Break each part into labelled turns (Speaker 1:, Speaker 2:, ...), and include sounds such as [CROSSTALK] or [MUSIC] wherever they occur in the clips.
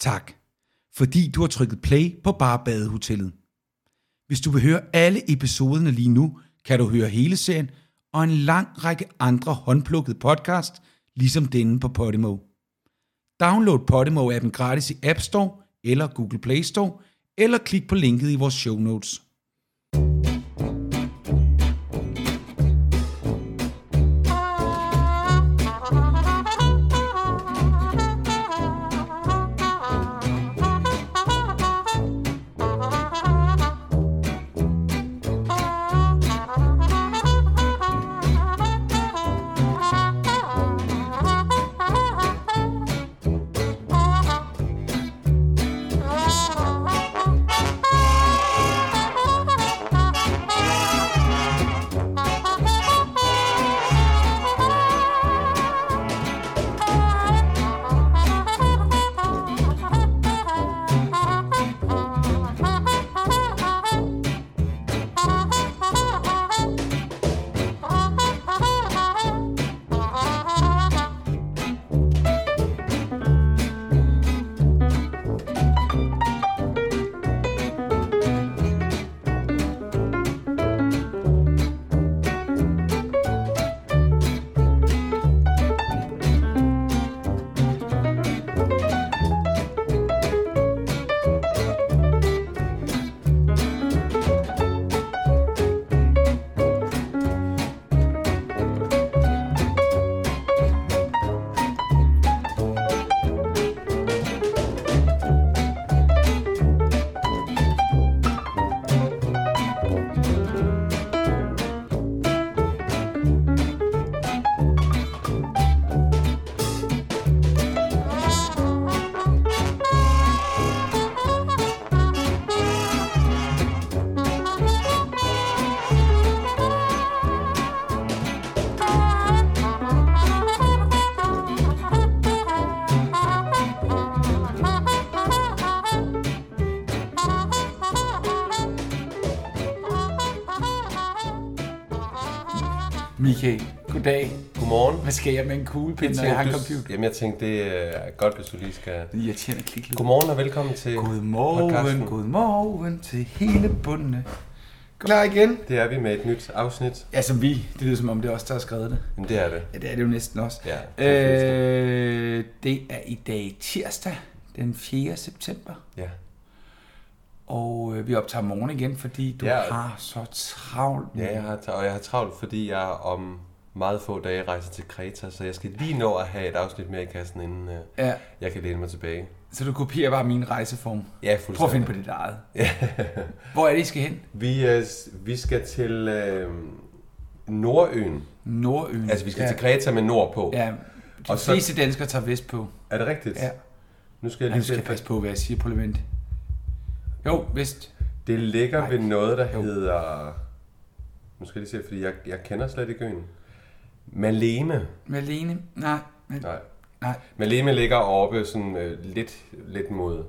Speaker 1: Tak, fordi du har trykket play på Barbadehotellet. Hvis du vil høre alle episoderne lige nu, kan du høre hele serien og en lang række andre håndplukkede podcast, ligesom denne på Podimo. Download Podimo-appen gratis i App Store eller Google Play Store, eller klik på linket i vores show notes.
Speaker 2: Michael, goddag.
Speaker 3: Godmorgen.
Speaker 2: Hvad skal jeg med en kuglepind, når jeg har en computer?
Speaker 3: Jamen, jeg tænkte, det er godt, hvis du lige skal...
Speaker 2: Det er irriterende at kigge lidt.
Speaker 3: Godmorgen og velkommen til
Speaker 2: Godmorgen,
Speaker 3: podcasten.
Speaker 2: godmorgen til hele bundene. Klar igen.
Speaker 3: Det er vi med et nyt afsnit.
Speaker 2: Ja, som vi. Det lyder som om, det er os, der har skrevet det.
Speaker 3: Jamen, det er det.
Speaker 2: Ja, det er det jo næsten også.
Speaker 3: Ja, det er
Speaker 2: øh, det er i dag tirsdag, den 4. september.
Speaker 3: Ja.
Speaker 2: Og øh, vi optager morgen igen, fordi du
Speaker 3: Ja.
Speaker 2: har så travlt.
Speaker 3: Ja, jeg har, tra- og jeg har travlt, fordi jeg om meget få dage rejser til Kreta, så jeg skal lige nå at have et afsnit mere i kassen, inden øh,
Speaker 2: ja.
Speaker 3: jeg kan læne mig tilbage.
Speaker 2: Så du kopierer bare min rejseform.
Speaker 3: Ja, fuldstændig.
Speaker 2: Prøv at finde på dit eget. Hvor er det, I skal hen?
Speaker 3: Vi, øh, s- vi skal til øh, Nordøen.
Speaker 2: Nordøen.
Speaker 3: Altså, vi skal
Speaker 2: ja.
Speaker 3: ja. til Kreta med nord på.
Speaker 2: Ja, de og
Speaker 3: Og så-
Speaker 2: fleste så... danskere tager vest på.
Speaker 3: Er det rigtigt?
Speaker 2: Ja.
Speaker 3: Nu skal jeg
Speaker 2: Ja, nu
Speaker 3: lige
Speaker 2: skal jeg
Speaker 3: se.
Speaker 2: passe på, hvad jeg siger på Levent. Jo, vest.
Speaker 3: Det ligger
Speaker 2: Nej.
Speaker 3: ved noget, der
Speaker 2: Jo.
Speaker 3: hedder... Nu skal jeg lige se, fordi jeg, jeg kender slet ikke øen. Maleme.
Speaker 2: Malene? Nej. Men...
Speaker 3: Nej.
Speaker 2: Nej.
Speaker 3: Maleme ligger oppe sådan øh, lidt, lidt mod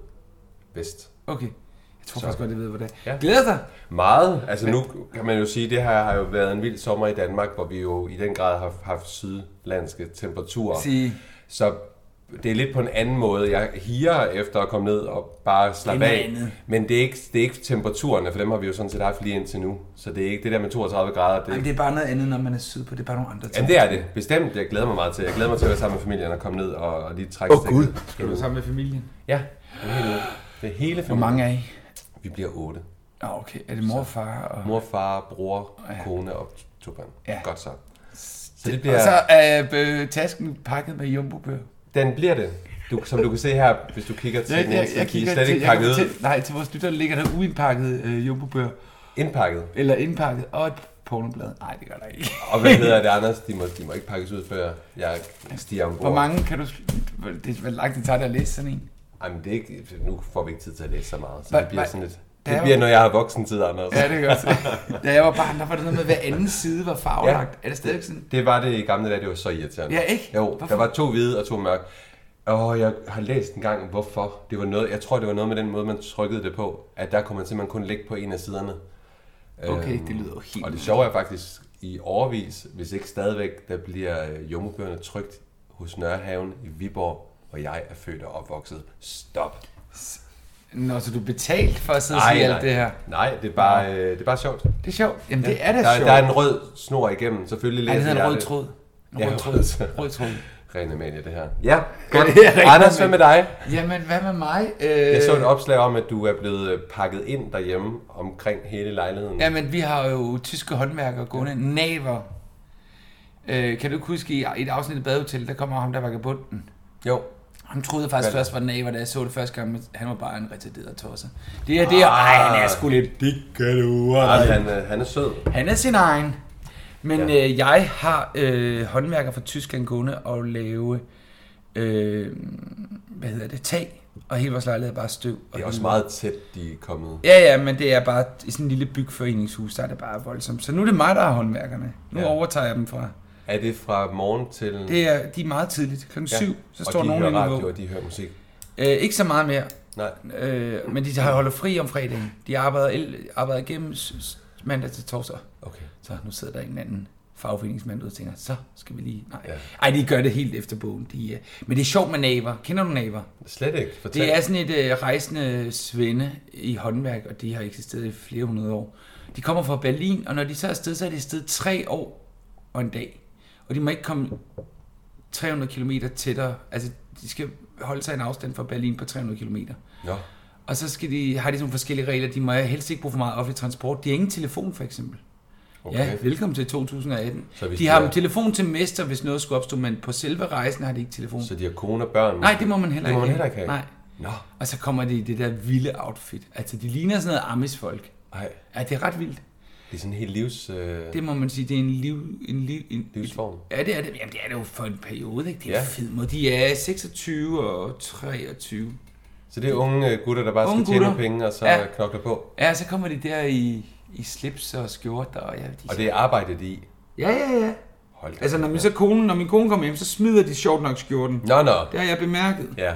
Speaker 3: vest.
Speaker 2: Okay. Jeg tror
Speaker 3: Så-
Speaker 2: faktisk godt, jeg ved, hvordan. Ja.
Speaker 3: Ja.
Speaker 2: Glæder dig.
Speaker 3: Meget. Altså nu kan man jo sige, at det her har jo været en vild sommer i Danmark, hvor vi jo i den grad har haft sydlandske temperaturer.
Speaker 2: Sige,
Speaker 3: Så det er lidt på en anden måde. Jeg higer efter at komme ned og bare slappe
Speaker 2: Det er
Speaker 3: af.
Speaker 2: noget andet.
Speaker 3: Men det er, ikke, det er ikke temperaturerne, for dem har vi jo sådan set haft lige indtil nu. Så det er ikke det der med 32 grader.
Speaker 2: Jamen,
Speaker 3: Det,
Speaker 2: det er bare noget andet, når man er sydpå. Det er bare nogle andre ting.
Speaker 3: Jamen det er det, bestemt. Jeg glæder mig meget til. Jeg glæder mig til at være sammen med familien og komme ned og, og lige trække
Speaker 1: Åh,
Speaker 3: stikket.
Speaker 1: Gud.
Speaker 2: Skal du sammen med familien?
Speaker 3: Ja, det er hele, det er hele
Speaker 2: Hvor
Speaker 3: familien.
Speaker 2: mange er I?
Speaker 3: Vi bliver otte.
Speaker 2: Nå, okay. Er det mor og far? Og...
Speaker 3: Mor, far, bror,
Speaker 2: Ja.
Speaker 3: kone og to børn.
Speaker 2: Ja.
Speaker 3: Godt så. Så det
Speaker 2: Og
Speaker 3: bliver,
Speaker 2: så er øh, tasken pakket med jumbobøger.
Speaker 3: den bliver det. Du, som du kan se her, hvis du kigger til den ene side, de er slet ikke pakket ud.
Speaker 2: til, nej, til vores lytter ligger der uindpakket øh, jumbobøger.
Speaker 3: Indpakket.
Speaker 2: Eller indpakket og et pornoblad. Nej, det gør der ikke.
Speaker 3: Og hvad hedder
Speaker 2: [LAUGHS]
Speaker 3: det, Anders? De må, de må ikke pakkes ud, før jeg stiger ombord.
Speaker 2: Hvor mange kan du... Det er vel langt, det tager det at læse sådan en.
Speaker 3: Jamen, det er ikke, nu får vi ikke tid til at læse så meget, så
Speaker 2: Hva-
Speaker 3: det bliver
Speaker 2: hva-
Speaker 3: sådan lidt...
Speaker 2: Der er
Speaker 3: Det
Speaker 2: jo-
Speaker 3: bliver, når jeg har voksen tid, Anders.
Speaker 2: Ja, det
Speaker 3: [LAUGHS]
Speaker 2: gør det. Da jeg var barn, der var det noget med, at hver anden side var farvelagt. Ja. Er det stadig sådan?
Speaker 3: Det var det i gamle dage, det var så irriterende.
Speaker 2: Ja, ikke?
Speaker 3: Jo,
Speaker 2: Hvorfor?
Speaker 3: der var to hvide og to mørke. Og jeg har læst en gang, hvorfor. Det var noget, jeg tror, det var noget med den måde, man trykkede det på. At der kunne man simpelthen kun lægge på en af siderne.
Speaker 2: Okay,
Speaker 3: Øhm,
Speaker 2: det lyder jo helt...
Speaker 3: Og det sjove er faktisk, i overvis, hvis ikke stadigvæk, der bliver øh, jumbobøgerne trygt hos Nørrehaven i Viborg. og jeg er født og opvokset. Stop.
Speaker 2: Nå, så du er betalt for at sidde og
Speaker 3: Nej,
Speaker 2: sige
Speaker 3: nej.
Speaker 2: alt det her.
Speaker 3: Nej, det er bare, øh, det er bare sjovt.
Speaker 2: Det er sjovt. Jamen, det er da
Speaker 3: Der,
Speaker 2: sjovt.
Speaker 3: der er en rød snor igennem, selvfølgelig.
Speaker 2: Ej, det
Speaker 3: læser
Speaker 2: hedder
Speaker 3: jeg
Speaker 2: en rød
Speaker 3: det.
Speaker 2: tråd. En
Speaker 3: Ja, [LAUGHS] altså.
Speaker 2: rød
Speaker 3: rød tråd.
Speaker 2: tråd. Rød tråd.
Speaker 3: Ren Amalie, det her. Ja,
Speaker 2: [LAUGHS]
Speaker 3: godt.
Speaker 2: det er ren
Speaker 3: Anders, hvad med dig?
Speaker 2: Jamen, hvad med mig? Øh,
Speaker 3: Jeg så et opslag om, at du er blevet øh, pakket ind derhjemme omkring hele lejligheden.
Speaker 2: Jamen, vi har jo tyske håndværkere gående. Ja. Naver. Øh, kan du ikke huske, i et afsnit af Badehotel, der kommer ham, der var bunden.
Speaker 3: Jo.
Speaker 2: Han troede jeg faktisk
Speaker 3: Hvad?
Speaker 2: først var naver, da jeg så det første gang, men han var bare en retarderet tosser. Det er det, er-
Speaker 3: Ah.
Speaker 2: ej, han er sgu lidt dick, kan du.
Speaker 3: Ej, han, øh, han er sød.
Speaker 2: Han er sin egen. Men ja. øh, jeg har øh, håndværker fra Tyskland gående og lave, øh, hvad hedder det, tag. Og hele vores lejlighed er bare støv.
Speaker 3: Det er også meget tæt, de er kommet.
Speaker 2: Ja, ja, men det er bare i sådan en lille bygforeningshus, der er det bare voldsomt. Så nu er det mig, der er håndværkerne. Nu
Speaker 3: Ja.
Speaker 2: ja. overtager jeg dem fra.
Speaker 3: Er det fra morgen til...
Speaker 2: Det er, de er meget tidligt. Klokken
Speaker 3: Ja.
Speaker 2: ja. syv, så
Speaker 3: og
Speaker 2: står
Speaker 3: de
Speaker 2: nogen
Speaker 3: hører
Speaker 2: inde i
Speaker 3: radio,
Speaker 2: vågen.
Speaker 3: og de hører musik.
Speaker 2: Øh, ikke så meget mere,
Speaker 3: Nej.
Speaker 2: øh, men de har holder fri om fredagen. De arbejder, el- arbejder igennem s- s- mandag til torsdag.
Speaker 3: Okay.
Speaker 2: Så nu sidder der en eller anden fagforeningsmand ud og tænker, så skal vi lige... Nej,
Speaker 3: Ja.
Speaker 2: ja. Ej, de gør det helt efter bogen. De, øh... Men det er sjovt med naver. Kender du naver?
Speaker 3: Slet ikke. Fortæl.
Speaker 2: Det er sådan et øh, rejsende svende i håndværk, og de har eksisteret i flere hundrede år. De kommer fra Berlin, og når de så er afsted, så er de afsted tre år og en dag. Og de må ikke komme 300 km tættere. Altså, de skal holde sig en afstand fra Berlin på 300 km.
Speaker 3: Nå.
Speaker 2: Og så skal de, har de nogle forskellige regler. De må helst ikke bruge for meget offentlig transport. De har ingen telefon, for eksempel.
Speaker 3: Okay.
Speaker 2: Okay. Ja, velkommen til 2018.
Speaker 3: Så hvis
Speaker 2: de
Speaker 3: de
Speaker 2: har
Speaker 3: er-
Speaker 2: en telefon til mester, hvis noget skulle opstå, men på selve rejsen har de ikke telefon.
Speaker 3: Så de har kone og børn?
Speaker 2: Nej, det må man heller
Speaker 3: det må
Speaker 2: ikke
Speaker 3: man heller ikke have.
Speaker 2: Nej.
Speaker 3: Nå.
Speaker 2: Og så kommer de i det der vilde outfit. Altså, de ligner sådan noget Amis-folk.
Speaker 3: Ej,
Speaker 2: Ja, det er ret vildt.
Speaker 3: det er sådan en helt livs... Øh...
Speaker 2: Det må man sige, det er en liv... En liv en,
Speaker 3: Livsform.
Speaker 2: Ja, det er det. Jamen, det er det jo for en periode, ikke? Det er
Speaker 3: Ja.
Speaker 2: ja. fed måde. De er 26 og 23.
Speaker 3: Så det er unge øh, gutter, der bare
Speaker 2: Unge
Speaker 3: skal tjene nogle
Speaker 2: gutter.
Speaker 3: penge, og så
Speaker 2: Ja.
Speaker 3: ja. knokler på.
Speaker 2: Ja, så kommer de der i, i slips og skjorter. Og, ja, de...
Speaker 3: Og det er arbejdet i.
Speaker 2: ja, ja, ja.
Speaker 3: Hold da.
Speaker 2: Altså, når min,
Speaker 3: kæft.
Speaker 2: så kone, når min kone kommer hjem, så smider de sjovt nok skjorten.
Speaker 3: Nå, nå.
Speaker 2: Det har jeg bemærket.
Speaker 3: Ja.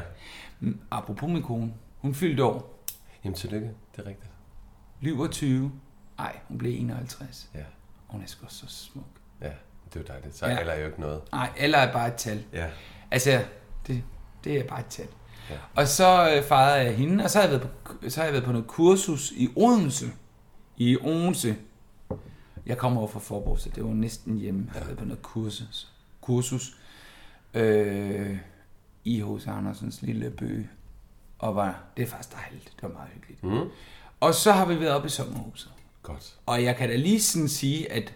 Speaker 2: Apropos min kone. Hun fyldte år.
Speaker 3: Jamen, tillykke. Det er rigtigt.
Speaker 2: Lyver 20. Nej, hun blev 51.
Speaker 3: Ja.
Speaker 2: Hun er sgu så smuk.
Speaker 3: Ja. Det er jo dejligt. Så
Speaker 2: Ja.
Speaker 3: ja. er jo ikke noget.
Speaker 2: Nej, eller er bare et tal.
Speaker 3: Ja.
Speaker 2: Altså, det, det er bare et tal.
Speaker 3: Ja.
Speaker 2: Og så øh, fejrede jeg hende, og så har jeg, været på, så har jeg været på noget kursus i Odense. I Odense. Jeg kommer over fra Forborg, så det var næsten hjemme. Jeg har været på noget kursus, kursus øh, i hos Andersens lille by. Og var, det er faktisk dejligt. Det var meget hyggeligt.
Speaker 3: Mm.
Speaker 2: Og så har vi været oppe i sommerhuset.
Speaker 3: Godt.
Speaker 2: Og jeg kan da lige sådan sige, at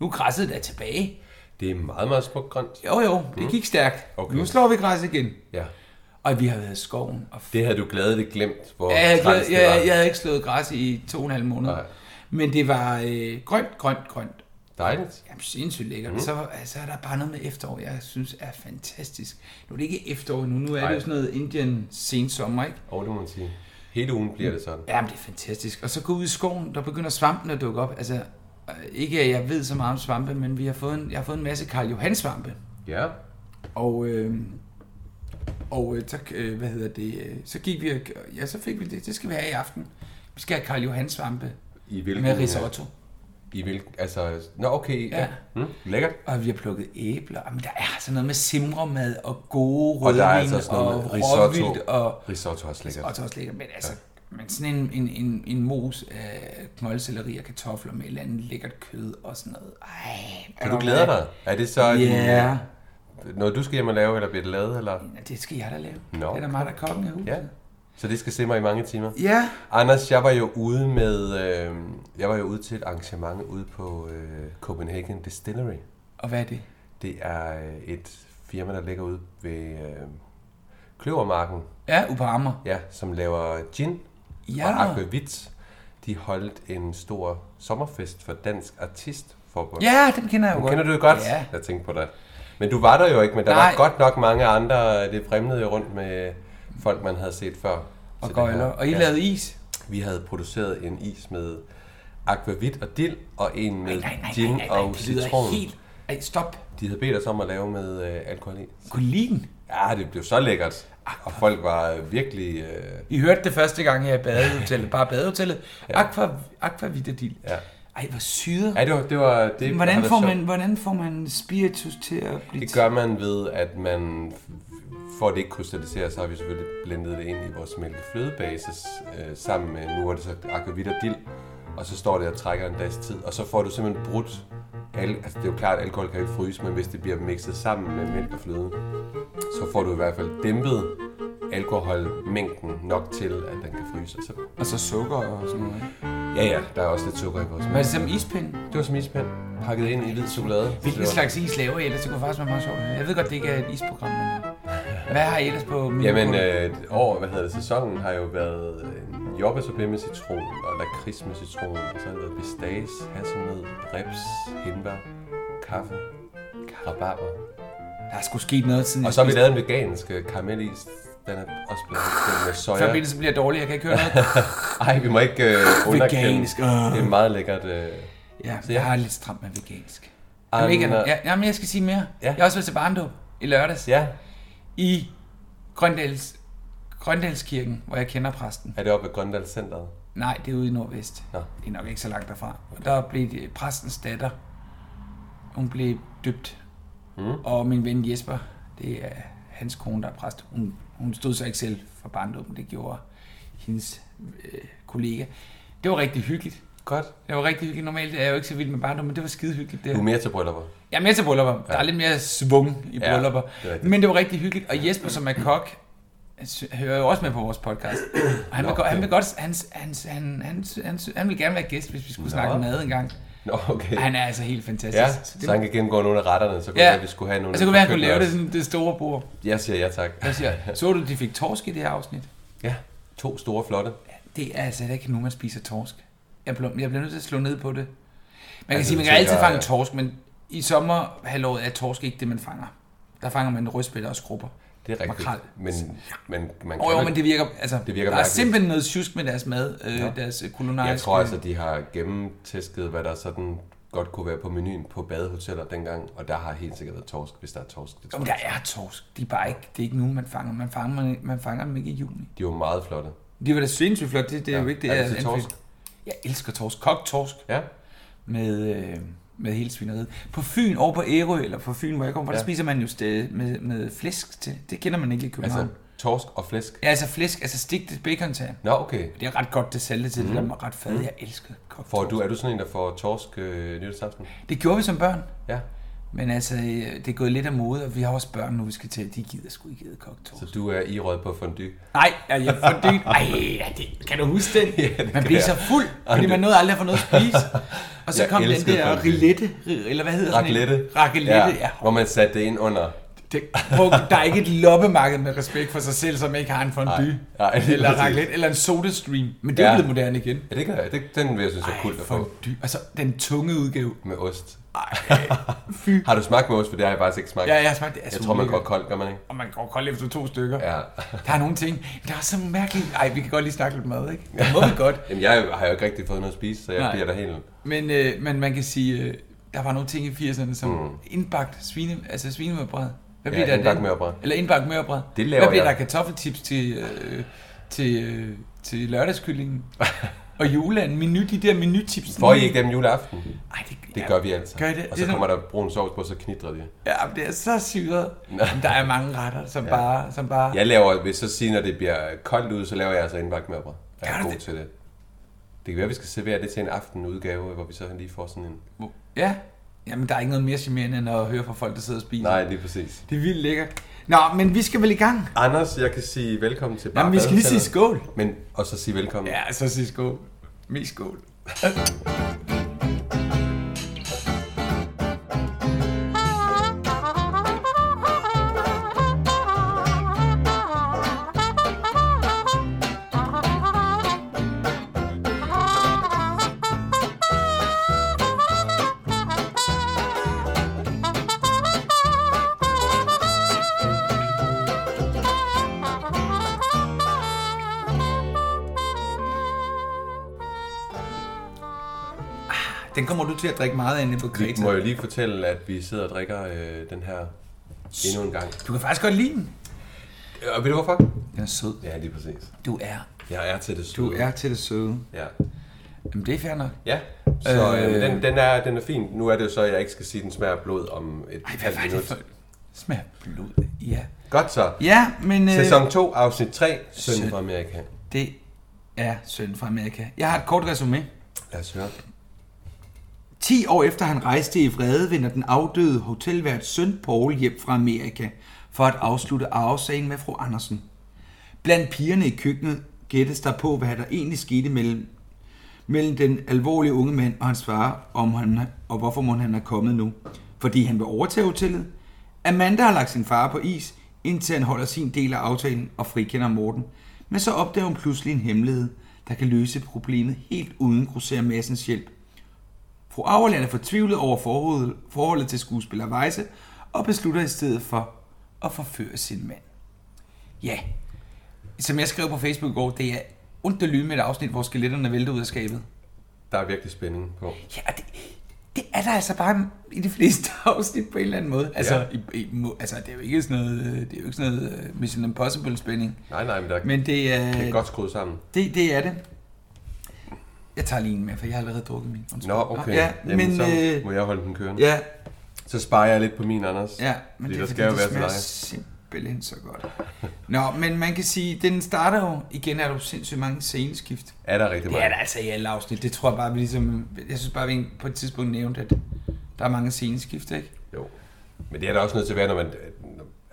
Speaker 2: nu græsset er tilbage.
Speaker 3: Det er meget, meget smukt grønt.
Speaker 2: Jo jo, det gik stærkt.
Speaker 3: Mhm. Okay.
Speaker 2: Nu slår vi græs igen.
Speaker 3: Ja.
Speaker 2: Og vi har været i skoven. Og f-
Speaker 3: Det havde du gladeligt glemt, hvor
Speaker 2: jeg, havde,
Speaker 3: træls det
Speaker 2: glædet, jeg,
Speaker 3: var.
Speaker 2: jeg, jeg havde ikke slået græs i to og en halv måned.
Speaker 3: Nej.
Speaker 2: Men det var øh, grønt, grønt, grønt.
Speaker 3: Dejligt.
Speaker 2: Jamen, sindssygt lækkert.
Speaker 3: Mhm.
Speaker 2: Mm. Så, altså, er der bare noget med efterår, jeg synes er fantastisk. Nu er det ikke efterår nu, nu er
Speaker 3: Nej.
Speaker 2: det jo sådan noget Indian sensommer, ikke?
Speaker 3: Og det må man sige. Hele ugen bliver det sådan.
Speaker 2: Jamen, det er fantastisk. Og så gå ud i skoven, der begynder svampen at dukke op. Altså, øh, ikke at jeg ved så meget om svampe, men vi har fået en, jeg har fået en masse Karl Johan svampe.
Speaker 3: Ja.
Speaker 2: Og, øh, og øh, tak, øh, hvad hedder det, øh, så gik vi, og- ja, så fik vi det, det skal vi have i aften. Vi skal have Karl Johan svampe
Speaker 3: I hvilken...
Speaker 2: med risotto.
Speaker 3: I hvilken... Altså... Nå, okay. Ja.
Speaker 2: Ja.
Speaker 3: Mm, lækkert.
Speaker 2: Og vi har plukket æbler. Jamen, der er altså noget med simremad og gode
Speaker 3: Og der er
Speaker 2: rødvin
Speaker 3: altså
Speaker 2: og,
Speaker 3: også noget med
Speaker 2: råvildt
Speaker 3: risotto.
Speaker 2: og,
Speaker 3: Risotto er også lækkert.
Speaker 2: og så også lækkert. Men altså, men sådan en, en, en, en mos af knoldselleri og kartofler med et eller andet lækkert kød og sådan noget.
Speaker 3: Så
Speaker 2: Ej,
Speaker 3: du glæder dig? Er det så din-
Speaker 2: Ja.
Speaker 3: noget, du skal hjem og lave, eller bliver det lavet? Eller?
Speaker 2: Ja, det skal jeg da lave.
Speaker 3: Nå.
Speaker 2: Det er da mig, der er kokken i huset.
Speaker 3: Ja. Så det skal simre i mange timer.
Speaker 2: ja.
Speaker 3: Anders, jeg var jo ude med, øh, jeg var jo ude til et arrangement ude på øh, Copenhagen Distillery.
Speaker 2: Og hvad er det?
Speaker 3: Det er øh, et firma, der ligger ude ved øh, Kløvermarken,
Speaker 2: Ja, ude på Amager.
Speaker 3: ja, som laver gin
Speaker 2: Ja.
Speaker 3: og aquavit. De holdt en stor sommerfest for Dansk Artistforbund.
Speaker 2: Ja, dem kender jeg jo
Speaker 3: Dem
Speaker 2: godt.
Speaker 3: Kender du det godt?
Speaker 2: Ja.
Speaker 3: Jeg tænkte på dig. Men du var der jo ikke, men der
Speaker 2: Nej.
Speaker 3: var godt nok mange andre, det fremmede rundt med folk, man havde set før.
Speaker 2: Og
Speaker 3: til det her.
Speaker 2: gøjler. Og I
Speaker 3: Ja.
Speaker 2: lavede is.
Speaker 3: Vi havde produceret en is med aquavit og dild, og en med gin og
Speaker 2: det lyder
Speaker 3: citron.
Speaker 2: helt... Ej, stop.
Speaker 3: De havde bedt os om at lave med øh, alkohol i.
Speaker 2: Kolin.
Speaker 3: Ja, det blev så lækkert. Og folk var øh, virkelig... Øh,
Speaker 2: I hørte det første gang her i badehotellet. Bare badehotellet. Aqua, aquavitadil.
Speaker 3: Ja.
Speaker 2: Ej, hvor syret.
Speaker 3: ja, det var... Det var det, har
Speaker 2: Hvordan
Speaker 3: været
Speaker 2: får,
Speaker 3: sjovt.
Speaker 2: man, hvordan får man spiritus til at blive...
Speaker 3: Det gør man ved, at man for at det ikke krystalliserer, så har vi selvfølgelig blendet det ind i vores mælkeflødebasis øh, sammen med, nu er det så akvavit og dild, og så står det og trækker en dags tid, og så får du simpelthen brudt al, altså det er jo klart, at alkohol kan jo ikke fryse, men hvis det bliver mixet sammen med mælk og fløde, så får du i hvert fald dæmpet alkoholmængden nok til, at den kan fryse. Og så,
Speaker 2: Og så Altså sukker og sådan noget.
Speaker 3: ja, ja, der er også lidt sukker i vores
Speaker 2: Hvad er
Speaker 3: mælk.
Speaker 2: det som ispind?
Speaker 3: Det var som ispind, pakket ind i hvid chokolade.
Speaker 2: altså, Hvilken
Speaker 3: Så-
Speaker 2: slags is laver I ellers? Det kunne faktisk være meget sjovt. Jeg ved godt, det ikke er et isprogram, men øh, hvad har I ellers på min
Speaker 3: Jamen, øh, år, hvad hedder det, sæsonen har jo været øh, jordbærsoufflé med citron, og lakrids med citron, og så har det været pistache, hasselnød, reps, hindbær, kaffe, rabarber.
Speaker 2: Der er sgu sket noget siden
Speaker 3: Og
Speaker 2: jeg
Speaker 3: så har vi
Speaker 2: spiste-
Speaker 3: lavet en vegansk øh, karamelis, den er også blevet den med
Speaker 2: Før
Speaker 3: soja.
Speaker 2: billedet så bliver jeg dårlig, jeg kan ikke
Speaker 3: [LAUGHS]
Speaker 2: høre noget.
Speaker 3: Ej, vi må ikke
Speaker 2: [LAUGHS]
Speaker 3: øh, underkende.
Speaker 2: Vegansk, øh.
Speaker 3: Det er meget lækkert. Øh.
Speaker 2: Ja,
Speaker 3: Så
Speaker 2: så
Speaker 3: jeg-
Speaker 2: jeg har lidt stramt med vegansk. Jamen, ikke, andet.
Speaker 3: ja.
Speaker 2: ja, jamen, jeg skal sige mere.
Speaker 3: Ja.
Speaker 2: Ja. Jeg har også været til barndåb i lørdags ja.
Speaker 3: ja.
Speaker 2: i Grøndals, Grøndalskirken, hvor jeg kender præsten.
Speaker 3: Er det oppe ved Grøndal Centeret?
Speaker 2: Nej, det er ude i Nordvest.
Speaker 3: Nå.
Speaker 2: Det er nok ikke så langt derfra. Og der blev det, præstens datter, hun blev dybt. Mm. Og min ven Jesper, det er hans kone, der er præst. Hun, hun stod så ikke selv for barndommen, det gjorde hendes øh, kollega. Det var rigtig hyggeligt.
Speaker 3: Godt.
Speaker 2: Det var rigtig hyggeligt. Normalt er jeg jo ikke så vild med barndom, men det var skide hyggeligt. Det.
Speaker 3: Du er mere til bryllupper.
Speaker 2: Jeg er med til bryllupper. Ja. Der er lidt mere svung i
Speaker 3: Ja,
Speaker 2: bryllupper.
Speaker 3: det er rigtigt.
Speaker 2: men det var rigtig hyggeligt. Og Jesper, som er kok, sy- hører jo også med på vores podcast. Og han, vil,
Speaker 3: Nå,
Speaker 2: godt, han
Speaker 3: okay.
Speaker 2: vil godt... Han, han, han, han, han, han vil gerne være gæst, hvis vi skulle
Speaker 3: Nå.
Speaker 2: snakke mad en gang.
Speaker 3: Nå, okay.
Speaker 2: Og han er altså helt fantastisk. [LAUGHS]
Speaker 3: Ja,
Speaker 2: Så
Speaker 3: så,
Speaker 2: det,
Speaker 3: han kan gennemgå nogle af retterne, så kunne
Speaker 2: ja.
Speaker 3: være, vi skulle have nogle...
Speaker 2: og så kunne være, han kunne
Speaker 3: køkkener
Speaker 2: lave det,
Speaker 3: også.
Speaker 2: sådan, det store bord.
Speaker 3: Jeg siger ja tak. [LAUGHS]
Speaker 2: Jeg siger, så du, de fik torsk i det her afsnit?
Speaker 3: Ja, to store flotte.
Speaker 2: Det er altså heller ikke nu, man spiser torsk. Jeg bliver, jeg bliver nødt til at slå ned på det. Man kan
Speaker 3: Altså,
Speaker 2: sige, man
Speaker 3: du
Speaker 2: kan altid
Speaker 3: tænker,
Speaker 2: fange
Speaker 3: ja.
Speaker 2: torsk, men i sommerhalvåret er torsk ikke det, man fanger. Der fanger man rødspætter og skrubber.
Speaker 3: Det er rigtigt.
Speaker 2: Makrel.
Speaker 3: Men, men man kan
Speaker 2: Åh, jo,
Speaker 3: vel-
Speaker 2: men det virker, altså, det
Speaker 3: Det
Speaker 2: virker
Speaker 3: virker
Speaker 2: der er
Speaker 3: mærkeligt.
Speaker 2: simpelthen noget tjusk med deres mad, øh,
Speaker 3: Ja.
Speaker 2: deres øh, kulinariske...
Speaker 3: Jeg tror altså, de har gennemtæsket, hvad der sådan godt kunne være på menuen på badehoteller dengang, og der har helt sikkert været torsk, hvis der er torsk. Det tror
Speaker 2: Jamen,
Speaker 3: jeg.
Speaker 2: der er torsk. De er bare ikke, det er ikke nu, man fanger. Man fanger, man, man fanger dem ikke i juni.
Speaker 3: De er jo meget flotte.
Speaker 2: Det var da sindssygt flot, det, det er
Speaker 3: Ja.
Speaker 2: jo ikke det,
Speaker 3: Er du
Speaker 2: jeg-
Speaker 3: til torsk?
Speaker 2: Jeg elsker torsk. Kogt torsk
Speaker 3: Ja,
Speaker 2: med, øh, med hele svineriet. På Fyn, over på Ærø, eller på Fyn, hvor jeg kommer, ja.
Speaker 3: Ja.
Speaker 2: der spiser man jo stadig med, med flæsk til. Det kender man ikke i København.
Speaker 3: altså
Speaker 2: Altså,
Speaker 3: torsk og flæsk.
Speaker 2: ja, altså flæsk, altså stigtet bacon til.
Speaker 3: Nå, okay.
Speaker 2: Det er ret godt, det salte til, mm. det der er ret fad. Jeg elsker kogt
Speaker 3: Mhm. Får
Speaker 2: torsk.
Speaker 3: du, er du sådan en, der får torsk øh, nytårsaften?
Speaker 2: Det gjorde vi som børn.
Speaker 3: Ja.
Speaker 2: Men altså, øh, det er gået lidt af mode, og vi har også børn nu, vi skal til. De gider sgu ikke æderkogt
Speaker 3: Så du er i rød på fondue?
Speaker 2: Nej, jeg er for
Speaker 3: [LAUGHS]
Speaker 2: dybt. Ej, ja, det, kan du huske den?
Speaker 3: Ja, det
Speaker 2: man
Speaker 3: kan
Speaker 2: bliver
Speaker 3: jeg.
Speaker 2: så fuld, fordi man nåede aldrig at få noget at
Speaker 3: [LAUGHS]
Speaker 2: spise. Og så
Speaker 3: Jeg
Speaker 2: kom den
Speaker 3: elskede
Speaker 2: der
Speaker 3: fondue.
Speaker 2: rillette, ri- eller hvad hedder sådan
Speaker 3: Raclette.
Speaker 2: en? Raclette. ja. ja.
Speaker 3: Hvor man satte det ind under.
Speaker 2: Det, prøv, der er ikke et loppemarked med respekt for sig selv, som ikke har en fondue.
Speaker 3: Nej, nej, lige
Speaker 2: eller
Speaker 3: præcis.
Speaker 2: raclette, eller en sodastream. Men det er
Speaker 3: Ja.
Speaker 2: jo blevet moderne igen.
Speaker 3: Ja, det gør jeg. Det, den vil jeg synes er kult at få
Speaker 2: fondue. Altså, den tunge udgave.
Speaker 3: med ost. [LAUGHS]
Speaker 2: Fy.
Speaker 3: Har du smagt med ost? For det har jeg faktisk ikke smagt.
Speaker 2: Ja, jeg har smagt det. er
Speaker 3: Jeg
Speaker 2: så
Speaker 3: tror, man går
Speaker 2: ulækkert.
Speaker 3: kold, gør man ikke?
Speaker 2: Og man går koldt efter to stykker.
Speaker 3: Ja.
Speaker 2: Der er nogle ting, der er så mærkeligt. Ej, vi kan godt lige snakke lidt mad, ikke? Det må vi godt.
Speaker 3: Jamen, jeg har jo ikke rigtig fået noget at spise, så jeg
Speaker 2: Nej.
Speaker 3: bliver der helt...
Speaker 2: Men, øh, men man kan sige, øh, der var nogle ting i 80'erne, som mm. indbagt svine, altså svinemørbrad. Hvad
Speaker 3: Ja,
Speaker 2: der af
Speaker 3: indbagt
Speaker 2: den?
Speaker 3: mørbrad.
Speaker 2: Eller indbagt mørbrad.
Speaker 3: Det laver
Speaker 2: Hvad blev
Speaker 3: jeg.
Speaker 2: der kartoffeltips til, øh, til, øh, til
Speaker 3: [LAUGHS]
Speaker 2: lørdagskyllingen? og juleanden, menu, de der menutips.
Speaker 3: Får I ikke dem juleaften?
Speaker 2: Ej, det,
Speaker 3: Det gør vi altså.
Speaker 2: Gør I det?
Speaker 3: Og
Speaker 2: Det
Speaker 3: så
Speaker 2: er sådan-
Speaker 3: kommer der brun sovs på, så knitrer det.
Speaker 2: Ja, men det er så syret. Men der er mange retter, som ja. bare... Som bare ja.
Speaker 3: Jeg laver, hvis så sige, når det bliver koldt ud, så laver jeg altså indbagt mørbrød. Jeg
Speaker 2: Gør
Speaker 3: er
Speaker 2: du
Speaker 3: god
Speaker 2: det?
Speaker 3: til det. Det kan være, at vi skal servere det til en aftenudgave, hvor vi så lige får sådan en...
Speaker 2: ja. Jamen, der er ikke noget mere charmerende, end at høre fra folk, der sidder og spiser.
Speaker 3: Nej, lige præcis.
Speaker 2: Det er vildt lækkert. Nå, men vi skal vel i gang.
Speaker 3: Anders, jeg kan sige velkommen til
Speaker 2: Jamen, vi skal lige sige skål.
Speaker 3: Men, og så sige velkommen.
Speaker 2: Ja, så sig skål. Mest skål. Den kommer du til at drikke meget af inde på
Speaker 3: Vi
Speaker 2: Kreta.
Speaker 3: må jo lige fortælle, at vi sidder og drikker øh, den her endnu en gang.
Speaker 2: Du kan faktisk godt lide den.
Speaker 3: Og ved du hvorfor?
Speaker 2: Den er sød.
Speaker 3: Ja, lige præcis.
Speaker 2: Du er.
Speaker 3: Jeg er til det
Speaker 2: Du
Speaker 3: søde.
Speaker 2: er til det søde.
Speaker 3: Ja.
Speaker 2: Jamen, det er fair nok.
Speaker 3: Ja, så øh,
Speaker 2: Øh.
Speaker 3: den, den, er, den er fin. Nu er det jo så, at jeg ikke skal sige, at den smager af blod om et
Speaker 2: Ej, hvad var det for... Smager af blod. Ja.
Speaker 3: Godt så.
Speaker 2: Ja, men... øh,
Speaker 3: Sæson 2, afsnit 3, Søn
Speaker 2: Søn.
Speaker 3: fra Amerika.
Speaker 2: Det er Søn fra Amerika. Jeg har et kort resume.
Speaker 3: Lad os høre.
Speaker 2: 10 år efter han rejste i vrede, vender den afdøde hotelvært søn Paul hjem fra Amerika for at afslutte arvesagen med fru Andersen. Blandt pigerne i køkkenet gættes der på, hvad der egentlig skete mellem, mellem den alvorlige unge mand og hans far, om han, og hvorfor mon han er kommet nu. Fordi han vil overtage hotellet. Amanda har lagt sin far på is, indtil han holder sin del af aftalen og frikender Morten. Men så opdager hun pludselig en hemmelighed, der kan løse problemet helt uden grosser massens hjælp. Fru Auerland er fortvivlet over forholdet, forholdet til skuespiller Weisse, og beslutter i stedet for at forføre sin mand. Ja, som jeg skrev på Facebook i går, det er ondt at lyde med et afsnit, hvor skeletterne vælter ud af skabet.
Speaker 3: Der er virkelig spænding på.
Speaker 2: Ja, og det, det er der altså bare i de fleste [LAUGHS] afsnit på en eller anden måde. Altså,
Speaker 3: Ja.
Speaker 2: ja. i, i, må- altså det er jo ikke sådan noget, øh, det er jo ikke sådan noget øh, Mission Impossible-spænding.
Speaker 3: Nej, nej, men der men,
Speaker 2: Men øh, det er,
Speaker 3: det er godt skruet sammen.
Speaker 2: det, det er det. Jeg tager lige en med, for jeg har allerede drukket min. Undskyld.
Speaker 3: Nå, okay.
Speaker 2: Ja,
Speaker 3: Jamen,
Speaker 2: men,
Speaker 3: så
Speaker 2: øh,
Speaker 3: må jeg holde den kørende.
Speaker 2: ja,
Speaker 3: Så sparer jeg lidt på min, Anders.
Speaker 2: Ja, men
Speaker 3: Fordi
Speaker 2: det
Speaker 3: der
Speaker 2: er
Speaker 3: skal
Speaker 2: fordi,
Speaker 3: jo
Speaker 2: det
Speaker 3: være til
Speaker 2: smager
Speaker 3: dig.
Speaker 2: simpelthen så godt. Nå, men man kan sige, den starter jo, igen er der jo sindssygt mange sceneskift.
Speaker 3: Er der rigtig
Speaker 2: Det
Speaker 3: meget?
Speaker 2: er der altså i alle afsnit, det tror jeg bare, vi ligesom, jeg synes bare, vi på et tidspunkt nævnte, at der er mange sceneskift, ikke?
Speaker 3: Jo. Men det er der også nødt til at være, når man...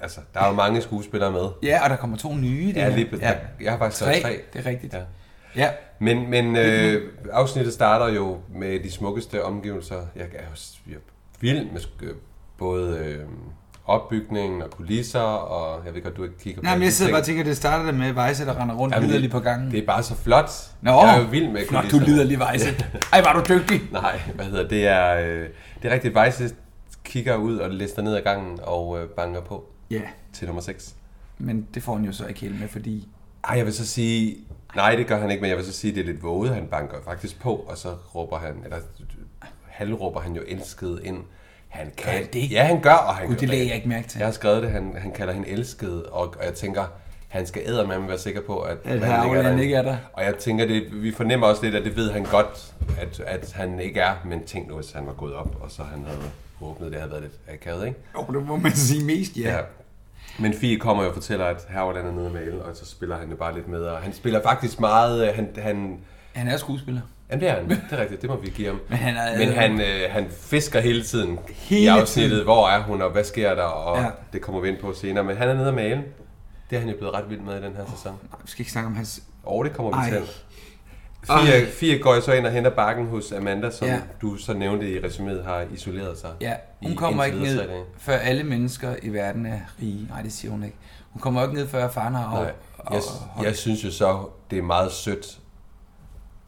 Speaker 3: Altså, der er jo mange skuespillere med.
Speaker 2: Ja, og der kommer to nye. i det
Speaker 3: Ja,
Speaker 2: her.
Speaker 3: lige, ja. Jeg har faktisk
Speaker 2: tre,
Speaker 3: tre. tre.
Speaker 2: det er rigtigt.
Speaker 3: Ja.
Speaker 2: Ja. ja.
Speaker 3: Men, men øh, afsnittet starter jo med de smukkeste omgivelser. Jeg er jo s- jeg er vild med sk- øh, både øh, opbygningen og kulisser, og jeg ved godt, du ikke kigger på
Speaker 2: Nej, men
Speaker 3: alle
Speaker 2: jeg
Speaker 3: de
Speaker 2: sidder bare og
Speaker 3: ting.
Speaker 2: tænker, at det starter der med Vejse, der render rundt
Speaker 3: Jamen,
Speaker 2: liderlig på gangen.
Speaker 3: Det er bare så flot.
Speaker 2: Nå,
Speaker 3: jeg er jo vild med
Speaker 2: flot, du
Speaker 3: kulisserne.
Speaker 2: lider lige
Speaker 3: [LAUGHS]
Speaker 2: Vejse. Ej, var du dygtig.
Speaker 3: Nej, hvad hedder det? det? Er, øh, det er rigtigt. Vejse kigger ud og lister ned ad gangen og øh, banker på
Speaker 2: Ja,
Speaker 3: til nummer 6.
Speaker 2: men det får han jo så ikke helt med, fordi
Speaker 3: Ej, jeg vil så sige... Nej, det gør han ikke, men jeg vil så sige, at det er lidt våget. Han banker faktisk på, og så råber han... Eller halvråber han jo elsket ind. Han kan...
Speaker 2: han det?
Speaker 3: Ja, han gør, og han
Speaker 2: Gud, det
Speaker 3: gør
Speaker 2: lagde jeg ikke mærke til.
Speaker 3: Jeg har skrevet det, han, han kalder hende elsket, og, og jeg tænker, han skal eddermame være sikker på, at,
Speaker 2: At
Speaker 3: han
Speaker 2: hr. Auland
Speaker 3: derinde.
Speaker 2: ikke er der.
Speaker 3: Og jeg tænker, det, vi fornemmer også lidt, at det ved han godt, at, at han ikke er, men tænk nu, hvis han var gået op, og så han havde åbnet, det havde været lidt akavet, ikke?
Speaker 2: Jo, det må man sige mest, ja.
Speaker 3: Men Fie kommer jo og fortæller, at Herreland er nede med el, og så spiller han jo bare lidt med, og han spiller faktisk meget, øh, han, han
Speaker 2: Han er skuespiller.
Speaker 3: Jamen, det er han. Det er rigtigt. Det må vi give ham.
Speaker 2: Men han er-
Speaker 3: Men han, øh, han fisker hele tiden hele i
Speaker 2: Hele
Speaker 3: afsnittet. Tiden.
Speaker 2: tiden.
Speaker 3: Hvor er hun, og hvad sker der? Og ja.
Speaker 2: Ja.
Speaker 3: det kommer vi ind på senere. Men han er nede og male. Det er han jo blevet ret vild med i den her sæson.
Speaker 2: Nej, vi skal ikke snakke om hans...
Speaker 3: Og det kommer vi
Speaker 2: Ej.
Speaker 3: til. Fire,
Speaker 2: Ej.
Speaker 3: fire går jo så ind og henter bakken hos Amanda, som ja.
Speaker 2: Ja.
Speaker 3: du så nævnte i resuméet har isoleret sig.
Speaker 2: Ja, hun
Speaker 3: i
Speaker 2: kommer ikke
Speaker 3: indtil videre tre
Speaker 2: ned,
Speaker 3: dage.
Speaker 2: før alle mennesker i verden er rige. Nej, det siger hun ikke. Hun kommer ikke ned, før faren har...
Speaker 3: Nej. Jeg, jeg synes jo så, det er meget sødt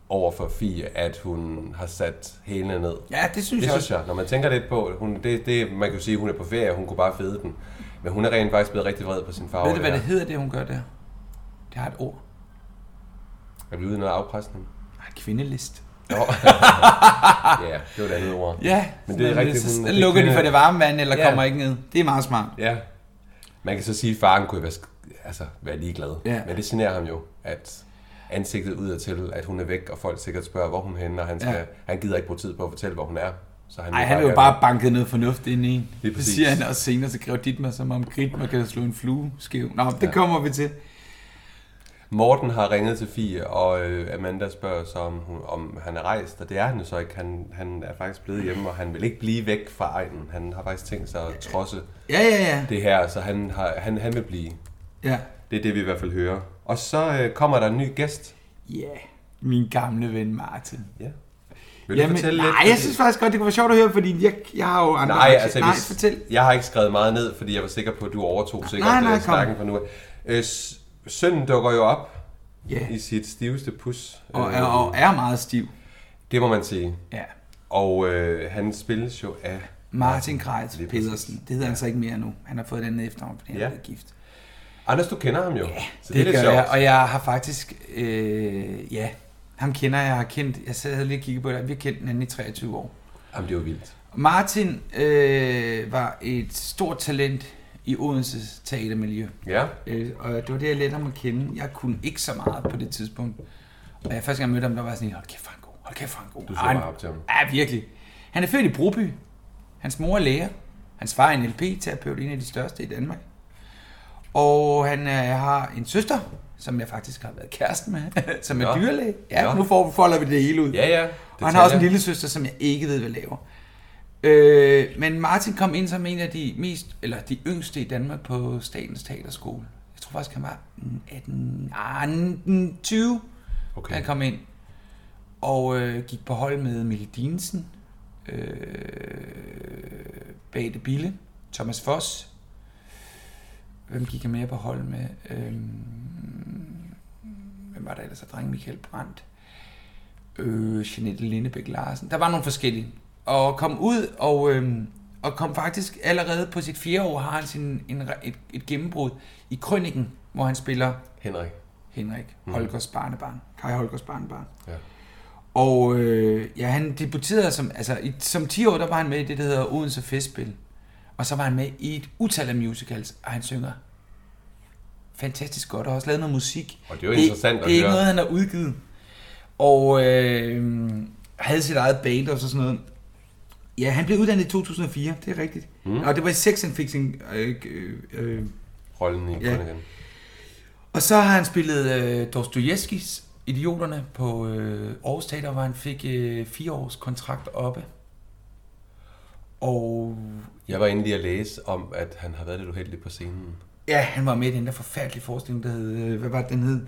Speaker 3: over for Fie, at hun har sat hælene ned
Speaker 2: Ja, det synes
Speaker 3: Det
Speaker 2: jeg
Speaker 3: synes
Speaker 2: også.
Speaker 3: jeg. Når man tænker lidt på, hun, det, det, man kan jo sige, at hun er på ferie, hun kunne bare fede den. Men hun er rent faktisk blevet rigtig vred på sin far.
Speaker 2: Ved
Speaker 3: over
Speaker 2: du, hvad det
Speaker 3: her.
Speaker 2: hedder, det hun gør der? Det har et ord.
Speaker 3: Er vi ude i noget
Speaker 2: [LAUGHS]
Speaker 3: afpresning?
Speaker 2: Nej, kvindelist.
Speaker 3: Ja, det var det andet ord.
Speaker 2: Ja,
Speaker 3: Men det er
Speaker 2: sådan
Speaker 3: rigtigt,
Speaker 2: Så
Speaker 3: hun- det
Speaker 2: lukker de
Speaker 3: kvinde-
Speaker 2: for det varme vand, eller
Speaker 3: Ja.
Speaker 2: kommer ikke ned. Det er meget smart.
Speaker 3: ja. Man kan så sige, at faren kunne jo være, sk- altså, være ligeglad.
Speaker 2: Ja.
Speaker 3: Men det generer ham jo, at ansigtet udadtil, at hun er væk, og folk sikkert spørger, hvor hun er henne, og han, skal,
Speaker 2: Ja.
Speaker 3: han gider ikke bruge tid på at fortælle, hvor hun er. Så han
Speaker 2: Nej,
Speaker 3: vil
Speaker 2: han er jo
Speaker 3: gerne-
Speaker 2: bare banket noget fornuft ind i en.
Speaker 3: Lige præcis.
Speaker 2: Det siger han også senere, så kræver dit mig, som om grit, man kan slå en flue skæv. Nå, det kommer vi til.
Speaker 3: Morten har ringet til Fie, og øh, Amanda spørger så, om, hun, om han er rejst, og det er han jo så ikke. Han, han er faktisk blevet hjemme, og han vil ikke blive væk fra egnen. Han har faktisk tænkt sig at trodse
Speaker 2: Ja, ja, ja.
Speaker 3: det her, så han, har, han, han vil blive.
Speaker 2: Ja.
Speaker 3: Det er det, vi i hvert fald hører. Og så øh, kommer der en ny gæst.
Speaker 2: Ja, yeah. min gamle ven Martin.
Speaker 3: Ja. Vil du
Speaker 2: Jamen,
Speaker 3: fortælle
Speaker 2: nej,
Speaker 3: lidt?
Speaker 2: jeg synes faktisk godt, det kunne være sjovt at høre, fordi jeg, jeg har jo andre...
Speaker 3: Nej,
Speaker 2: aktier.
Speaker 3: altså,
Speaker 2: nej,
Speaker 3: hvis,
Speaker 2: fortæl.
Speaker 3: jeg har ikke skrevet meget ned, fordi jeg var sikker på, at du overtog sikkert
Speaker 2: nej,
Speaker 3: øh,
Speaker 2: kom.
Speaker 3: snakken fra nu af. Øh, s- sønnen dukker jo op
Speaker 2: Ja,
Speaker 3: i sit stiveste pus.
Speaker 2: og,
Speaker 3: Øh,
Speaker 2: er, og er meget stiv.
Speaker 3: Det må man sige.
Speaker 2: Ja.
Speaker 3: Og øh, han spilles jo af...
Speaker 2: Martin Kreitz
Speaker 3: Lige præcis.
Speaker 2: Pedersen. Det hedder han så ikke mere nu. Han har fået et andet efternavn, fordi han
Speaker 3: Ja.
Speaker 2: ja. er blevet gift.
Speaker 3: Anders, du kender ham jo. Ja, så det,
Speaker 2: Det,
Speaker 3: er lidt
Speaker 2: gør
Speaker 3: sjovt.
Speaker 2: jeg, og jeg har faktisk... Øh, ja, ham kender jeg. Jeg har kendt... Jeg sad lige og kiggede på det. Vi har kendt hinanden i 23 år.
Speaker 3: Jamen, det er jo vildt.
Speaker 2: Martin øh, var et stort talent i Odenses teatermiljø.
Speaker 3: Ja,
Speaker 2: Øh, og det var det, jeg lærte ham at kende. Jeg kunne ikke så meget på det tidspunkt. Og jeg første gang jeg mødte ham, der var jeg sådan, hold kæft, hvor er han god. Hold kæft, hvor er han god.
Speaker 3: Du så
Speaker 2: Ej, han-
Speaker 3: bare op til ham.
Speaker 2: Ja, virkelig. Han er født i Broby. Hans mor er læger. Hans far er en LP-terapeut, en af de største i Danmark. Og han øh, har en søster, som jeg faktisk har været kæresten med, [LAUGHS] som er
Speaker 3: Nå.
Speaker 2: dyrlæge. Ja,
Speaker 3: Nå.
Speaker 2: nu får, folder vi det hele ud.
Speaker 3: Ja, ja.
Speaker 2: Og han har også en
Speaker 3: Detaljer.
Speaker 2: lille søster, som jeg ikke ved, hvad laver. Øh, men Martin kom ind som en af de mest, eller de yngste i Danmark på Statens Teaterskole. Jeg tror faktisk, han var 18, ah, 19, 20, okay.
Speaker 3: Okay.
Speaker 2: han kom ind. Og øh, gik på hold med Mille Dinesen, øh, Bate Bille, Thomas Foss. Hvem gik jeg mere på hold med? Øh, hvem var der ellers? Og Dreng Michael Brandt øh, Jeanette Lindebæk Larsen. Der var nogle forskellige. Og kom ud og, øh, og kom faktisk allerede på sit fjerde år, har han sin, en, et, et gennembrud i Krønningen, hvor han spiller
Speaker 3: Henrik.
Speaker 2: Henrik Holgers barnebarn. Kai Holgers barnebarn.
Speaker 3: Mhm. Ja.
Speaker 2: Og øh, ja, han debuterede som, altså, i, som 10 år, der var han med i det, der hedder Odense Festspil. Og så var han med i et utal af musicals, og han synger fantastisk godt, og har også lavet noget musik.
Speaker 3: Og det er jo interessant
Speaker 2: det,
Speaker 3: at
Speaker 2: Det er ikke
Speaker 3: høre.
Speaker 2: noget, han har udgivet. Og øh, havde sit eget band og så sådan noget. Ja, han blev uddannet i 2004, det er rigtigt.
Speaker 3: Mhm.
Speaker 2: Mm. Og det var i Sex and Fixing. Øh, øh, øh.
Speaker 3: Rollen i
Speaker 2: Ja.
Speaker 3: Krønningen.
Speaker 2: Og så har han spillet øh, Dostojevskis Idioterne på øh, Aarhus Teater, hvor han fik øh, fire års kontrakt oppe. Og
Speaker 3: Jeg var inde lige at læse om, at han har været lidt uheldig på scenen.
Speaker 2: ja, han var med i den der forfærdelige forestilling, der hed... Øh, hvad var det, den hed?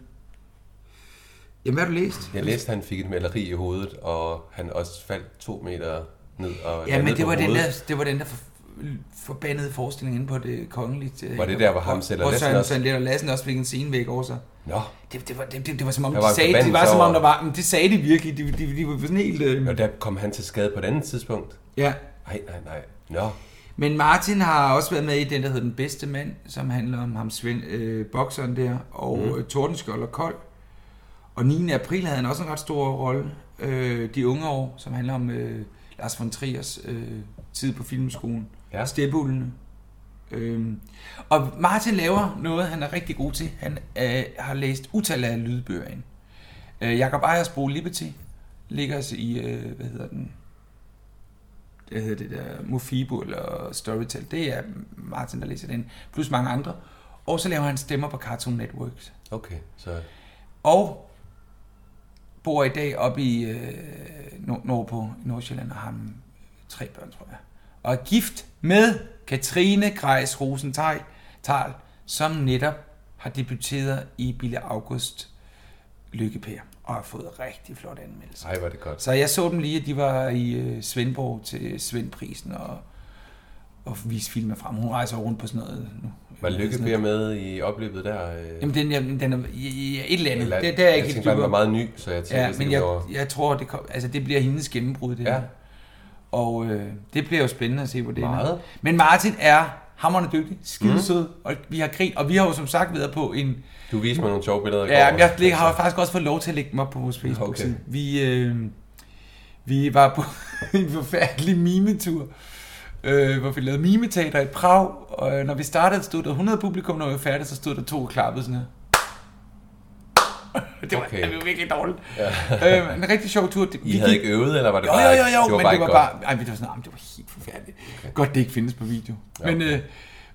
Speaker 2: Jamen, hvad har du læst?
Speaker 3: Jeg læste, at han fik et maleri i hovedet, og han også faldt to meter ned og
Speaker 2: Ja, men
Speaker 3: landede
Speaker 2: det
Speaker 3: på
Speaker 2: var, den
Speaker 3: hovedet.
Speaker 2: der, det var den der for, forbandede forestilling inde på det kongelige. teater,
Speaker 3: Var det der, hvor ham selv og
Speaker 2: hvor
Speaker 3: Lassen
Speaker 2: Søren,
Speaker 3: også-
Speaker 2: Søren Lett og Lassen også fik en scenevæg over sig?
Speaker 3: Nå,
Speaker 2: Det, det, var, det, det, det var som om,
Speaker 3: Der var
Speaker 2: de
Speaker 3: en
Speaker 2: sagde, det var
Speaker 3: forbandelse
Speaker 2: som om,
Speaker 3: over-
Speaker 2: der var, men det sagde de virkelig, de, de, de var sådan helt... Øh,
Speaker 3: og der kom han til skade på et andet tidspunkt.
Speaker 2: ja.
Speaker 3: Nej, nej, nej. Nå,
Speaker 2: Men Martin har også været med i den, der hedder Den Bedste Mand, som handler om ham, Svend, øh, bokseren der, og mm. Tordenskjold og Kold. Og 9. april havde han også en ret stor rolle, øh, De Unge År, som handler om øh, Lars von Triers øh, tid på filmskolen.
Speaker 3: Ja.
Speaker 2: Ja. Stepulene. Øhm. Og Martin laver noget, han er rigtig god til. Han øh, har læst utal af lydbøger ind. Øh, Jakob Ejersbro Liberty ligger altså i, øh, hvad hedder den, det hedder det der Mofibo eller Storytel. Det er Martin, der læser den, plus mange andre. Og så laver han stemmer på Cartoon Networks.
Speaker 3: okay. Så
Speaker 2: Og bor i dag oppe i øh, nord- nordpå i Nordsjælland og har mm, tre børn, tror jeg. Og er gift med Katrine Grejs Rosenthal, Thal, som netop har debuteret i Bille August Lykkepær og har fået rigtig flot anmeldelse.
Speaker 3: ej, var det godt.
Speaker 2: Så jeg så dem lige, at de var i øh, Svendborg til Svendprisen og, og vise filmer frem. Hun rejser rundt på sådan noget nu.
Speaker 3: Var Lykke
Speaker 2: Sådan
Speaker 3: Per med i opløbet der? Øh,
Speaker 2: Jamen, den, jamen, den er, ja, ja, et eller andet.
Speaker 3: eller-
Speaker 2: Eller, det, det er jeg
Speaker 3: jeg
Speaker 2: ikke helt
Speaker 3: tænkte, bare,
Speaker 2: dyb
Speaker 3: den var
Speaker 2: om.
Speaker 3: meget ny, så jeg tænkte,
Speaker 2: Ja, men
Speaker 3: jeg,
Speaker 2: jeg,
Speaker 3: var...
Speaker 2: jeg tror, det, kom, altså, det bliver hendes gennembrud, det
Speaker 3: Ja.
Speaker 2: her. Og øh, det bliver jo spændende at se, hvor det ender.
Speaker 3: Meget. Mhm.
Speaker 2: Men Martin er hammerende dygtig, skidesød, mm. og vi har grint, og vi har jo som sagt været på en...
Speaker 3: Du viste mig nogle sjove billeder i
Speaker 2: Ja,
Speaker 3: går. Altså,
Speaker 2: men jeg lægger- har faktisk også fået lov til at lægge dem op på vores facebook okay.
Speaker 3: Okay.
Speaker 2: Vi, øh, vi var på [LAUGHS] en forfærdelig mimetur, øh, hvor vi lavede mimeteater i Prag, og øh, når vi startede, stod der 100 publikum, når vi var færdige, så stod der to og klappede sådan her. [LAUGHS] Det var,
Speaker 3: Okay.
Speaker 2: okay. det var virkelig dårligt. Ja. Øh, en rigtig sjov tur. Det-
Speaker 3: I
Speaker 2: vi
Speaker 3: havde
Speaker 2: gik-
Speaker 3: ikke øvet, eller var det
Speaker 2: jo,
Speaker 3: bare
Speaker 2: jo, jo,
Speaker 3: ikke-
Speaker 2: jo,
Speaker 3: det var
Speaker 2: men
Speaker 3: bare
Speaker 2: det
Speaker 3: ikke
Speaker 2: var
Speaker 3: godt?
Speaker 2: bare... Ej, det var sådan, "Ah, men det var helt forfærdeligt. Okay. Godt, det ikke findes på video.
Speaker 3: Ja,
Speaker 2: Ja, men,
Speaker 3: okay.
Speaker 2: øh,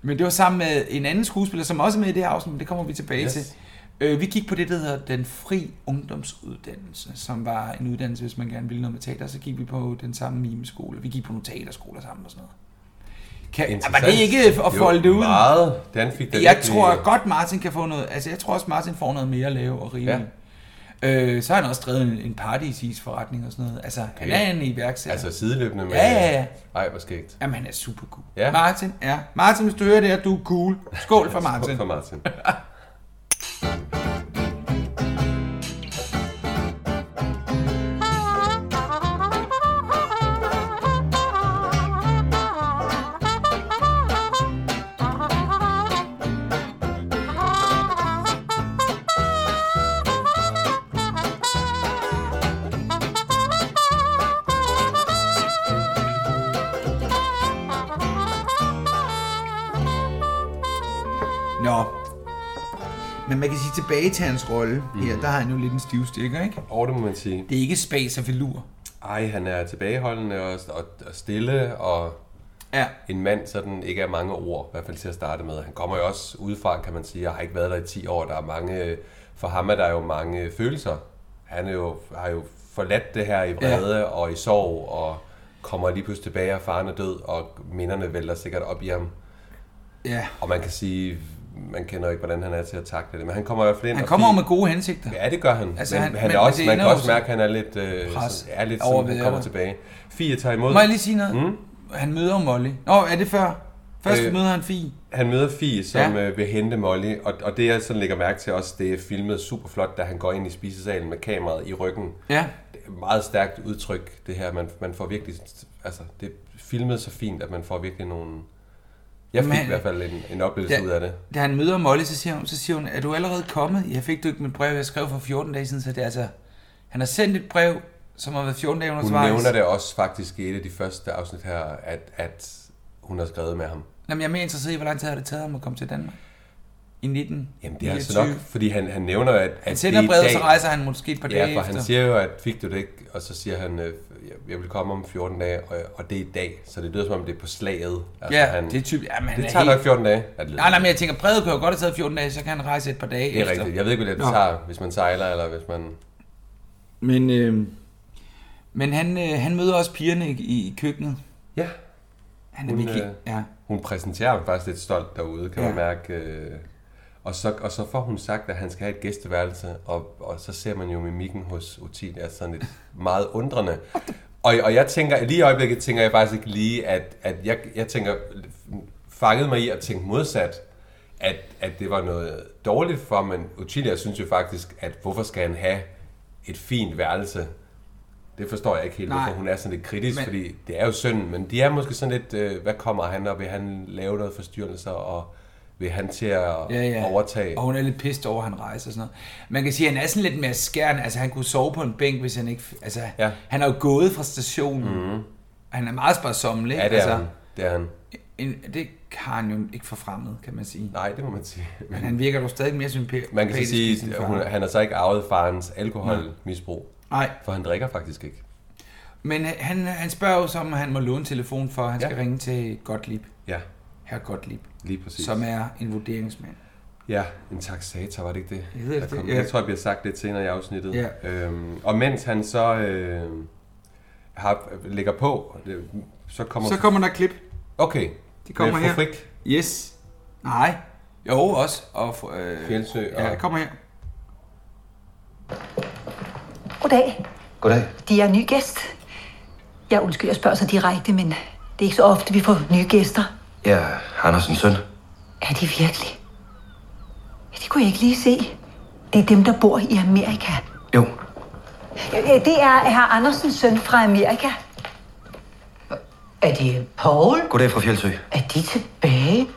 Speaker 2: men det var sammen med en anden skuespiller, som også er med i det her afsnit, men det kommer vi tilbage
Speaker 3: Yes.
Speaker 2: yes. til. Øh, vi gik på det, der hedder Den Fri Ungdomsuddannelse, som var en uddannelse, hvis man gerne ville noget med teater. Så gik vi på den samme mimeskole. Vi gik på nogle teaterskoler sammen og sådan noget. Kan, var det
Speaker 3: Interessant.
Speaker 2: ikke at
Speaker 3: Jo,
Speaker 2: folde det ud?
Speaker 3: Meget. Den fik den
Speaker 2: Jeg
Speaker 3: virkelig-
Speaker 2: tror godt, Martin kan få noget... Altså, jeg tror også, Martin får noget mere at lave og rive.
Speaker 3: Ja.
Speaker 2: Ja. Øh, så har han også drevet en, en paradisisforretning og sådan noget. Altså, han
Speaker 3: Okay.
Speaker 2: er en iværksætter.
Speaker 3: Altså sideløbende med...
Speaker 2: Ja, ja, ja.
Speaker 3: Ej, hvor skægt.
Speaker 2: Jamen, han er super cool.
Speaker 3: Ja.
Speaker 2: Ja. Martin, ja. Martin, hvis du hører det her, du er cool. Skål for Martin.
Speaker 3: [LAUGHS] Skål For Martin.
Speaker 2: Nå. Men man kan sige tilbage til hans rolle. Mm. Her, der har han jo lidt en stiv stikker, ikke?
Speaker 3: Og det må man sige.
Speaker 2: Det er ikke spas og velur.
Speaker 3: Ej, han er tilbageholdende og, og, og stille, og
Speaker 2: Ja.
Speaker 3: en mand sådan ikke er mange ord, i hvert fald til at starte med. Han kommer jo også udefra, kan man sige, og har ikke været der i 10 år. Der er mange, for ham er der jo mange følelser. Han er jo, har jo forladt det her i vrede ja. og i sorg, og kommer lige pludselig tilbage, og faren er død, og minderne vælter sikkert op i ham.
Speaker 2: Ja.
Speaker 3: Og man kan sige, man kender jo ikke, hvordan han er til at takle det, men han kommer i hvert fald ind.
Speaker 2: Han
Speaker 3: og
Speaker 2: kommer
Speaker 3: fi-
Speaker 2: over med gode hensigter.
Speaker 3: Ja, det gør han.
Speaker 2: Altså,
Speaker 3: Altså, men,
Speaker 2: han-
Speaker 3: han, han
Speaker 2: men-
Speaker 3: er også,
Speaker 2: men det
Speaker 3: man kan
Speaker 2: ender jo
Speaker 3: også mærke, at han er lidt, øh,
Speaker 2: Pres
Speaker 3: sådan- er lidt
Speaker 2: over
Speaker 3: sådan,
Speaker 2: ved
Speaker 3: han kommer
Speaker 2: det.
Speaker 3: tilbage. Fie tager imod.
Speaker 2: Må jeg lige sige noget? Mm. Han møder Molly. Nå, er det før? Først øh.
Speaker 3: Øh.
Speaker 2: møder han Fie.
Speaker 3: Han møder Fie, som
Speaker 2: Ja.
Speaker 3: ja. øh, vil hente Molly, og, og det jeg sådan lægger mærke til også, det er filmet super flot, da han går ind i spisesalen med kameraet i ryggen.
Speaker 2: Ja.
Speaker 3: Det er et meget stærkt udtryk, det her. Man, man får virkelig, altså det er filmet så fint, at man får virkelig nogle... Jeg fik
Speaker 2: Men-
Speaker 3: i hvert fald en, en oplevelse
Speaker 2: Ja.
Speaker 3: ja. ud af det.
Speaker 2: Da han møder Molly, så siger, hun, så siger hun, er du allerede kommet? Jeg fik du ikke mit brev, jeg skrev for 14 dage siden, så det er altså... Han har sendt et brev, som har været 14 dage
Speaker 3: Hun
Speaker 2: undervejs.
Speaker 3: nævner det også faktisk i et af de første afsnit her, at, at hun har skrevet med ham.
Speaker 2: Jamen, jeg er mere interesseret i, hvor lang tid har det taget ham at komme til Danmark? I 19?
Speaker 3: Jamen det er altså nok, fordi han, han nævner, at, at
Speaker 2: Han sender
Speaker 3: det er i
Speaker 2: brevet, så
Speaker 3: dag-
Speaker 2: rejser han måske et par dage
Speaker 3: Ja, for
Speaker 2: efter.
Speaker 3: han siger jo, at fik du det ikke, og så siger han, øh, jeg- jeg vil komme om 14 dage, og, og det er i dag, så det lyder som om det er på slaget.
Speaker 2: ja,
Speaker 3: altså, han,
Speaker 2: det er typisk... Jamen, han
Speaker 3: det
Speaker 2: er
Speaker 3: tager
Speaker 2: helt...
Speaker 3: nok 14 dage. at lede.
Speaker 2: Nej, nej, men jeg tænker, brevet kunne jo godt have taget 14 dage, så kan han rejse et par dage
Speaker 3: det er
Speaker 2: efter.
Speaker 3: rigtigt. Jeg ved ikke, hvad det
Speaker 2: Nå.
Speaker 3: tager, hvis man sejler, eller hvis man...
Speaker 2: Men, øh, men han, øh, han møder også pigerne i, i, i køkkenet.
Speaker 3: Ja,
Speaker 2: Han er
Speaker 3: Hun,
Speaker 2: virkelig...
Speaker 3: øh,
Speaker 2: Ja.
Speaker 3: hun præsenterer ham faktisk lidt stolt derude, kan
Speaker 2: Ja.
Speaker 3: ja. man mærke. øh. Og så, og så får hun sagt, at han skal have et gæsteværelse, og, og så ser man jo mimikken hos Otil er sådan lidt meget undrende. Og, og jeg tænker, lige i øjeblikket tænker jeg faktisk ikke lige, at, at jeg, jeg tænker, fangede mig i at tænke modsat, at, at det var noget dårligt for, ham, men Utilia synes jo faktisk, at hvorfor skal han have et fint værelse? Det forstår jeg ikke helt,
Speaker 2: Nej.
Speaker 3: hvorfor hun er sådan lidt kritisk,
Speaker 2: Men-
Speaker 3: men, fordi det er jo synd, men de er måske sådan lidt, øh, hvad kommer han, og vil han lave noget forstyrrelser, og vil han til at
Speaker 2: Ja, ja.
Speaker 3: overtage?
Speaker 2: Og hun er lidt pissed over, at han rejser og sådan noget. Man kan sige, at han er sådan lidt mere skærn. Altså, han kunne sove på en bænk, hvis han ikke... Altså,
Speaker 3: Ja. Mhm.
Speaker 2: han er jo gået fra stationen. Mm. Han er meget sparsommelig.
Speaker 3: Ja, det er
Speaker 2: altså,
Speaker 3: han. Det er han.
Speaker 2: en, det har han jo ikke for fremmed, kan man sige.
Speaker 3: Nej, det må man sige. [LAUGHS]
Speaker 2: Men han virker dog stadig mere sympatisk.
Speaker 3: Man kan så sige, at hun,
Speaker 2: er...
Speaker 3: han har så ikke arvet farens alkoholmisbrug,
Speaker 2: Nej,
Speaker 3: for han drikker faktisk ikke.
Speaker 2: men han, han spørger jo så, om han må låne telefon for, at han ja.
Speaker 3: Ja.
Speaker 2: skal ringe til Gottlieb.
Speaker 3: Ja,
Speaker 2: Herr Gottlieb.
Speaker 3: lige præcis.
Speaker 2: som er en vurderingsmand.
Speaker 3: Ja, en taxator, var det ikke det?
Speaker 2: Jeg ved det,
Speaker 3: der kom?
Speaker 2: ja.
Speaker 3: Jeg tror, jeg bliver sagt lidt senere i afsnittet.
Speaker 2: Ja.
Speaker 3: Øhm, og mens han så øh, har, lægger på, det- så kommer...
Speaker 2: Så kommer der et klip.
Speaker 3: Okay.
Speaker 2: Det kommer
Speaker 3: Med
Speaker 2: her.
Speaker 3: fru Frik,
Speaker 2: Yes. Nej. Jo, også. Og, fr- øh,
Speaker 3: Fjeldsø
Speaker 2: ja,
Speaker 3: og...
Speaker 2: kommer her.
Speaker 4: Goddag.
Speaker 5: Goddag.
Speaker 4: De er ny gæst. Jeg undskylder, jeg spørger så direkte, men det er ikke så ofte, vi får nye gæster.
Speaker 5: Jeg er Andersens søn.
Speaker 4: Er de virkelig? Ja, det kunne jeg ikke lige se. Det er dem, der bor i Amerika.
Speaker 5: Jo,
Speaker 4: Ja, ja, det er herr Andersens søn fra Amerika.
Speaker 6: Er det Paul?
Speaker 5: goddag fra Fjeldsø.
Speaker 6: Er de tilbage?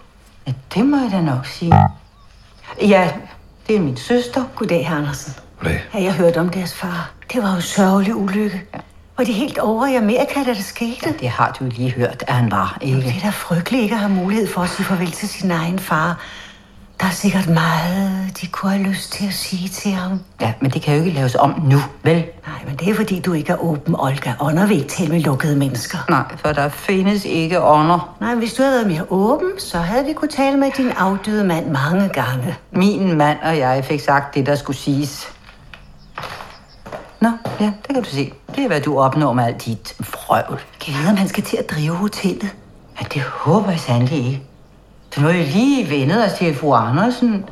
Speaker 6: Ja, det må jeg da nok sige. Ja, det er min søster.
Speaker 4: Goddag, herr Andersen.
Speaker 5: Goddag.
Speaker 4: Ja, jeg hørte om deres far. Det var jo sørgelig ulykke. Ja. Var de helt over i Amerika, da det skete?
Speaker 6: Det har du jo lige hørt, at han var,
Speaker 4: Det
Speaker 6: ikke?
Speaker 4: er da frygteligt ikke at have mulighed for at sige farvel til sin egen far. Der er sikkert meget, de kunne have lyst til at sige til ham.
Speaker 6: Ja, men det kan jo ikke laves om nu, vel?
Speaker 4: Nej, men det er fordi, du ikke er åben, Olga. Ånder vil ikke tale med lukkede mennesker.
Speaker 6: Nej, for der findes ikke ånder.
Speaker 4: Nej, men hvis du havde været mere åben, så havde vi kunne tale med din afdøde mand mange gange.
Speaker 6: Min mand og jeg fik sagt det, der skulle siges. Nå, ja, det kan du se. Det er, hvad du opnår med alt dit frøvl.
Speaker 4: Kan jeg vide, om han skal til at drive hotellet?
Speaker 6: Ja, det håber jeg sandelig ikke. Så nu er vi lige vendet os til fru Andersen.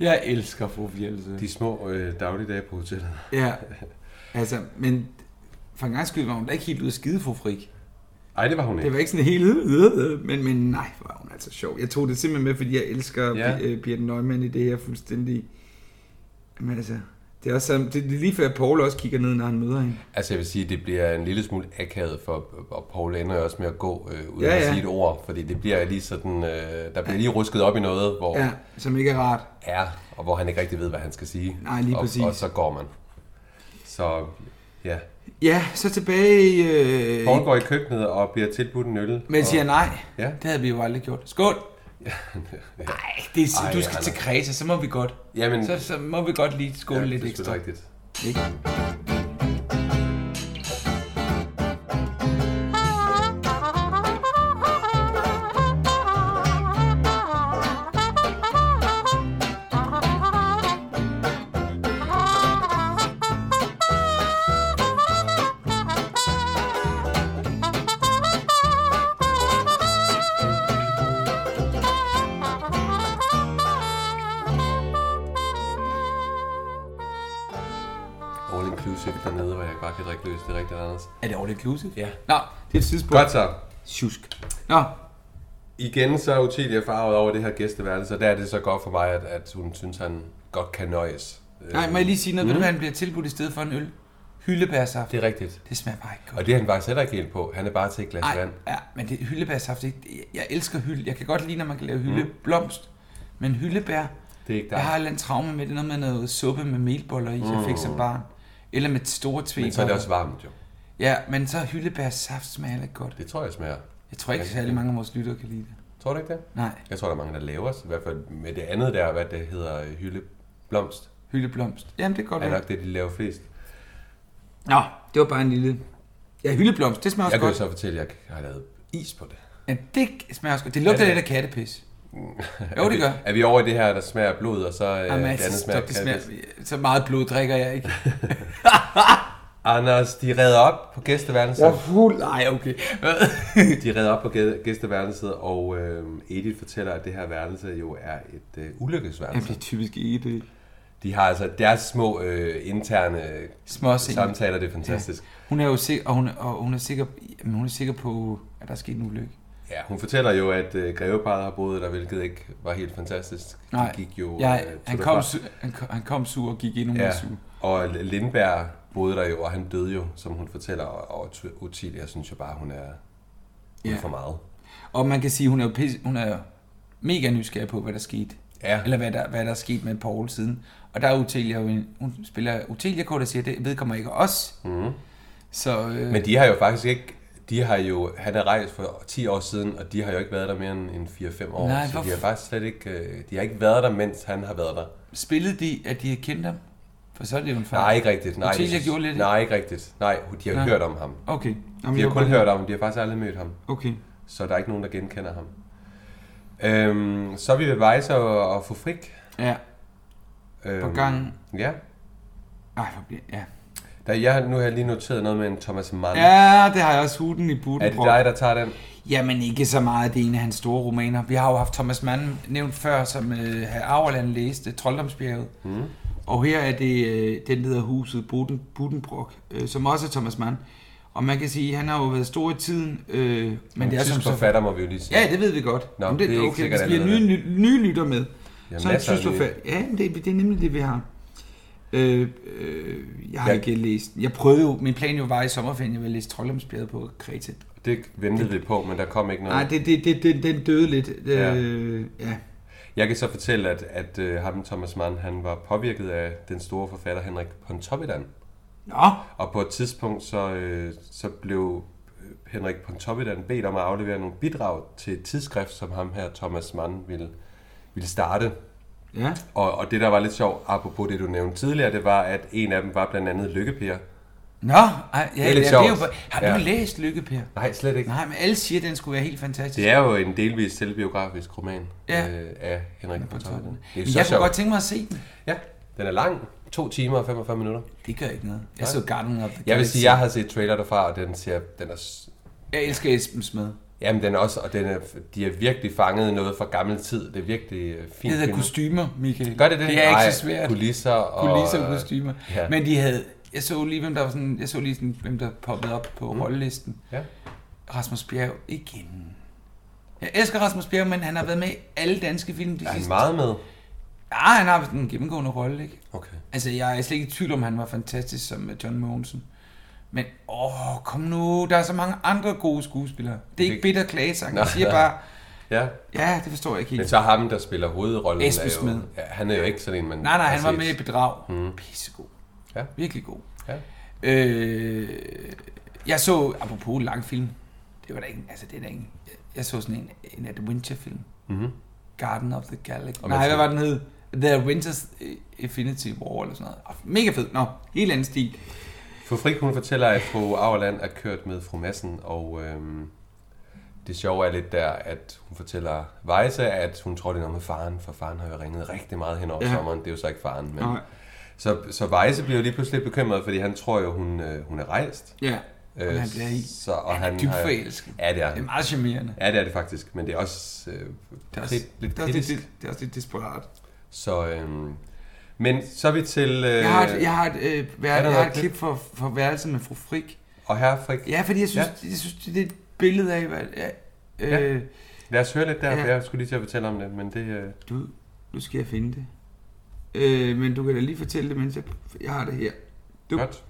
Speaker 2: Jeg elsker fru Fjeldsø.
Speaker 3: De små øh, dagligdage på hotellet.
Speaker 2: Ja. Altså, men for en gang skyld var hun da ikke helt ude at skide, fru Frik.
Speaker 3: Ej, det var hun ikke.
Speaker 2: Det var ikke sådan helt... øh, øh, Men, men nej, hvor er hun altså sjov. Jeg tog det simpelthen med, fordi jeg elsker
Speaker 3: Ja.
Speaker 2: ja. Birte Neumann i det her fuldstændig... Men altså... Det er, også, sådan- det er lige før, at Paul også kigger ned, når han møder hende.
Speaker 3: Altså jeg vil sige, det bliver en lille smule akavet for, og Paul ender jo også med at gå øh, uden
Speaker 2: Ja,
Speaker 3: ja, ja.
Speaker 2: ja.
Speaker 3: at sige et ord, fordi det bliver lige sådan, øh, der bliver lige rusket op i noget, hvor ja.
Speaker 2: Ja, som ikke er rart.
Speaker 3: er, og hvor han ikke rigtig ved, hvad han skal sige.
Speaker 2: Nej, lige
Speaker 3: og,
Speaker 2: præcis.
Speaker 3: Og så går man. Så ja,
Speaker 2: Ja, så tilbage i... Øh,
Speaker 3: Paul går i køkkenet og bliver tilbudt en øl. [LAUGHS]
Speaker 2: Men
Speaker 3: og,
Speaker 2: siger nej.
Speaker 3: Ja.
Speaker 2: Det havde vi jo aldrig gjort. Skål! Nej, det er,
Speaker 3: Ej,
Speaker 2: du skal
Speaker 3: Anna.
Speaker 2: til Kreta, så må vi godt.
Speaker 3: Jamen,
Speaker 2: Så, så må vi godt lige skåle
Speaker 3: ja,
Speaker 2: lidt
Speaker 3: det er sgu
Speaker 2: ekstra.
Speaker 3: rigtigt.
Speaker 2: Ikke?
Speaker 3: inclusive dernede, hvor jeg bare kan drikke løs. Det er rigtigt, Anders.
Speaker 2: Er det all inclusive?
Speaker 3: Ja.
Speaker 2: Nå, det er et tidspunkt.
Speaker 3: Godt så.
Speaker 2: Sjusk. Nå,
Speaker 3: Igen så er Utilia farvet over det her gæsteværelse, og der er det så godt for mig, at, at hun synes, han godt kan nøjes.
Speaker 2: nej, må jeg lige sige noget? Mm. Ved du, hvad han bliver tilbudt i stedet for en øl? Hyldebærsaft.
Speaker 3: Det er rigtigt.
Speaker 2: det smager bare ikke godt.
Speaker 3: Og det er han faktisk heller ikke helt på. Han er bare til et glas
Speaker 2: Ej,
Speaker 3: vand.
Speaker 2: ja, men det hyldebærsaft, det, jeg elsker hylde. Jeg kan godt lide, når man kan lave hyldeblomst, men hyldebær,
Speaker 3: Mm. Det er ikke dig.
Speaker 2: jeg har et eller andet traume med det, noget med noget suppe med melboller i, jeg fik som barn. Eller med store
Speaker 3: Mm.
Speaker 2: tvæber.
Speaker 3: Men så er det også varmt jo.
Speaker 2: Ja, men så hyldebærsaft smager heller ikke godt.
Speaker 3: Det tror jeg smager.
Speaker 2: Jeg tror ikke,
Speaker 3: Ja.
Speaker 2: særlig mange af vores lyttere kan lide det.
Speaker 3: Tror du ikke det?
Speaker 2: Nej,
Speaker 3: Jeg tror, der er mange, der laver os. I hvert fald med det andet der, hvad det hedder, øh, hyldeblomst.
Speaker 2: hyldeblomst. Jamen, det er godt.
Speaker 3: Er
Speaker 2: Ja,
Speaker 3: nok det, de laver flest.
Speaker 2: Nå, det var bare en lille... Ja, hyldeblomst, det smager også
Speaker 3: Jeg kan jo
Speaker 2: godt.
Speaker 3: så fortælle, at jeg har lavet is på det.
Speaker 2: Ja, det smager også godt. Det lugter
Speaker 3: Ja, det-
Speaker 2: lidt af kattepis.
Speaker 3: er
Speaker 2: Jo,
Speaker 3: vi,
Speaker 2: det gør.
Speaker 3: [LAUGHS] Er vi over i det her, der smager af blod, og så øh,
Speaker 2: Jamen,
Speaker 3: det
Speaker 2: altså,
Speaker 3: andet smager
Speaker 2: stop,
Speaker 3: af
Speaker 2: det
Speaker 3: cannabis?
Speaker 2: smager, så meget blod drikker
Speaker 3: [LAUGHS]
Speaker 2: jeg ikke.
Speaker 3: Anders, de redder op på gæsteværelset. Ja.
Speaker 2: Fuld, nej, okay.
Speaker 3: [LAUGHS] De redder op på gæ- gæsteværelset, og øh, Edith fortæller, at det her værelse jo er et øh,
Speaker 2: Jamen,
Speaker 3: ulykkesværelse.
Speaker 2: det er typisk ikke det.
Speaker 3: De har altså deres små øh, interne
Speaker 2: Små ting.
Speaker 3: samtaler, det er fantastisk.
Speaker 2: Hun er jo sikker, og hun, og hun er sikker, jamen, hun er sikker på, at der er sket en ulykke.
Speaker 3: Ja, hun fortæller jo, at øh, greveparret har boet der, hvilket ikke var helt fantastisk.
Speaker 2: Nej,
Speaker 3: de gik jo...
Speaker 2: jeg,
Speaker 3: øh,
Speaker 2: han,
Speaker 3: derfra.
Speaker 2: kom, su- han, kom, han kom sur og gik endnu mere
Speaker 3: Ja,
Speaker 2: sur.
Speaker 3: og Lindberg boede der jo, og han døde jo, som hun fortæller, og, og Ut- Utilia synes jo bare, hun er hun er
Speaker 2: Ja.
Speaker 3: for meget.
Speaker 2: Og man kan sige, hun er jo pisse, hun er jo mega nysgerrig på, hvad der skete.
Speaker 3: Ja.
Speaker 2: Eller hvad der, hvad der er sket med Paul siden. Og der er Utelia jo en, hun spiller Utelia kort og siger, det vedkommer ikke os.
Speaker 3: Mhm.
Speaker 2: Mm. Så øh,
Speaker 3: Men de har jo faktisk ikke... De har jo, han er rejst for 10 år siden, og de har jo ikke været der mere end, end 4-5 år.
Speaker 2: Nej,
Speaker 3: så de
Speaker 2: hvorfor-
Speaker 3: har faktisk slet ikke... øh, De har ikke været der, mens han har været der.
Speaker 2: spillede de, at de kendte ham? For så er det jo en fejl.
Speaker 3: Nej, ikke rigtigt. Nej,
Speaker 2: Utilia
Speaker 3: jeg synes-
Speaker 2: gjorde lidt, ikke?
Speaker 3: Nej, ikke rigtigt. Nej, de har
Speaker 2: Nej.
Speaker 3: Nej. hørt om ham.
Speaker 2: Okay. Jamen,
Speaker 3: De har
Speaker 2: jeg var
Speaker 3: kun
Speaker 2: bare-
Speaker 3: hørt om ham. De har faktisk aldrig mødt ham.
Speaker 2: Okay.
Speaker 3: Så der er ikke nogen, der genkender ham. Øhm, så er vi ved Weiser og, og fru Frik.
Speaker 2: Ja.
Speaker 3: Øhm,
Speaker 2: På gangen.
Speaker 3: Ja.
Speaker 2: Ej, hvor bliver... Ja.
Speaker 3: Der, jeg, nu har jeg lige noteret noget med en Thomas Mann.
Speaker 2: Ja, det har jeg også huden i buten.
Speaker 3: Er det dig, der tager den?
Speaker 2: Jamen ikke så meget, det er en af hans store romaner. Vi har jo haft Thomas Mann nævnt før, som øh, Auerland læste, Trolddomsbjerget. Mm. Og her er det, øh, den der hedder huset Buden, Budenbrock, øh, som også er Thomas Mann. Og man kan sige, han har jo været stor i tiden, øh, men, men det er som
Speaker 3: tysk
Speaker 2: så...
Speaker 3: forfatter, må vi jo lige sige.
Speaker 2: Ja, det ved vi godt.
Speaker 3: Nå,
Speaker 2: Jamen,
Speaker 3: det er ikke sikkert,
Speaker 2: Vi skal
Speaker 3: at
Speaker 2: have
Speaker 3: jeg
Speaker 2: nye, nye lytter med.
Speaker 3: Ja,
Speaker 2: så er
Speaker 3: masser af
Speaker 2: tysk forfatter. Ja, men det, er- det er nemlig det, vi har. Øh, øh, jeg har
Speaker 3: Ja.
Speaker 2: ikke læst... Jeg prøvede jo... Min plan jo var i sommerferien, jeg ville læse Trolddomsbjerget på Kreta.
Speaker 3: det ventede vi på, men der kom ikke noget.
Speaker 2: Nej, det, det, det, det, den døde lidt.
Speaker 3: Ja.
Speaker 2: Øh, ja.
Speaker 3: Jeg kan så fortælle, at, at uh, ham, Thomas Mann, han var påvirket af den store forfatter Henrik Pontoppidan.
Speaker 2: Nå,
Speaker 3: Og på et tidspunkt, så, øh, så blev øh, Henrik Pontoppidan bedt om at aflevere nogle bidrag til et tidsskrift, som ham her, Thomas Mann, ville, ville starte.
Speaker 2: ja.
Speaker 3: Og, og det, der var lidt sjovt, apropos det, du nævnte tidligere, det var, at en af dem var blandt andet Lykkeper.
Speaker 2: Nå, ej, ja,
Speaker 3: Det er lidt
Speaker 2: ja, det er jo,
Speaker 3: sjovt.
Speaker 2: bare- har du ja.
Speaker 3: Ja.
Speaker 2: læst Lykke, Per?
Speaker 3: Nej, slet ikke.
Speaker 2: Nej, men alle siger, at den skulle være helt fantastisk.
Speaker 3: Det er jo en delvis selvbiografisk roman
Speaker 2: Ja.
Speaker 3: øh, af Henrik Pontoppidan. Det er
Speaker 2: Men
Speaker 3: så
Speaker 2: jeg kunne
Speaker 3: sjovt.
Speaker 2: godt tænke mig at se den.
Speaker 3: Ja, den er lang. To timer og 45 minutter.
Speaker 2: Det gør ikke noget. Jeg så Garden of the
Speaker 3: Jeg vil
Speaker 2: Galaxy.
Speaker 3: sige, jeg har set trailer derfra, og den ser, den er, s-
Speaker 2: Jeg elsker Esben Smed.
Speaker 3: jamen den er også, og den er, de har virkelig fanget noget fra gammel tid. Det er virkelig øh,
Speaker 2: Det
Speaker 3: fint.
Speaker 2: hedder
Speaker 3: filmet.
Speaker 2: kostymer, Michael.
Speaker 3: Gør det det?
Speaker 2: Det er
Speaker 3: Ej,
Speaker 2: ikke så svært.
Speaker 3: Kulisser og...
Speaker 2: Kulisser og kostymer.
Speaker 3: ja.
Speaker 2: Men de havde... Jeg så lige, hvem der, var sådan, jeg så lige sådan, hvem der poppede op på mm. rollelisten.
Speaker 3: Ja.
Speaker 2: Rasmus Bjerg igen. Jeg elsker Rasmus Bjerg, men han har været med i alle danske film de
Speaker 3: Er han
Speaker 2: sidste
Speaker 3: meget med?
Speaker 2: Ja, han har en gennemgående rolle, ikke?
Speaker 3: Okay.
Speaker 2: Altså, jeg er slet ikke i tvivl om, han var fantastisk som øh, John Mogensen. Men, åh, kom nu, der er så mange andre gode skuespillere. Det er ikke
Speaker 3: Det-
Speaker 2: bitter klagesang, jeg
Speaker 3: Nå,
Speaker 2: siger
Speaker 3: ja.
Speaker 2: bare,
Speaker 3: Ja.
Speaker 2: ja, det forstår jeg ikke
Speaker 3: Men
Speaker 2: helt.
Speaker 3: så ham, der spiller hovedrollen,
Speaker 2: Esben
Speaker 3: er jo,
Speaker 2: Smed.
Speaker 3: ja, han er jo ikke sådan en, man
Speaker 2: Nej, nej,
Speaker 3: har
Speaker 2: han var
Speaker 3: set.
Speaker 2: med i bedrag. Mm. Pissegod.
Speaker 3: Ja.
Speaker 2: Virkelig god.
Speaker 3: Ja.
Speaker 2: Øh, jeg så, apropos langfilm, det var da ikke, altså det er da ikke, jeg så sådan en, en Nat Winter-film. Mm-hmm. Garden of the Galaxy. Nej, hvad var den hed? The Winter's Infinity War eller sådan noget. Ah, Mega fed. Nå, helt anden stil.
Speaker 3: Fru Frik, hun fortæller, at fru Auerland er kørt med fru Madsen, og øhm, det sjove er lidt der, at hun fortæller Vejse, at hun tror, det er noget med faren, for faren har jo ringet rigtig meget hen over
Speaker 2: Ja.
Speaker 3: ja. sommeren. Det er jo så ikke faren, men...
Speaker 2: Nej.
Speaker 3: Så, så Vejse bliver jo lige pludselig lidt bekymret, fordi han tror jo, hun, øh, hun er rejst.
Speaker 2: Ja.
Speaker 3: Øh,
Speaker 2: Øh, han bliver helt...
Speaker 3: så, og
Speaker 2: han er dybt
Speaker 3: har-
Speaker 2: forelsket.
Speaker 3: Ja, det er
Speaker 2: Det er
Speaker 3: han.
Speaker 2: meget charmerende.
Speaker 3: Ja, det er det faktisk, men det er også, øh, det er
Speaker 2: Det
Speaker 3: også
Speaker 2: er også
Speaker 3: lidt, lidt
Speaker 2: det er også
Speaker 3: kritisk.
Speaker 2: lidt, det er også lidt desperat.
Speaker 3: Så, øhm, Men så er vi til... Øh,
Speaker 2: Jeg har et, jeg har et, øh, vær,
Speaker 3: er der
Speaker 2: jeg har
Speaker 3: noget
Speaker 2: et klip for, for værelset med fru Frik.
Speaker 3: Og herre Frik,
Speaker 2: Ja, fordi jeg synes,
Speaker 3: Ja.
Speaker 2: ja. jeg synes det er et billede af, hvad... Ja, øh, ja.
Speaker 3: lad os høre lidt der, for
Speaker 2: Ja.
Speaker 3: jeg skulle lige til at fortælle om det, men det... Øh,
Speaker 2: Du, nu skal jeg finde det. Øh, men du kan da lige fortælle det, mens jeg, jeg har det her. Du,
Speaker 3: godt.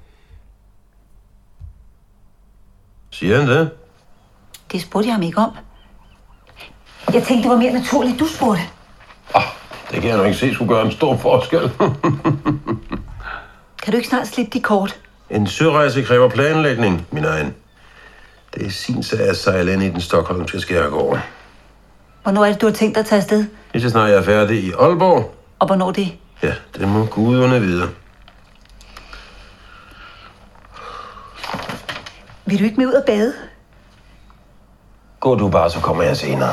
Speaker 5: Siger han det?
Speaker 4: Det spurgte jeg ham ikke om. Jeg tænkte, det var mere naturligt, du spurgte.
Speaker 5: Ah, Det kan jeg nok ikke se skulle gøre en stor forskel. [LAUGHS]
Speaker 4: Kan du ikke snart slippe de kort?
Speaker 5: en sørejse kræver planlægning, min egen. Det er sin sag at sejle ind i den stokholmske skærgård.
Speaker 4: Hvornår er det, du har tænkt dig at tage afsted?
Speaker 5: Lige så snart jeg er færdig i Aalborg,
Speaker 4: Og hvornår det?
Speaker 5: ja, det må guderne vide.
Speaker 4: Vil du ikke med ud og bade?
Speaker 5: Gå du bare, så kommer jeg senere.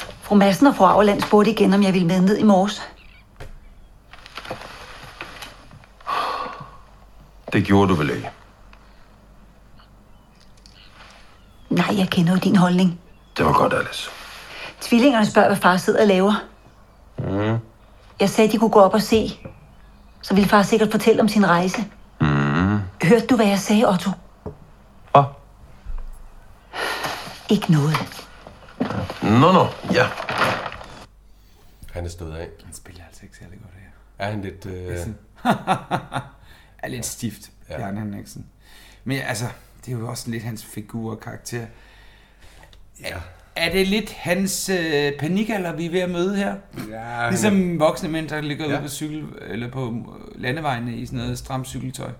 Speaker 4: Fru Madsen og fru Auerland spurgte igen, om jeg ville med ned i morges.
Speaker 5: Det gjorde du vel ikke?
Speaker 4: Nej, jeg kender jo din holdning.
Speaker 5: Det var godt, Alice.
Speaker 4: Tvillingerne spørger, hvad far sidder og laver. Mm. Jeg sagde, de kunne gå op og se. Så ville far sikkert fortælle om sin rejse. Mm. Hørte du, hvad jeg sagde, Otto?
Speaker 5: Hvad?
Speaker 4: Ikke noget.
Speaker 5: Nå, nå, ja.
Speaker 3: Han er stået af.
Speaker 2: han spiller altså ikke særlig godt her.
Speaker 3: Er han lidt... Øh,
Speaker 2: er lidt stift,
Speaker 3: Ja.
Speaker 2: ja. Bjarne Henriksen. Men altså, det er jo også lidt hans figur og karakter.
Speaker 3: ja.
Speaker 2: Er det lidt hans øh, panikalder, vi er ved at møde her?
Speaker 3: ja ligesom...
Speaker 2: Ligesom voksne mænd, der ligger ja.
Speaker 3: Ja.
Speaker 2: ude på, cykel, eller på øh, landevejene i sådan noget stramt cykeltøj.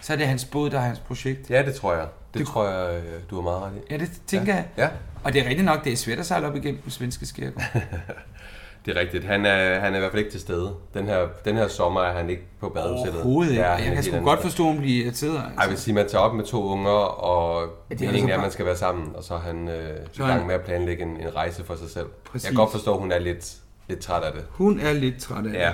Speaker 2: Så er det hans båd, der er hans projekt.
Speaker 3: ja, det tror jeg. Det, det tror jeg, øh, du har meget ret i.
Speaker 2: Ja, det tænker jeg.
Speaker 3: Ja,
Speaker 2: Og det er rigtigt nok, det er svært at sejle op igennem den
Speaker 3: [LAUGHS]
Speaker 2: svenske skærgård.
Speaker 3: det er rigtigt. Han er, han er i hvert fald ikke til stede. Den her, den her sommer er han ikke på badehotellet.
Speaker 2: Overhovedet ikke.
Speaker 3: Ja,
Speaker 2: Ja,
Speaker 3: han er
Speaker 2: jeg kan
Speaker 3: helt
Speaker 2: sgu
Speaker 3: andet
Speaker 2: godt
Speaker 3: sted.
Speaker 2: forstå, at hun bliver irriteret. Altså.
Speaker 3: Ej, jeg vil sige, man tager op med to unger, og
Speaker 2: det
Speaker 3: det
Speaker 2: er
Speaker 3: er
Speaker 2: altså
Speaker 3: egentlig, at
Speaker 2: bare-
Speaker 3: man skal være sammen, og så er han øh, i
Speaker 2: er han-
Speaker 3: gang med at planlægge en, en rejse for sig selv. Præcis. Jeg
Speaker 2: Præcis.
Speaker 3: kan godt forstå, at hun er lidt, lidt træt af det.
Speaker 2: Hun er lidt træt af det.
Speaker 3: Ja.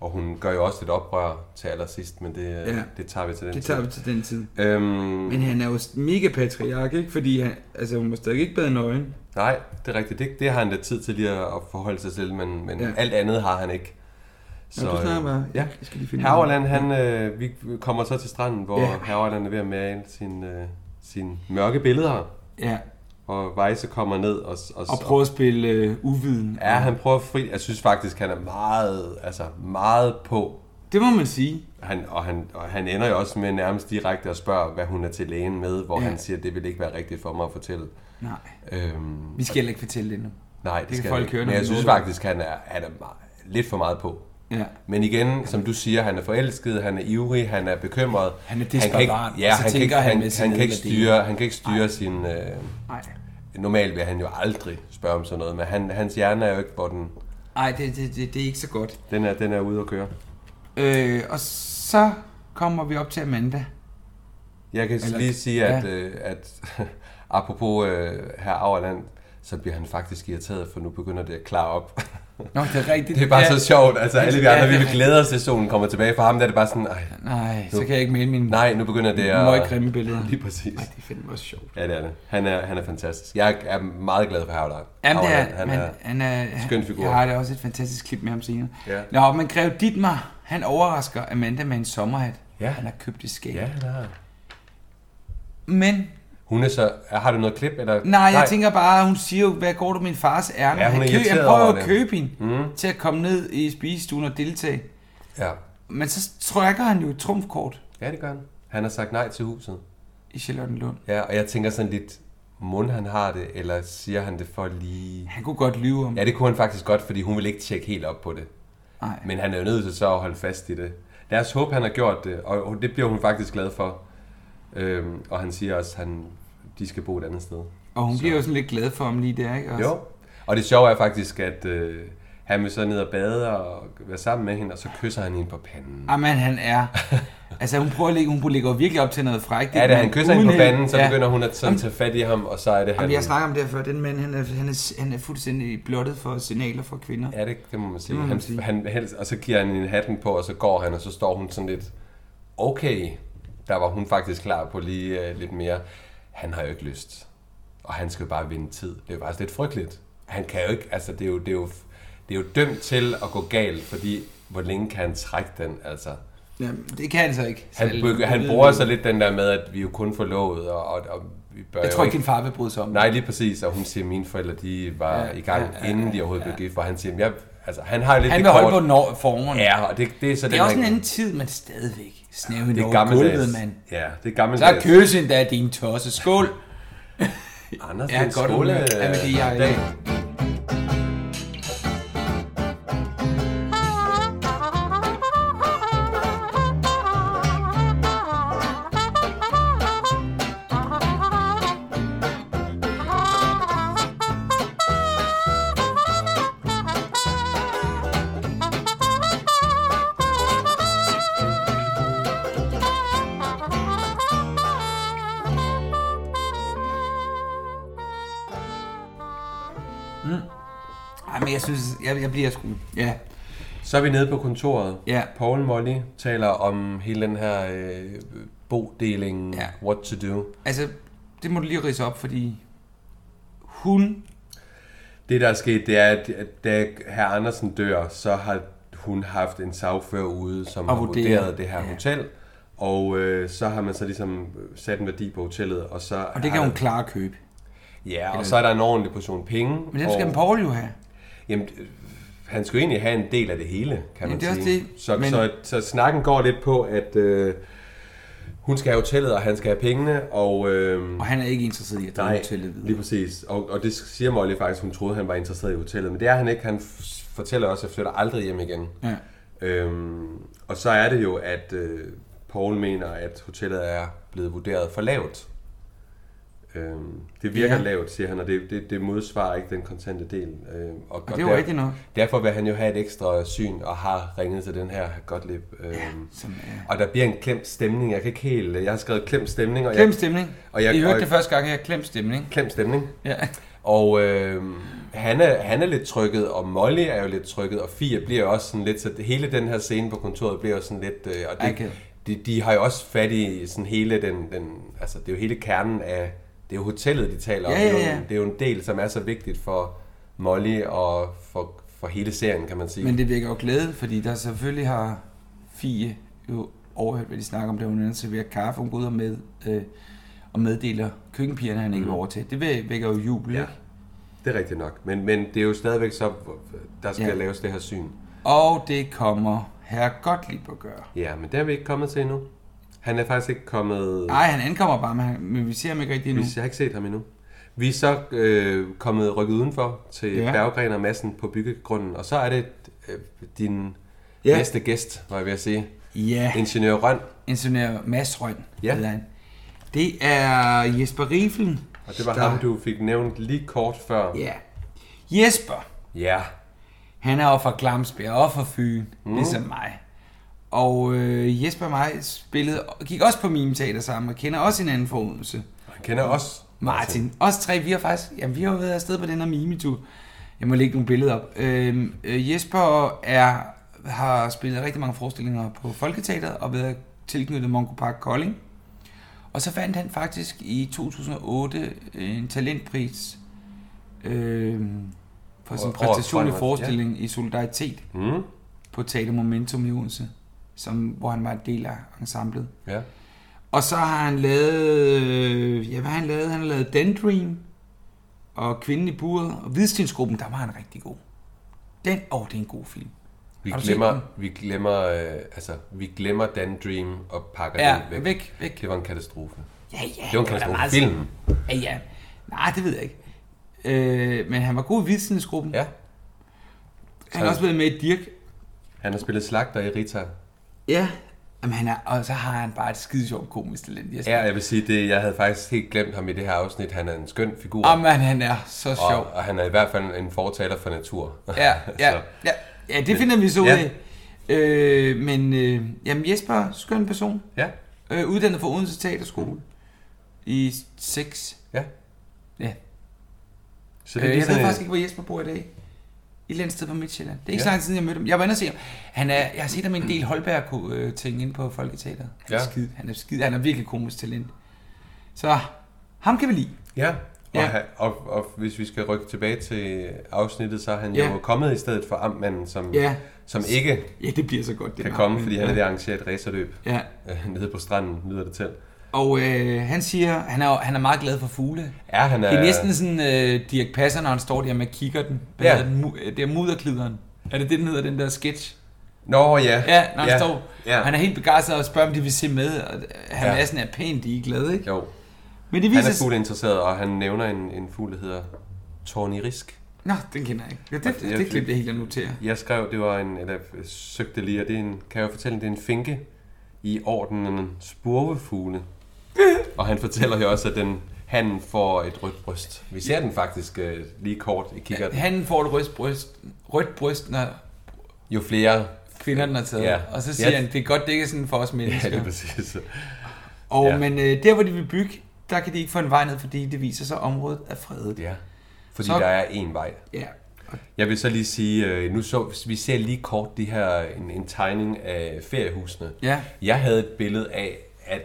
Speaker 3: Og hun gør jo også lidt oprør til allersidst, men det, ja.
Speaker 2: Ja.
Speaker 3: det tager vi til den
Speaker 2: Det tager vi til den tid.
Speaker 3: til. Øhm,
Speaker 2: Men han er jo mega patriark, ikke? Fordi han, altså, hun må stadig ikke bade nøgen.
Speaker 3: nej, det er rigtigt. Det, det har han lidt tid til lige at at forholde sig til, men, men ja.
Speaker 2: Ja.
Speaker 3: alt andet har han ikke. Så,
Speaker 2: Nå, du snakker bare.
Speaker 3: Ja.
Speaker 2: Jeg skal lige finde
Speaker 3: Herverland, han, øh, vi kommer så til stranden, hvor ja.
Speaker 2: Ja.
Speaker 3: Herverland er ved at male sine øh, sin mørke billeder,
Speaker 2: Ja,
Speaker 3: og Weisse kommer ned og, og,
Speaker 2: og prøve at spille øh, uviden.
Speaker 3: Ja, han prøver fri. Jeg synes faktisk, han er meget, altså meget på.
Speaker 2: Det må man sige.
Speaker 3: Han, og, han, og han ender jo også med nærmest direkte at spørge, hvad hun er til lægen med, hvor ja.
Speaker 2: Ja.
Speaker 3: han siger, det vil ikke være rigtigt for mig at fortælle.
Speaker 2: Nej,
Speaker 3: Øhm,
Speaker 2: vi skal heller ikke fortælle det nu.
Speaker 3: nej, det,
Speaker 2: kan
Speaker 3: det skal
Speaker 2: folk
Speaker 3: folk ikke.
Speaker 2: høre, når
Speaker 3: Men jeg
Speaker 2: de
Speaker 3: synes
Speaker 2: møder dig.
Speaker 3: faktisk, han er, han er meget, lidt for meget på.
Speaker 2: Ja.
Speaker 3: Men igen, som du siger, han er forelsket, han er ivrig, han er bekymret.
Speaker 2: Han er
Speaker 3: kan ikke,
Speaker 2: desperat,
Speaker 3: ja,
Speaker 2: og
Speaker 3: han,
Speaker 2: så
Speaker 3: kan
Speaker 2: tænker
Speaker 3: ikke,
Speaker 2: han
Speaker 3: han,
Speaker 2: med
Speaker 3: han,
Speaker 2: sin
Speaker 3: han, kan ikke
Speaker 2: nederdel.
Speaker 3: styre, han kan ikke styre sin... Øh,
Speaker 2: Nej.
Speaker 3: normalt vil han jo aldrig spørge om sådan noget, men han, hans hjerne er jo ikke, hvor den,
Speaker 2: Nej, det, det, det, det er ikke så godt.
Speaker 3: den, er, den er ude at køre.
Speaker 2: Øh, og så kommer vi op til Amanda.
Speaker 3: Jeg kan Eller,
Speaker 2: Eller-
Speaker 3: lige sige, at, ja.
Speaker 2: ja.
Speaker 3: øh, at [LAUGHS] apropos øh, her Auerland, så bliver han faktisk irriteret, for nu begynder det at klare op. [LAUGHS]
Speaker 2: Nå, det er rigtigt.
Speaker 3: det er bare
Speaker 2: ja.
Speaker 3: så sjovt. Altså, alle de
Speaker 2: Ja,
Speaker 3: andre,
Speaker 2: det
Speaker 3: vi
Speaker 2: er
Speaker 3: vil
Speaker 2: rigtigt.
Speaker 3: glæde os til, solen kommer tilbage. For ham der er det bare sådan, ej,
Speaker 2: Nej, så kan jeg ikke mene mine
Speaker 3: nej, nu begynder det at...
Speaker 2: møggrimme billeder.
Speaker 3: [LAUGHS] Lige præcis.
Speaker 2: Nej, det er fandme også sjovt.
Speaker 3: Ja, det er det. Han er, han er fantastisk. Jeg er meget glad for Havland.
Speaker 2: Jamen, det
Speaker 3: Auerland,
Speaker 2: er,
Speaker 3: han
Speaker 2: men,
Speaker 3: er,
Speaker 2: han er,
Speaker 3: skøn figur.
Speaker 2: Jeg har da også et fantastisk klip med ham senere.
Speaker 3: Ja.
Speaker 2: Nå, men Grev Dittmar, han overrasker Amanda med en sommerhat.
Speaker 3: Ja.
Speaker 2: Han har købt i skab.
Speaker 3: Ja, han er.
Speaker 2: Men
Speaker 3: Hun er så... Har du noget klip? Eller?
Speaker 2: Nej, jeg tænker bare, hun siger jo, hvad går du min fars ærne?
Speaker 3: Ja, hun er
Speaker 2: han,
Speaker 3: irriteret
Speaker 2: han prøver
Speaker 3: over
Speaker 2: jo at
Speaker 3: det.
Speaker 2: købe hende mm. til at komme ned i spisestuen og deltage.
Speaker 3: Ja.
Speaker 2: Men så trækker han jo et trumfkort
Speaker 3: ja, det gør han. Han har sagt nej til huset.
Speaker 2: i Charlottenlund.
Speaker 3: Ja, og jeg tænker sådan lidt, mund han har det, eller siger han det for lige...
Speaker 2: Han kunne godt lyve om
Speaker 3: Ja, det kunne han faktisk godt, fordi hun vil ikke tjekke helt op på det.
Speaker 2: Nej.
Speaker 3: Men han er jo nødt til så at holde fast i det. Lad os håbe, han har gjort det, og det bliver hun faktisk glad for. Øhm, og han siger også, at han, de skal bo et andet sted.
Speaker 2: Og hun bliver jo sådan lidt glad for ham lige der, ikke? Også.
Speaker 3: Jo. Og det sjove er faktisk, at øh, han vil så ned og bade og være sammen med hende, og så kysser han hende på panden.
Speaker 2: Jamen, han er...
Speaker 3: [LAUGHS]
Speaker 2: Altså, hun prøver at lægge, hun lægger jo virkelig op til noget frækt.
Speaker 3: Ja, da han kysser hende på panden, så
Speaker 2: ja.
Speaker 3: begynder hun at sådan tage fat i ham, og så er det han...
Speaker 2: Jamen, jeg snakker om det her før. Den mand, han er, han er, han er fuldstændig blottet for signaler fra kvinder.
Speaker 3: Ja, det, det må man sige.
Speaker 2: må man
Speaker 3: han,
Speaker 2: sige.
Speaker 3: Han, helst, og så giver han en hatten på, og så går han, og så står hun sådan lidt, okay, der var hun faktisk klar på lige uh, lidt mere. Han har jo ikke lyst, og han skal jo bare vinde tid. Det er jo faktisk lidt frygteligt. Han kan jo ikke, altså det er jo, det er jo, det er jo dømt til at gå galt, fordi hvor længe kan han trække den, altså?
Speaker 2: Jamen, det kan han så ikke.
Speaker 3: Han,
Speaker 2: Selv.
Speaker 3: bryg- han bruger så lidt den der med, at vi er jo kun forlovet, og, og, og vi bør
Speaker 2: Jeg
Speaker 3: jo
Speaker 2: tror ikke, din far vil bryde sig om det.
Speaker 3: Nej, lige præcis. Og hun siger, at mine forældre de var ja, i gang, ja, ja, inden de overhovedet ja. blev gift. Hvor han siger, at jeg, altså, han har jo lidt
Speaker 2: Han vil
Speaker 3: det
Speaker 2: holde
Speaker 3: kort.
Speaker 2: på nor- formerne.
Speaker 3: Ja, og det, det er så
Speaker 2: Det er også en anden tid, men stadigvæk. Snævende
Speaker 3: det er
Speaker 2: over
Speaker 3: gammeldags.
Speaker 2: gulvet, mand.
Speaker 3: Ja, det er
Speaker 2: Så
Speaker 3: gammeldags.
Speaker 2: er køsen da din tosse. Skål!
Speaker 3: Anders,
Speaker 2: Ja,
Speaker 3: ja,
Speaker 2: godt
Speaker 3: godt skole,
Speaker 2: humør. Ja, men det er jeg i
Speaker 3: dag.
Speaker 2: dag. Ej, men jeg synes, jeg, jeg bliver sgu... Ja.
Speaker 3: Så er vi nede på kontoret.
Speaker 2: Ja.
Speaker 3: Paul Molly taler om hele den her øh, bodeling,
Speaker 2: Ja.
Speaker 3: ja. what to do.
Speaker 2: Altså, det må du lige rise op, fordi... Hun...
Speaker 3: Det, der er sket, det er, at at da herr Andersen dør, så har hun haft en sagfører ude, som
Speaker 2: Og
Speaker 3: har
Speaker 2: vurderet.
Speaker 3: vurderet, det her
Speaker 2: Ja.
Speaker 3: ja. hotel. Og øh, så har man så ligesom sat en værdi på hotellet, og så...
Speaker 2: Og det
Speaker 3: har-
Speaker 2: kan hun klare at købe.
Speaker 3: Ja, og så er der en ordentlig portion penge.
Speaker 2: Men det
Speaker 3: og,
Speaker 2: skal en Paul jo have.
Speaker 3: Jamen, øh, han skal jo egentlig have en del af det hele, kan man
Speaker 2: det er også
Speaker 3: sige.
Speaker 2: det,
Speaker 3: Så,
Speaker 2: men-
Speaker 3: men... så, så snakken går lidt på, at øh, hun skal have hotellet, og han skal have pengene, og... Øh,
Speaker 2: Og han er ikke interesseret i at drive
Speaker 3: nej,
Speaker 2: hotellet videre.
Speaker 3: lige præcis. Og, og det siger Molly faktisk, hun troede, han var interesseret i hotellet, men det er han ikke. Han f- fortæller også, at jeg flytter aldrig hjem igen.
Speaker 2: Ja.
Speaker 3: Øhm, og så er det jo, at øh, Paul mener, at hotellet er blevet vurderet for lavt. Øhm, det virker
Speaker 2: Ja.
Speaker 3: ja. lavt, siger han, og det, det, det modsvarer ikke den kontante del. Øhm, og, og,
Speaker 2: det er jo rigtigt nok.
Speaker 3: Derfor vil han jo have et ekstra syn, og har ringet til den her Gottlieb. Øhm, ja,
Speaker 2: som er-
Speaker 3: Og der bliver en klemt stemning. Jeg kan ikke helt... Jeg har skrevet klemt stemning. Og
Speaker 2: Klem
Speaker 3: jeg,
Speaker 2: stemning. Og
Speaker 3: Og
Speaker 2: jeg,
Speaker 3: jeg-
Speaker 2: I hørte
Speaker 3: og-
Speaker 2: det første gang her. Klem stemning.
Speaker 3: Klemt stemning.
Speaker 2: Ja.
Speaker 3: Og øh, han, er, han er lidt trykket, og Molly er jo lidt trykket, og Fia bliver også sådan lidt, så hele den her scene på kontoret bliver jo sådan lidt, øh, og det,
Speaker 2: Akavet.
Speaker 3: de, de har jo også fat i sådan hele den, den, altså det er jo hele kernen af, det er jo hotellet, de taler
Speaker 2: Ja,
Speaker 3: om,
Speaker 2: ja,
Speaker 3: Det, er
Speaker 2: ja.
Speaker 3: jo, en- det er jo en del, som er så vigtigt for Molly og for, for hele serien, kan man sige.
Speaker 2: Men det vækker jo glæde, fordi der selvfølgelig har Fie jo overhørt, hvad de snakker om, da hun ender serverer kaffe. Hun går ud og, med, øh, og meddeler køkkenpigerne, at han ikke vil over til. Det væ- vækker jo jubel,
Speaker 3: Mm. ja,
Speaker 2: ja. ikke?
Speaker 3: det er rigtigt nok. Men, men det er jo stadigvæk så, der skal
Speaker 2: Ja.
Speaker 3: ja. laves det her syn.
Speaker 2: Og det kommer herre Gottlieb at gøre.
Speaker 3: Ja, men det er vi ikke kommet til endnu. Han er faktisk ikke kommet...
Speaker 2: Nej, han ankommer bare, men, han, men vi ser ham ikke rigtig endnu.
Speaker 3: Vi har ikke set ham endnu. Vi er så øh, kommet rykket udenfor til
Speaker 2: Ja.
Speaker 3: ja. Berggren og Madsen på byggegrunden, og så er det øh, din
Speaker 2: Ja.
Speaker 3: ja. næste gæst, var jeg ved at sige.
Speaker 2: Ja,
Speaker 3: Ingeniør Røn,
Speaker 2: ingeniør Mads Røn
Speaker 3: Ja.
Speaker 2: hedder han. Det er Jesper Riflen.
Speaker 3: og det var ham, du fik nævnt lige kort før.
Speaker 2: Ja. Jesper,
Speaker 3: Ja.
Speaker 2: han er jo fra Glamsbjerg og fra Fyn, mm. ligesom mig. Og øh, Jesper og mig spillede, gik også på Mime Teater sammen og kender også hinanden for Odense.
Speaker 3: Han kender os.
Speaker 2: Martin. Os tre, vi har faktisk, jamen, vi har jo været afsted på den her mimetur. Jeg må lægge nogle billeder op. Øhm, øh, Jesper er, har spillet rigtig mange forestillinger på Folketeateret og været tilknyttet Mongo Park Kolding. Og så vandt han faktisk i 2008 en talentpris øh, for sin
Speaker 3: Årets
Speaker 2: præstation i
Speaker 3: fremragende,
Speaker 2: forestilling i Solidaritet
Speaker 3: Mm.
Speaker 2: på Teater Momentum i Odense, som, hvor han var en del af ensemblet.
Speaker 3: Ja.
Speaker 2: Og så har han lavet... Øh, ja, hvad har han lavet? Han har lavet Dendream og Kvinden i buret og Hvidstensgruppen, der var han rigtig god. Den, åh, det er en god film.
Speaker 3: Vi
Speaker 2: Har du set den?
Speaker 3: glemmer, vi glemmer, øh, altså, vi glemmer Dan Dream og pakker
Speaker 2: Ja,
Speaker 3: den væk.
Speaker 2: væk, væk.
Speaker 3: Det var en katastrofe.
Speaker 2: Ja, ja.
Speaker 3: Det var en
Speaker 2: da
Speaker 3: katastrofe.
Speaker 2: meget-
Speaker 3: Film.
Speaker 2: Ja, ja. Nej, det ved jeg ikke. Øh, men han var god i Hvidstensgruppen.
Speaker 3: Ja.
Speaker 2: han har også været med i Dirk.
Speaker 3: Han har spillet slagter i Rita.
Speaker 2: Ja. Jamen, han er, og så har han bare et skide sjovt komisk talent. Jeg
Speaker 3: Ja, jeg vil sige det. Jeg havde faktisk helt glemt ham i det her afsnit. Han er en skøn figur.
Speaker 2: Jamen, han er så sjov.
Speaker 3: Og, og han er i hvert fald en fortaler for natur. [LAUGHS]
Speaker 2: Ja, ja,
Speaker 3: Så,
Speaker 2: ja, ja det finder vi så ud
Speaker 3: Ja.
Speaker 2: af. Øh, men øh, jamen Jesper, skøn person.
Speaker 3: ja,
Speaker 2: Øh, uddannet fra Odense Teaterskole i 6.
Speaker 3: ja.
Speaker 2: Ja.
Speaker 3: Så
Speaker 2: Øh,
Speaker 3: lige
Speaker 2: jeg ved
Speaker 3: sådan en-
Speaker 2: faktisk ikke, hvor Jesper bor i dag. Et eller andet sted på Midtjylland. Det er ikke
Speaker 3: Ja.
Speaker 2: ja. så lang tid siden, jeg mødte ham. Jeg var inde og se ham. Han er, jeg har set ham i en del Holberg-ting inde på Folketeateret. Han, ja.
Speaker 3: Ja.
Speaker 2: er skide, han er skide, han er virkelig komisk talent. Så ham kan vi lide.
Speaker 3: Ja, og Og,
Speaker 2: Ja.
Speaker 3: ja. og, og hvis vi skal rykke tilbage til afsnittet, så er han
Speaker 2: Ja.
Speaker 3: ja. jo kommet i stedet for Amtmanden, som,
Speaker 2: Ja.
Speaker 3: som ikke
Speaker 2: Ja, det bliver så godt, det
Speaker 3: kan
Speaker 2: der.
Speaker 3: komme, fordi han er
Speaker 2: Ja.
Speaker 3: ved at arrangere et racerløb
Speaker 2: Ja,
Speaker 3: [LAUGHS] øh, nede på stranden, lyder det til.
Speaker 2: og øh, han siger, han er, jo- han er meget glad for fugle.
Speaker 3: Ja, han er,
Speaker 2: Det er næsten sådan øh, Dirk Passer, når han står der med kikkerten. Hvad
Speaker 3: Ja.
Speaker 2: ja. den? Mu- øh, Det er mudderklideren. Er det det, den hedder, den der sketch?
Speaker 3: Nå, ja.
Speaker 2: Ja, når han ja. står.
Speaker 3: Ja.
Speaker 2: Ja. Han er helt begejstret og spørger, om de vil se med. Og han
Speaker 3: Ja.
Speaker 2: ja. er sådan er pænt ligeglad, ikke?
Speaker 3: Jo,
Speaker 2: Men det
Speaker 3: han
Speaker 2: viser
Speaker 3: er
Speaker 2: sig...
Speaker 3: fugleinteresseret, og han nævner en, en fugl, der hedder Tornirisk.
Speaker 2: Nå, den kender jeg ikke. Ja,
Speaker 3: Og det
Speaker 2: det,
Speaker 3: er
Speaker 2: det, det
Speaker 3: fint.
Speaker 2: klip, jeg helt at notere.
Speaker 3: Jeg skrev, det var en, eller jeg søgte lige, og det er en, kan jeg jo fortælle, det er en finke i ordenen spurvefugle. og han fortæller jo også, at den, han får et rødt bryst. Vi ser den faktisk øh, lige kort i kigger.
Speaker 2: Han får et rødt bryst, rødt bryst når
Speaker 3: Jo flere...
Speaker 2: kvinderne har taget.
Speaker 3: Ja.
Speaker 2: Ja. Og så siger
Speaker 3: Ja.
Speaker 2: han, det er godt, det ikke er sådan for
Speaker 3: [LAUGHS]
Speaker 2: os
Speaker 3: Ja,
Speaker 2: mennesker.
Speaker 3: det er præcis.
Speaker 2: og,
Speaker 3: ja.
Speaker 2: Men øh, der, hvor de vil bygge, der kan de ikke få en vej ned, fordi det viser sig, at området er fredet.
Speaker 3: Ja. Fordi
Speaker 2: Så-
Speaker 3: der er én vej.
Speaker 2: Ja.
Speaker 3: Jeg vil så lige sige, øh, nu så, vi ser lige kort de her, en, en tegning af feriehusene.
Speaker 2: Ja.
Speaker 3: Jeg havde et billede af, at,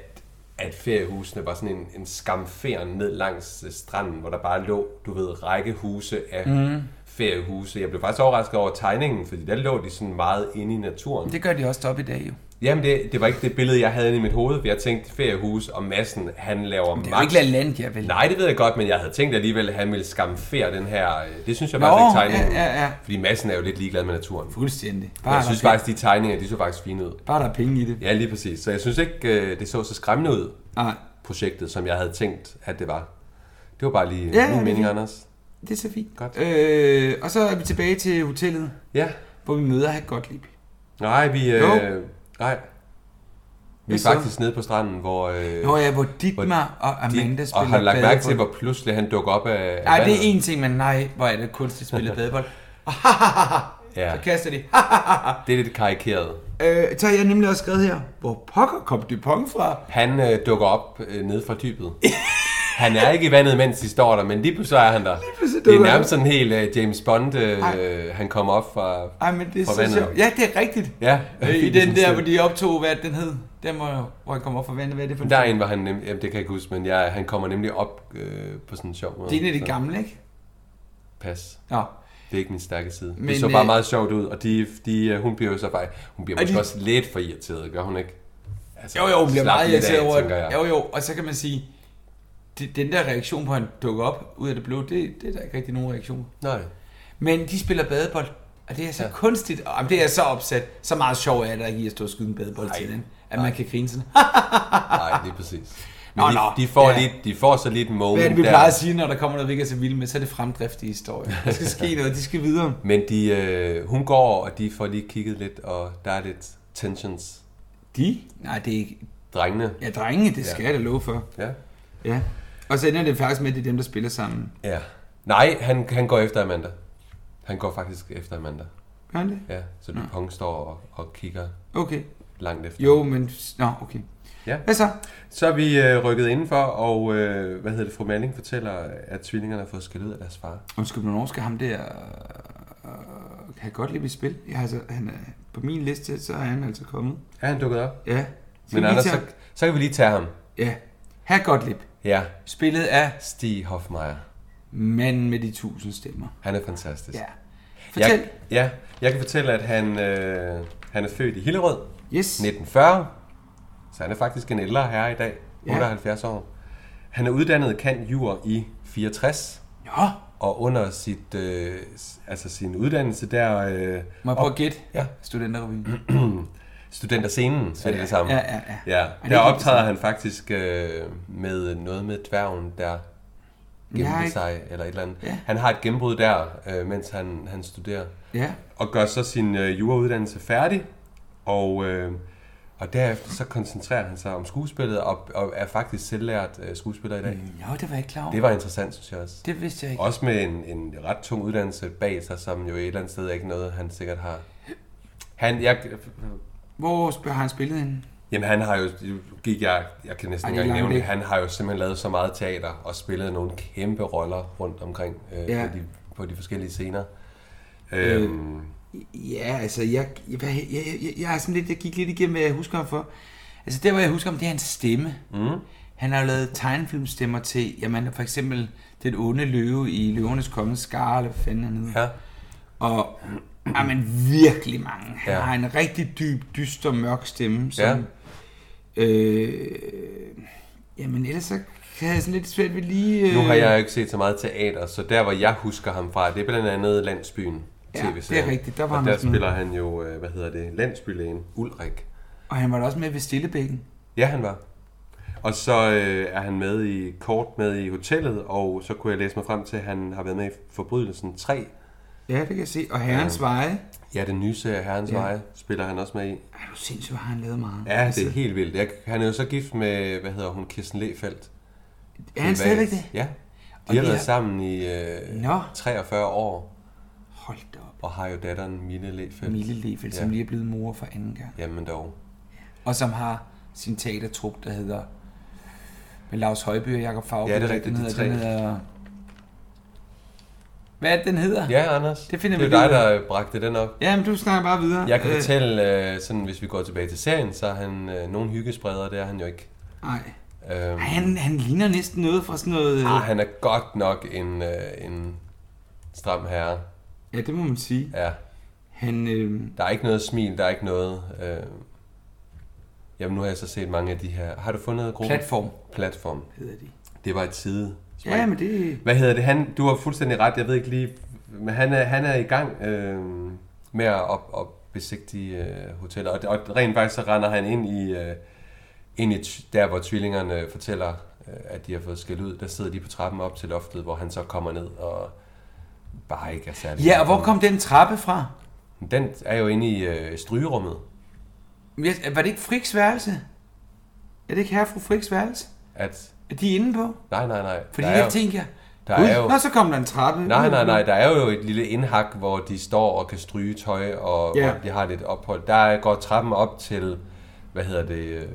Speaker 3: at feriehusene var sådan en, en skamferen ned langs øh, stranden, hvor der bare lå, du ved, rækkehuse af
Speaker 2: Mhm.
Speaker 3: mm. feriehuse. Jeg blev faktisk overrasket over tegningen, fordi der lå de sådan meget inde i naturen.
Speaker 2: Det gør de også op i dag jo.
Speaker 3: Jamen, det, det var ikke det billede, jeg havde inde i mit hoved, for jeg tænkte feriehus, og massen, han laver
Speaker 2: Det er jo
Speaker 3: maks-
Speaker 2: ikke LaLandia, vel?
Speaker 3: Nej, det ved jeg godt, men jeg havde tænkt alligevel, at han ville skamfere den her... øh, Det synes jeg
Speaker 2: Nå,
Speaker 3: faktisk ikke tegningen.
Speaker 2: ja, ja, Ah, ja.
Speaker 3: Fordi massen er jo lidt ligeglad med naturen.
Speaker 2: Fuldstændig.
Speaker 3: Men
Speaker 2: Bare,
Speaker 3: jeg synes
Speaker 2: der, er
Speaker 3: faktisk, de tegninger, de så faktisk fine ud.
Speaker 2: penge- bare der er penge i det.
Speaker 3: Ja, lige præcis. Så jeg synes ikke, øh, det så så skræmmende ud,
Speaker 2: Nej,
Speaker 3: projektet, som jeg havde tænkt, at det var. Det var bare lige
Speaker 2: Ja,
Speaker 3: ja,
Speaker 2: det
Speaker 3: min
Speaker 2: er
Speaker 3: mening,
Speaker 2: fint.
Speaker 3: Anders.
Speaker 2: det er så fint.
Speaker 3: Godt.
Speaker 2: Øh, og så er vi tilbage til hotellet,
Speaker 3: Ja.
Speaker 2: hvor vi møder Herr Gottlieb.
Speaker 3: Nej, vi...
Speaker 2: Jo.
Speaker 3: Øh, nej. Vi er
Speaker 2: så?
Speaker 3: faktisk nede på stranden, hvor... Øh,
Speaker 2: Nå ja, hvor Dietmar og
Speaker 3: de-
Speaker 2: Amanda spiller
Speaker 3: og har du lagt mærke til,
Speaker 2: badebold.
Speaker 3: hvor pludselig han dukker op af af
Speaker 2: Nej, det
Speaker 3: vandet?
Speaker 2: er én ting, men nej, hvor er det
Speaker 3: [LAUGHS]
Speaker 2: kunstigt spillet badebold.
Speaker 3: Ja,
Speaker 2: Så kaster de.
Speaker 3: det er lidt karikeret.
Speaker 2: øh, så har jeg nemlig også skrevet her, hvor pokker kom Dupont fra?
Speaker 3: Han øh, dukker op øh, nede fra
Speaker 2: [LAUGHS]
Speaker 3: dybet. Han er ikke i vandet, mens de står der, men lige pludselig er han der.
Speaker 2: pludselig
Speaker 3: Det er
Speaker 2: dukker
Speaker 3: nærmest
Speaker 2: han
Speaker 3: sådan helt øh, James Bond, øh, han kommer op fra...
Speaker 2: Ej, men det er
Speaker 3: Fra
Speaker 2: så
Speaker 3: vandet.
Speaker 2: sjovt. Ja, det er rigtigt.
Speaker 3: Ja,
Speaker 2: Øh,
Speaker 3: [LAUGHS]
Speaker 2: I
Speaker 3: det er
Speaker 2: den der,
Speaker 3: sådan-
Speaker 2: hvor de optog, hvad den hed. Den, hvor, hvor jeg kommer op fra vandet, hvad er det for en
Speaker 3: Der er
Speaker 2: film?
Speaker 3: en, hvor han nem, jamen, det kan jeg ikke huske, men jeg, han kommer nemlig op øh, på sådan en sjov måde.
Speaker 2: Det er en af de
Speaker 3: Så
Speaker 2: gamle, ikke?
Speaker 3: Pas.
Speaker 2: Nå.
Speaker 3: Det er ikke min stærke side. Men,
Speaker 2: Men,
Speaker 3: det så bare
Speaker 2: øh,
Speaker 3: meget sjovt ud, og de, de, øh, hun bliver jo så bare... Hun bliver
Speaker 2: Og
Speaker 3: måske
Speaker 2: de-
Speaker 3: også lidt for irriteret, gør hun ikke? Altså,
Speaker 2: Jo, jo, hun bliver
Speaker 3: slap
Speaker 2: meget
Speaker 3: lidt af,
Speaker 2: irriteret over
Speaker 3: tænker jeg.
Speaker 2: det. Jo, jo, og så kan man sige, det, den der reaktion på, at han dukker op ud af det blå, det, det er der ikke rigtig nogen reaktion.
Speaker 3: Nej.
Speaker 2: Men de spiller badebold, og det er så ja. kunstigt. Og, jamen, det er så opsat. Så meget sjov er der ikke i at stå og skyde en badebold
Speaker 3: Ej.
Speaker 2: til den, at man kan grine sådan.
Speaker 3: Nej, lige præcis. Men
Speaker 2: Nå,
Speaker 3: de,
Speaker 2: nå,
Speaker 3: de, får
Speaker 2: ja.
Speaker 3: lige, de får så lige et moment
Speaker 2: Hvad er det, vi
Speaker 3: der.
Speaker 2: plejer at sige, når der kommer noget, vi ikke er så vilde med, så er det fremdriftige historier. Der skal ske noget, de skal videre.
Speaker 3: Men de, øh, hun går over, og de får lige kigget lidt, og der er lidt tensions.
Speaker 2: De? Nej, det er ikke...
Speaker 3: Drengene.
Speaker 2: Ja, drenge, det skal jeg da love for.
Speaker 3: Ja.
Speaker 2: Ja. Og så ender det faktisk med, at det er dem, der spiller sammen.
Speaker 3: ja. Nej, han, han går efter Amanda. Han går faktisk efter Amanda.
Speaker 2: Gør han det?
Speaker 3: Ja, så Dupont står og, og kigger
Speaker 2: Okay.
Speaker 3: langt efter.
Speaker 2: Jo, men... Nå, okay.
Speaker 3: Ja.
Speaker 2: Hvad så?
Speaker 3: Så er vi øh, rykket indenfor, og øh, hvad hedder det, fru Malling fortæller, at tvillingerne har fået skæld ud af deres far.
Speaker 2: Undskyld, hvornår skal ham der... Øh, kan jeg godt lide i spil? Ja, altså, han er, på min liste, så er han altså kommet.
Speaker 3: Er han dukket op?
Speaker 2: Ja. Skal
Speaker 3: Men
Speaker 2: vi lige
Speaker 3: Anders,
Speaker 2: tage-
Speaker 3: så, så kan vi lige tage ham.
Speaker 2: Ja. Herr Gottlieb,
Speaker 3: Ja,
Speaker 2: spillet af
Speaker 3: Stig Hofmeier.
Speaker 2: manden med de tusind stemmer.
Speaker 3: Han er fantastisk.
Speaker 2: Ja. Fortæl.
Speaker 3: Jeg, ja, jeg kan fortælle, at han, øh, han er født i Hillerød,
Speaker 2: Yes.
Speaker 3: 1940. Så han er faktisk en ældre herre i dag,
Speaker 2: Ja.
Speaker 3: 78 år. Han er uddannet kant jur i 64,
Speaker 2: Nå,
Speaker 3: og under sit, øh, s- altså sin uddannelse der øh,
Speaker 2: må jeg prøve at gætte?
Speaker 3: Ja. Mm.
Speaker 2: Studenterrevyen.
Speaker 3: studenterscenen, så er det det samme.
Speaker 2: Ja, ja, ja.
Speaker 3: ja.
Speaker 2: det
Speaker 3: Der
Speaker 2: er helt
Speaker 3: optræder han faktisk øh, med noget med dværgen, der gemte
Speaker 2: ikke-
Speaker 3: sig, eller et eller andet.
Speaker 2: Ja.
Speaker 3: Han har et gennembrud der, øh, mens han, han studerer.
Speaker 2: Ja.
Speaker 3: og gør så sin øh, jurauddannelse færdig, og, øh, og derefter så koncentrerer han sig om skuespillet, og, og er faktisk selvlært øh, skuespiller i dag. Mm.
Speaker 2: Jo, det var jeg ikke klar over.
Speaker 3: Det var interessant, synes jeg også.
Speaker 2: Det vidste jeg ikke.
Speaker 3: Også med en, en ret tung uddannelse bag sig, som jo et eller andet sted er ikke noget, han sikkert har... Han, jeg,
Speaker 2: Hvor sp- har han spillet hende?
Speaker 3: jamen han har jo, gik jeg, jeg kan næsten
Speaker 2: Ej,
Speaker 3: ikke
Speaker 2: det er
Speaker 3: engang
Speaker 2: langt
Speaker 3: nævne det,
Speaker 2: væk.
Speaker 3: han har jo simpelthen lavet så meget teater og spillet nogle kæmpe roller rundt omkring øh,
Speaker 2: Ja. Øh,
Speaker 3: på, de, på de forskellige scener. Øhm,
Speaker 2: Ja, altså, jeg, jeg, hvad- jeg, jeg, jeg, jeg, er sådan lidt, jeg gik lidt igennem, hvad jeg husker ham for. Altså, det, hvor jeg husker ham, det er hans stemme. Mm. Han har jo lavet tegnefilmstemmer til, jamen for eksempel den onde løve i Løvernes Konge Skar, eller hvad fanden han hedder.
Speaker 3: Ja.
Speaker 2: Og er man virkelig mange.
Speaker 3: Ja.
Speaker 2: Han ja. har en rigtig dyb, dyster, mørk stemme,
Speaker 3: Ja.
Speaker 2: som... Ja. Øh, jamen ellers så havde jeg sådan lidt svært ved lige... Øh,
Speaker 3: Nu har jeg jo ikke set så meget teater, så der hvor jeg husker ham fra, det er blandt andet Landsbyen.
Speaker 2: Ja, det er
Speaker 3: TV-serien.
Speaker 2: rigtigt. Der var
Speaker 3: og
Speaker 2: han
Speaker 3: der
Speaker 2: sådan-
Speaker 3: spiller han jo, øh, hvad hedder det, landsbylægen Ulrik.
Speaker 2: Og han var da også med ved Stillebækken.
Speaker 3: Ja, han var. Og så øh, er han med i kort med i hotellet, og så kunne jeg læse mig frem til, at han har været med i Forbrydelsen 3.
Speaker 2: Ja, det kan jeg se. Og Herrens ja. Veje. Ej,
Speaker 3: Ja, den nye serie Herrens ja.
Speaker 2: Ja.
Speaker 3: Veje spiller han også med i.
Speaker 2: du er sindssyg, hvor har han lavet meget. Altså,
Speaker 3: Ja, det er helt vildt. Jeg, han er jo så gift med, hvad hedder hun, Kirsten Lefeldt.
Speaker 2: er han stadigvæk det?
Speaker 3: Ja.
Speaker 2: Og
Speaker 3: De har
Speaker 2: de
Speaker 3: været
Speaker 2: har-
Speaker 3: sammen i øh,
Speaker 2: Nå.
Speaker 3: 43 år,
Speaker 2: Hold da op.
Speaker 3: og har jo datteren Mille Lefeldt.
Speaker 2: Mille Lefeldt, ja. som
Speaker 3: Ja.
Speaker 2: lige er blevet mor for anden gang.
Speaker 3: Jamen dog.
Speaker 2: Og som har sin teatertrup, der hedder... Med Lars Højby og Jakob Fagby.
Speaker 3: Ja, det er rigtigt,
Speaker 2: Den
Speaker 3: de
Speaker 2: hedder, den
Speaker 3: tre.
Speaker 2: hedder... Hvad er det, den hedder?
Speaker 3: Ja, Anders.
Speaker 2: Det finder
Speaker 3: det er
Speaker 2: vi
Speaker 3: dig,
Speaker 2: lige ud
Speaker 3: der bragte den op.
Speaker 2: Ja, men du snakker bare videre.
Speaker 3: Jeg kan øh. fortælle, øh, sådan, hvis vi går tilbage til serien, så er han øh, nogen hyggespreder, det er han jo ikke.
Speaker 2: Nej.
Speaker 3: Øhm,
Speaker 2: Han, han ligner næsten noget fra sådan noget... øh,
Speaker 3: ah, han er godt nok en, øh, en stram herre.
Speaker 2: Ja, det må man sige.
Speaker 3: Ja.
Speaker 2: Han, øh,
Speaker 3: Der er ikke noget smil, der er ikke noget... Øh... Jamen, nu har jeg så set mange af de her... Har du fundet gruppen?
Speaker 2: Platform.
Speaker 3: Platform.
Speaker 2: hedder de.
Speaker 3: Det var et side.
Speaker 2: Ja, men det...
Speaker 3: Hvad hedder det? Han, du har fuldstændig ret, jeg ved ikke lige... Men han er, han er i gang øh, med at op, op besigtige øh, hoteller. Og, og rent faktisk så render han ind i, øh, ind i tv- der, hvor tvillingerne fortæller, øh, at de har fået skæld ud. Der sidder de på trappen op til loftet, hvor han så kommer ned og bare ikke er særlig...
Speaker 2: Ja, og hvor kom den trappe fra?
Speaker 3: Den er jo inde i øh, strygerummet.
Speaker 2: Ja, Var det ikke Friks værelse? Er det ikke herre og fru Friks værelse?
Speaker 3: At,
Speaker 2: Er de inde på?
Speaker 3: nej, nej, nej.
Speaker 2: Fordi
Speaker 3: der er
Speaker 2: jeg
Speaker 3: jo-
Speaker 2: tænkte jeg,
Speaker 3: der
Speaker 2: Gud,
Speaker 3: er jo-
Speaker 2: Nå, så kom der en trappe.
Speaker 3: Nej, nej, nej. Der er jo et lille indhak, hvor de står og kan stryge tøj, og,
Speaker 2: Ja.
Speaker 3: ja. og de har lidt ophold. Der går trappen op til, hvad hedder det, øh,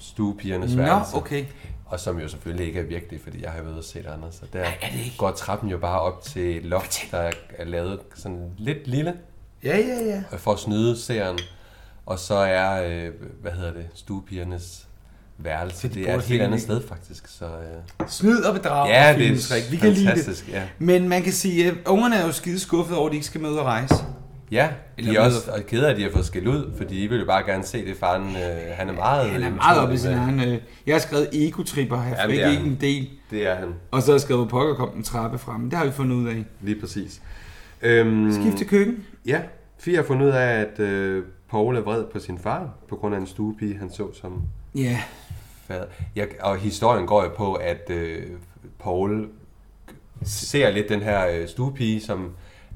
Speaker 3: stuepigernes værelse.
Speaker 2: Nå, okay.
Speaker 3: Og som jo selvfølgelig ikke er virkelig, fordi jeg har været ude og set andre. Så der
Speaker 2: er det ikke?
Speaker 3: går trappen jo bare op til et loft, der er lavet sådan lidt lille,
Speaker 2: Ja, ja, ja.
Speaker 3: øh, for at snyde seeren. Og så er, øh, hvad hedder det, stuepigernes værelse.
Speaker 2: de
Speaker 3: det
Speaker 2: bor
Speaker 3: er et
Speaker 2: slet
Speaker 3: helt
Speaker 2: ikke.
Speaker 3: andet sted faktisk. Så, øh.
Speaker 2: Snyd og bedrag.
Speaker 3: Ja,
Speaker 2: er
Speaker 3: det er
Speaker 2: filmens trick. Vi kan lide
Speaker 3: fantastisk,
Speaker 2: det.
Speaker 3: ja.
Speaker 2: Men man kan sige, at ungerne er jo skide skuffede over, at de ikke skal med ud og rejse.
Speaker 3: Ja,
Speaker 2: Eller
Speaker 3: de er
Speaker 2: med-
Speaker 3: også og kede af, at de har fået skæld ud, fordi de vil jo bare gerne se det. Faren, øh, han er meget...
Speaker 2: Han er meget oppe i sin
Speaker 3: sådan
Speaker 2: egen... Øh, jeg har skrevet egotripper her, for
Speaker 3: det
Speaker 2: ikke
Speaker 3: er
Speaker 2: ikke
Speaker 3: han.
Speaker 2: en del.
Speaker 3: Det er han,
Speaker 2: Og så har jeg skrevet, hvor pokker kom den trappe frem. Det har vi fundet ud af.
Speaker 3: lige præcis. Øhm,
Speaker 2: Gift til køkken.
Speaker 3: Ja, Fia har fundet ud af, at øh, Paul er vred på sin far, på grund af en stuepige, han så som
Speaker 2: Ja,
Speaker 3: fader. Jeg, og historien går jo på, at øh, Paul ser lidt den her øh, stuepige, som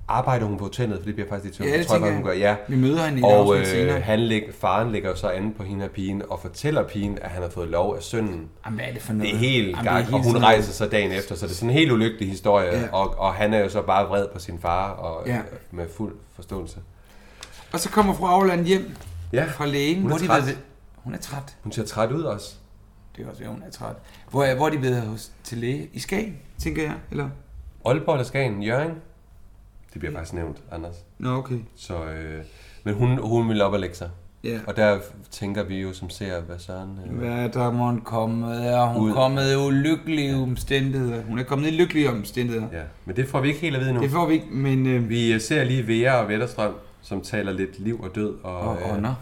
Speaker 3: arbejder hun på hotellet, for det bliver faktisk i tvivl.
Speaker 2: Ja, det
Speaker 3: Jeg tror jeg,
Speaker 2: tænker
Speaker 3: bare, hun gør.
Speaker 2: jeg.
Speaker 3: Ja.
Speaker 2: Vi møder hende i et
Speaker 3: og, øh,
Speaker 2: afsnit senere.
Speaker 3: han lægger, faren lægger jo så an på hende af pigen, og fortæller pigen, at han har fået lov af sønnen.
Speaker 2: Jamen, hvad er det for noget?
Speaker 3: Det er helt
Speaker 2: Jamen, det er
Speaker 3: gak, og
Speaker 2: helt
Speaker 3: hun
Speaker 2: sådan noget.
Speaker 3: rejser sig dagen efter, så det er sådan en helt ulykkelig historie,
Speaker 2: Ja.
Speaker 3: ja. og, og han er jo så bare vred på sin far, og
Speaker 2: Ja.
Speaker 3: ja. med fuld forståelse.
Speaker 2: Og så kommer fru Auland hjem
Speaker 3: Ja,
Speaker 2: fra lægen.
Speaker 3: hun er,
Speaker 2: hvor de
Speaker 3: træt.
Speaker 2: ved- Hun er træt.
Speaker 3: hun ser træt ud også.
Speaker 2: Det er også, at hun er træt. Hvor er, hvor er de ved hos, til læge? I Skagen, tænker jeg, eller?
Speaker 3: Aalborg eller Skagen, Jørgen? Det bliver faktisk nævnt, Anders.
Speaker 2: Nå, okay.
Speaker 3: Så, øh, men hun, hun vil op og lægge sig.
Speaker 2: Ja.
Speaker 3: Og der tænker vi jo, som ser, hvad Søren... Øh,
Speaker 2: Hvad er der må hun komme? Er hun
Speaker 3: Ud.
Speaker 2: Ud. kommet i ulykkelige omstændigheder? Hun er kommet i lykkelige omstændigheder. Ja.
Speaker 3: ja. Men det får vi ikke helt at vide nu.
Speaker 2: Det får vi ikke, men... Øh,
Speaker 3: Vi øh, ser lige Vera og Vetterstrøm, som taler lidt liv og død. Og, øh,
Speaker 2: og ånder.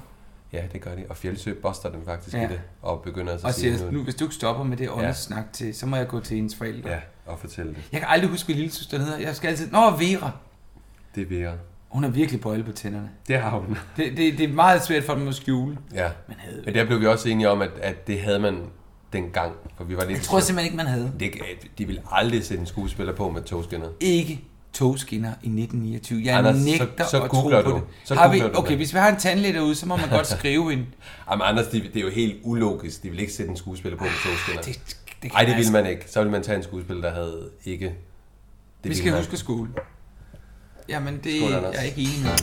Speaker 3: Ja, det gør de. Og Fjeldsø buster dem faktisk ja.
Speaker 2: Ja.
Speaker 3: i det, og begynder altså
Speaker 2: Og
Speaker 3: at sige
Speaker 2: siger,
Speaker 3: noget.
Speaker 2: nu, hvis du ikke stopper med det
Speaker 3: Ja.
Speaker 2: åndesnak snak til, så må jeg gå til hendes forældre.
Speaker 3: Ja, og fortælle det.
Speaker 2: Jeg kan aldrig huske, hvad lille søster hedder. Jeg skal altid... Nå, Vera.
Speaker 3: Det er Vera.
Speaker 2: Hun har virkelig bøjle på tænderne.
Speaker 3: Det har hun.
Speaker 2: Det, det, det er meget svært for dem at skjule.
Speaker 3: Ja.
Speaker 2: Man havde
Speaker 3: Men der blev vi også enige om, at, at det havde man dengang. For vi var lidt...
Speaker 2: Jeg tror simpelthen ikke, man havde.
Speaker 3: det, de ville aldrig sætte en skuespiller på med togskinner.
Speaker 2: Ikke togskinner i 1929. Jeg
Speaker 3: Anders,
Speaker 2: Anders,
Speaker 3: så-
Speaker 2: nægter
Speaker 3: så
Speaker 2: at tro
Speaker 3: googler
Speaker 2: på
Speaker 3: du.
Speaker 2: det.
Speaker 3: Så
Speaker 2: har vi,
Speaker 3: googler du
Speaker 2: okay,
Speaker 3: det.
Speaker 2: hvis vi har en tandlæge derude, så må man godt skrive en.
Speaker 3: Jamen Anders, det, det er jo helt ulogisk. De ville ikke sætte en skuespiller på med togskinner.
Speaker 2: Ah, Det, det kan
Speaker 3: Nej, det ville
Speaker 2: jeg altså-
Speaker 3: man ikke. Så ville man tage en skuespiller, der havde ikke... Det
Speaker 2: Vi
Speaker 3: ville
Speaker 2: skal
Speaker 3: man.
Speaker 2: huske skole. Jamen, det
Speaker 3: Skål,
Speaker 2: jeg
Speaker 3: Anders.
Speaker 2: er ikke enig med.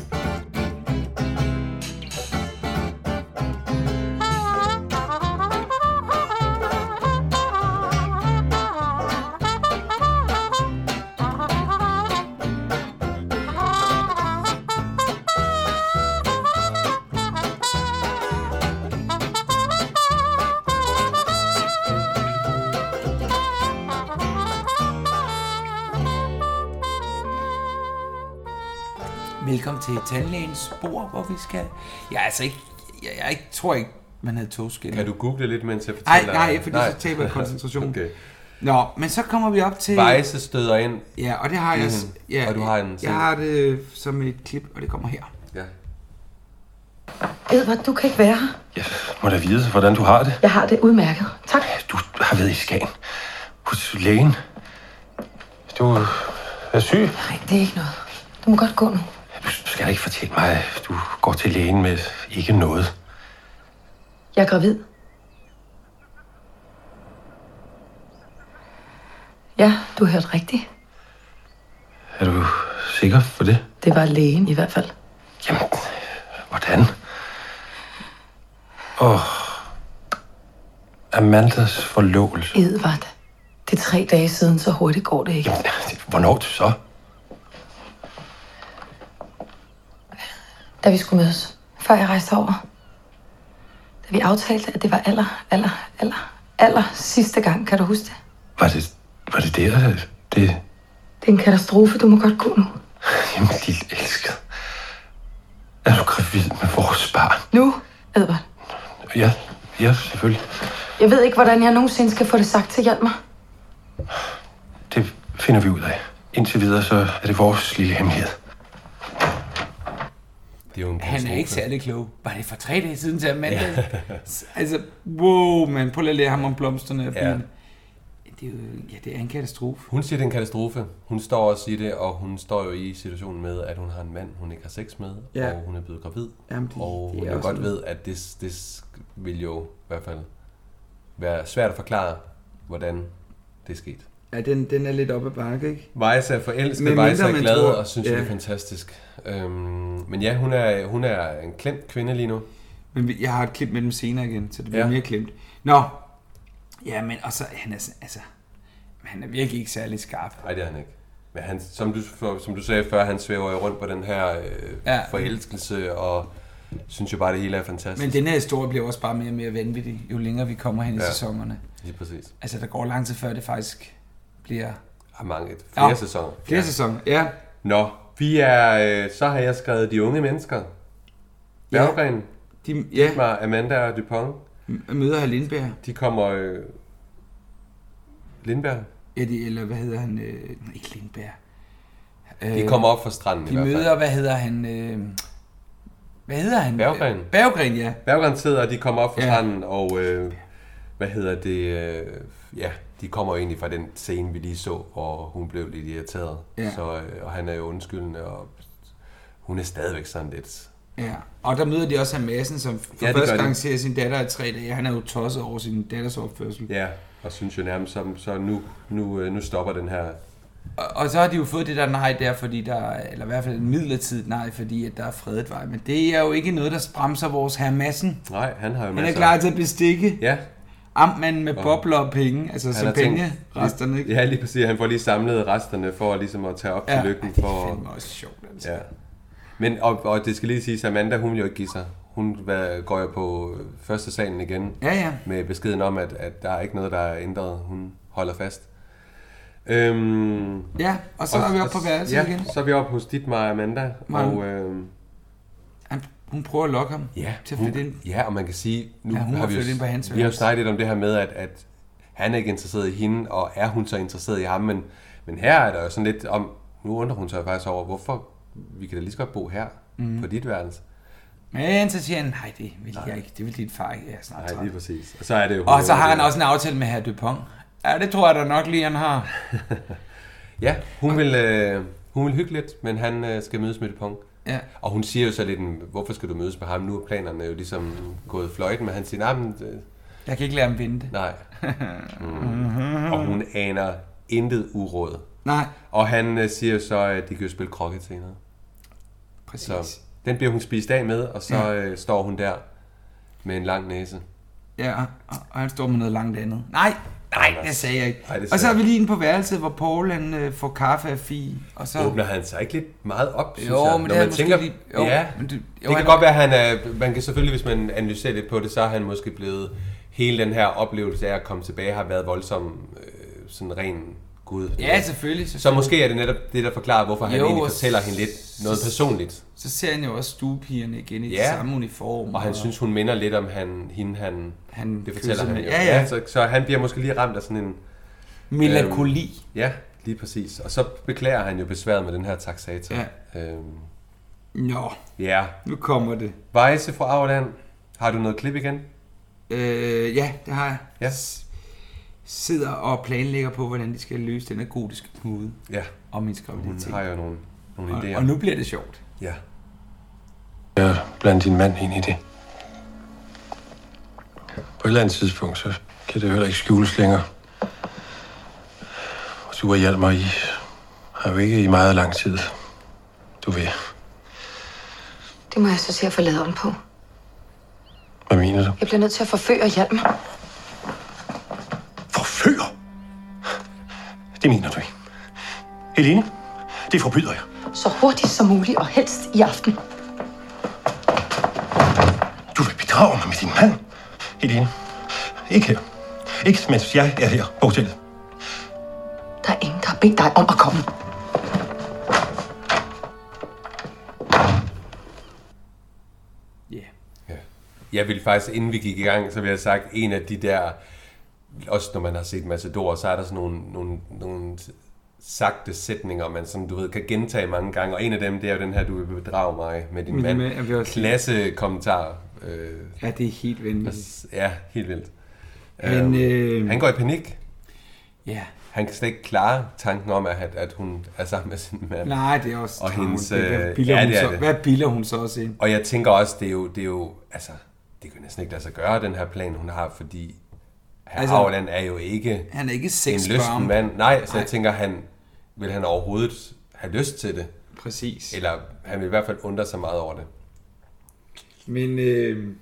Speaker 7: Thank you.
Speaker 2: Velkommen til tandlægens bord, hvor vi skal... Jeg er altså ikke... Jeg, jeg ikke, tror ikke, man havde togskæld.
Speaker 3: Kan du google lidt, mens jeg
Speaker 2: Nej,
Speaker 3: fortæller?
Speaker 2: nej, fordi så taber jeg
Speaker 3: [LAUGHS]
Speaker 2: koncentrationen.
Speaker 3: Okay.
Speaker 2: Nå, men så kommer vi op til...
Speaker 3: Vejse støder ind.
Speaker 2: Ja, og det har jeg...
Speaker 3: Mhm.
Speaker 2: Ja,
Speaker 3: Og du har en selv.
Speaker 2: Jeg har det øh, som et klip, og det kommer her.
Speaker 3: Ja.
Speaker 4: Edvard, du kan ikke være her.
Speaker 5: Jeg må da vide, hvordan du har det.
Speaker 4: Jeg har det udmærket. Tak.
Speaker 5: Du har været i Skagen. Hos lægen. Du er syg.
Speaker 4: Nej, det er ikke noget. Du må godt gå nu.
Speaker 5: Du skal da ikke fortælle mig, at du går til lægen med ikke noget.
Speaker 4: Jeg er gravid. Ja, du hørte rigtigt.
Speaker 5: Er du sikker for det?
Speaker 4: Det var lægen i hvert fald.
Speaker 5: Jamen, hvordan? Åh. Amandas forlovelse.
Speaker 4: Edvard. Det er tre dage siden, så hurtigt går det ikke.
Speaker 5: Jamen, hvornår så?
Speaker 4: Da vi skulle mødes, før jeg rejste over. Da vi aftalte, at det var aller, aller, aller, aller sidste gang. Kan du huske det?
Speaker 5: Var det, var det der? Det,
Speaker 4: Det er en katastrofe, du må godt gå nu.
Speaker 5: Jamen, lille elskede. Er du gravid med vores barn?
Speaker 4: Nu, Edvard.
Speaker 5: Ja, ja, selvfølgelig.
Speaker 4: Jeg ved ikke, hvordan jeg nogensinde skal få det sagt til Hjalmar.
Speaker 5: Det finder vi ud af. Indtil videre, så er det vores lille hemmelighed.
Speaker 3: Det er jo en
Speaker 2: Han er
Speaker 3: katastrofe.
Speaker 2: ikke særlig klog. Var det for tre dage siden til Amanda? altså, wow, man. Prøv lige at lære ham om blomsterne og
Speaker 3: Ja.
Speaker 2: bilen. Det er jo, ja, det er en katastrofe.
Speaker 3: Hun siger, det er en katastrofe. Hun står også i det, og hun står jo i situationen med, at hun har en mand, hun ikke har sex med,
Speaker 2: Ja.
Speaker 3: ja. og hun er blevet gravid.
Speaker 2: Jamen, det-
Speaker 3: og
Speaker 2: det
Speaker 3: hun
Speaker 2: er
Speaker 3: jo
Speaker 2: også
Speaker 3: godt
Speaker 2: noget.
Speaker 3: ved, at det, det vil jo i hvert fald være svært at forklare, hvordan det er sket.
Speaker 2: Ja, den, den er lidt op ad bakke, ikke?
Speaker 3: Vejs er forelsket,
Speaker 2: Men
Speaker 3: Vejs er
Speaker 2: mindre man
Speaker 3: glad
Speaker 2: tror-
Speaker 3: og synes, ja.
Speaker 2: ja.
Speaker 3: det er fantastisk. Øhm, men ja, hun er, hun er en klemt kvinde lige nu.
Speaker 2: Men vi- jeg har et klip med dem senere igen, så det bliver
Speaker 3: Ja.
Speaker 2: ja. mere klemt. Nå, ja, men og så, han er, sådan- altså, han er virkelig ikke særlig skarp.
Speaker 3: Nej, det er han ikke. Men han, som, du, for, som du sagde før, han svæver jo rundt på den her øh, ja.
Speaker 2: Ja.
Speaker 3: forelskelse, og synes jo bare, det hele er fantastisk.
Speaker 2: Men den her historie bliver også bare mere og mere vanvittig, jo længere vi kommer hen ja. i
Speaker 3: Ja.
Speaker 2: sæsonerne.
Speaker 3: Lige præcis.
Speaker 2: Altså, der går lang tid før det faktisk bliver
Speaker 3: Har mange, flere
Speaker 2: Nå,
Speaker 3: sæsoner.
Speaker 2: flere ja. sæsoner. Ja,
Speaker 3: Nå, vi er, øh, så har jeg skrevet de unge mennesker. Berggren,
Speaker 2: de, ja,
Speaker 3: ja. Amanda og Dupont,
Speaker 2: m- møder herr Lindberg.
Speaker 3: de kommer... Øh, Lindberg.
Speaker 2: Ja, de, eller hvad hedder han? Øh, nej, ikke Lindberg.
Speaker 3: De kommer op fra stranden i
Speaker 2: Øh, De
Speaker 3: hvert fald.
Speaker 2: møder, hvad hedder han? Øh, hvad hedder han?
Speaker 3: Berggren.
Speaker 2: Berggren, ja.
Speaker 3: Berggren sidder, og de kommer op fra ja.
Speaker 2: Ja.
Speaker 3: stranden, og øh, hvad hedder det? Øh, ja, de kommer jo egentlig fra den scene, vi lige så, hvor hun blev lidt irriteret.
Speaker 2: Ja.
Speaker 3: Så, øh, og han er jo undskyldende, og hun er stadigvæk sådan lidt...
Speaker 2: Ja, og der møder de også ham Madsen, som for
Speaker 3: Ja,
Speaker 2: ja,
Speaker 3: det gør
Speaker 2: første
Speaker 3: de.
Speaker 2: gang ser sin datter i tre dage. Han er jo tosset over sin datters opførsel. Ja.
Speaker 3: Ja, og synes jo nærmest, så, så nu, nu, øh, nu stopper den her...
Speaker 2: Og, og, så har de jo fået det der nej der, fordi der, er- eller i hvert fald en midlertidig nej, fordi at der er fredet vej. Men det er jo ikke noget, der bremser vores herre Madsen.
Speaker 3: Nej, han har jo
Speaker 2: Han
Speaker 3: masser...
Speaker 2: er klar til at bestikke ja.
Speaker 3: Ja,
Speaker 2: amtmanden med bobler og penge, altså
Speaker 3: han har
Speaker 2: champagne,
Speaker 3: tænkt-
Speaker 2: resterne, ikke?
Speaker 3: Ja, lige præcis. Han får lige samlet resterne for ligesom at tage op ja. til lykken.
Speaker 2: Ej, det er
Speaker 3: For,
Speaker 2: fandme også sjovt, altså.
Speaker 3: ja. Men, og, og det skal lige siges, at Amanda, hun vil jo ikke give sig. Hun hvad, går jo på øh, første salen igen.
Speaker 2: Ja, ja.
Speaker 3: Med beskeden om, at, at der er ikke noget, der er ændret. Hun holder fast. Øhm,
Speaker 2: Ja, og så er vi oppe på værelset
Speaker 3: ja,
Speaker 2: igen.
Speaker 3: så er vi oppe hos dit mig og Amanda.
Speaker 2: Mange.
Speaker 3: Og, øhm,
Speaker 2: Han, hun prøver at lokke ham
Speaker 3: Ja,
Speaker 2: til at flytte ind.
Speaker 3: Ja, og man kan sige, nu
Speaker 2: Ja, hun
Speaker 3: har
Speaker 2: har
Speaker 3: vi jo,
Speaker 2: flyttet ind på hans
Speaker 3: vi har jo
Speaker 2: værelse.
Speaker 3: snakket lidt om det her med, at, at han er ikke interesseret i hende, og er hun så interesseret i ham, men, men her er der jo sådan lidt om, nu undrer hun sig faktisk over, hvorfor vi kan da lige så godt bo her,
Speaker 2: Mhm.
Speaker 3: mm. på dit værelse.
Speaker 2: Men så siger han, nej, det vil jeg ikke. Det vil din far ikke. Jeg er snart
Speaker 3: Nej,
Speaker 2: træt."
Speaker 3: lige præcis. Og så er det jo...
Speaker 2: Og så har han også en aftale med herr Dupont. Ja, det tror jeg da nok lige, han har.
Speaker 3: Ja, hun vil, øh, hun vil hygge lidt, men han øh, skal mødes med Dupont.
Speaker 2: Ja.
Speaker 3: Og hun siger jo så lidt, "Mm, hvorfor skal du mødes med ham? Nu er planerne jo ligesom gået fløjten, men han siger, nej, men, øh,
Speaker 2: Jeg kan ikke lade ham vente. [LAUGHS]
Speaker 3: nej. Mm. og hun aner intet uråd.
Speaker 2: Nej,
Speaker 3: Og han øh, siger jo så, at de kan jo spille krokket senere.
Speaker 2: præcis.
Speaker 3: Så
Speaker 2: Så.
Speaker 3: den bliver hun spist af med, og så øh, står hun der med en lang næse.
Speaker 2: Ja, og, og han står med noget langt andet. Nej, nej, det sagde jeg ikke.
Speaker 3: Nej, det
Speaker 2: og så
Speaker 3: sagde
Speaker 2: er vi lige inde på værelset, hvor Paul han, øh, får kaffe af Fie. Og så...
Speaker 3: Åbner han sig ikke lidt meget op, synes
Speaker 2: Jo,
Speaker 3: jeg,
Speaker 2: men
Speaker 3: når
Speaker 2: det er
Speaker 3: man
Speaker 2: måske
Speaker 3: tænker...
Speaker 2: lige... Jo,
Speaker 3: ja,
Speaker 2: men det, jo,
Speaker 3: det kan godt være, at han er... Man kan selvfølgelig, hvis man analyserer lidt på det, så er han måske blevet... Hele den her oplevelse af at komme tilbage har været voldsom, øh, sådan ren Gud.
Speaker 2: Ja, selvfølgelig. Så,
Speaker 3: Så måske er det netop det, der forklarer, hvorfor han
Speaker 2: Jo,
Speaker 3: egentlig
Speaker 2: og
Speaker 3: fortæller hende lidt noget personligt.
Speaker 2: så ser han jo også stuepigerne igen i
Speaker 3: Ja.
Speaker 2: de samme uniformer.
Speaker 3: Og han synes, hun minder lidt om han, hende, han...
Speaker 2: Han
Speaker 3: det fortæller
Speaker 2: kysser
Speaker 3: han
Speaker 2: med-
Speaker 3: jo.
Speaker 2: Ja, ja.
Speaker 3: så, så han bliver måske lige ramt af sådan en...
Speaker 2: Melankoli.
Speaker 3: Ja, lige præcis. Og så beklager han jo besværet med den her taxator.
Speaker 2: Ja.
Speaker 3: Øhm,
Speaker 2: Nå,
Speaker 3: ja.
Speaker 2: nu kommer det.
Speaker 3: Vejse fra Auerland. Har du noget klip igen?
Speaker 2: Øh, ja, det har jeg.
Speaker 3: Ja.
Speaker 2: Sidder og planlægger på, hvordan de skal løse den her gotiske knude
Speaker 3: Ja.
Speaker 2: og min
Speaker 3: Hun
Speaker 2: graviditet.
Speaker 3: har jo nogle, nogle idéer.
Speaker 2: Og, og nu bliver det sjovt.
Speaker 3: Ja.
Speaker 5: Ja, bland din mand ind i det. På et eller andet tidspunkt, så kan det heller ikke skjules længere. Og du og Hjalmar, I har jo ikke i meget lang tid. Du ved,
Speaker 7: Det må jeg så se at få lavet om på.
Speaker 5: hvad mener du?
Speaker 7: Jeg bliver nødt til at forføre Hjalmar.
Speaker 5: Forfører? Det mener du ikke. Helene, det forbyder jeg.
Speaker 7: Så hurtigt som muligt, og helst i aften.
Speaker 5: Du vil bedrage mig med din mand. Helene, ikke her. Ikke mens jeg er her på hotellet.
Speaker 7: Der er ingen, der har bedt dig om at komme.
Speaker 2: Ja. Yeah.
Speaker 3: Ja. Jeg ville faktisk, inden vi gik i gang, så ville jeg have sagt, en af de der, også når man har set Matador, så er der sådan nogle, nogle, nogle sagte sætninger, man sådan, du ved, kan gentage mange gange. Og en af dem, det er jo den her, du vil bedrage mig med din
Speaker 2: Med
Speaker 3: mand.
Speaker 2: din mand, ja, vi har også-
Speaker 3: Klassekommentar. Øh,
Speaker 2: Ja, det er helt vanvittigt.
Speaker 3: ja, helt vildt.
Speaker 2: Men, øh,
Speaker 3: Han går i panik.
Speaker 2: ja.
Speaker 3: Han kan slet ikke klare tanken om, at, at hun er sammen med sin mand.
Speaker 2: Nej, det er også
Speaker 3: Og
Speaker 2: travlt.
Speaker 3: hendes,
Speaker 2: Hvad
Speaker 3: øh,
Speaker 2: bilder,
Speaker 3: ja,
Speaker 2: hun
Speaker 3: det er
Speaker 2: så,
Speaker 3: det.
Speaker 2: hvad bilder hun så også ind?
Speaker 3: Og jeg tænker også, det er jo, det er jo altså, det kan jo næsten ikke lade sig gøre, den her plan, hun har, fordi herr altså,
Speaker 2: Altså-
Speaker 3: Auerland er jo ikke
Speaker 2: Han er ikke
Speaker 3: en lysten
Speaker 2: sexbarm.
Speaker 3: mand. Nej, så jeg tænker, han, vil han overhovedet have lyst til det?
Speaker 2: Præcis.
Speaker 3: Eller han vil i hvert fald undre sig meget over det.
Speaker 2: Men øh,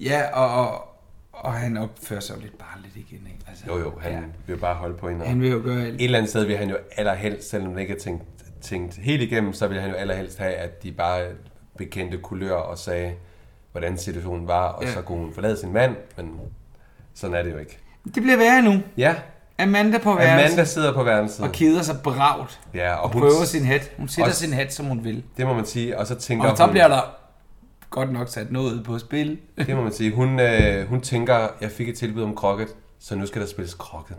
Speaker 2: ja, og, og, og han opfører sig jo lidt bare lidt igen, ikke? Altså,
Speaker 3: Jo jo, han ja. vil bare holde på hende.
Speaker 2: han
Speaker 3: Og
Speaker 2: vil jo gøre alt.
Speaker 3: et eller andet sted vil han jo allerhelst, selvom det ikke er tænkt, tænkt helt igennem, så vil han jo allerhelst have, at de bare bekendte kulør og sagde, hvordan situationen var, og ja.
Speaker 2: Ja.
Speaker 3: så kunne hun forlade sin mand, men sådan er det jo ikke.
Speaker 2: Det bliver værre nu.
Speaker 3: Ja,
Speaker 2: Amanda på værelset
Speaker 3: Amanda
Speaker 2: Amanda.
Speaker 3: sidder på værelset.
Speaker 2: og keder sig bravt.
Speaker 3: Ja, og
Speaker 2: Og
Speaker 3: hun,
Speaker 2: prøver sin hat. Hun sætter
Speaker 3: og-
Speaker 2: sin hat, som hun vil.
Speaker 3: det må man sige, og så tænker
Speaker 2: Og så
Speaker 3: hun,
Speaker 2: bliver der godt nok sat noget på spil.
Speaker 3: det må man sige, hun, øh, hun tænker, jeg fik et tilbud om krokket, så nu skal der spilles krokket.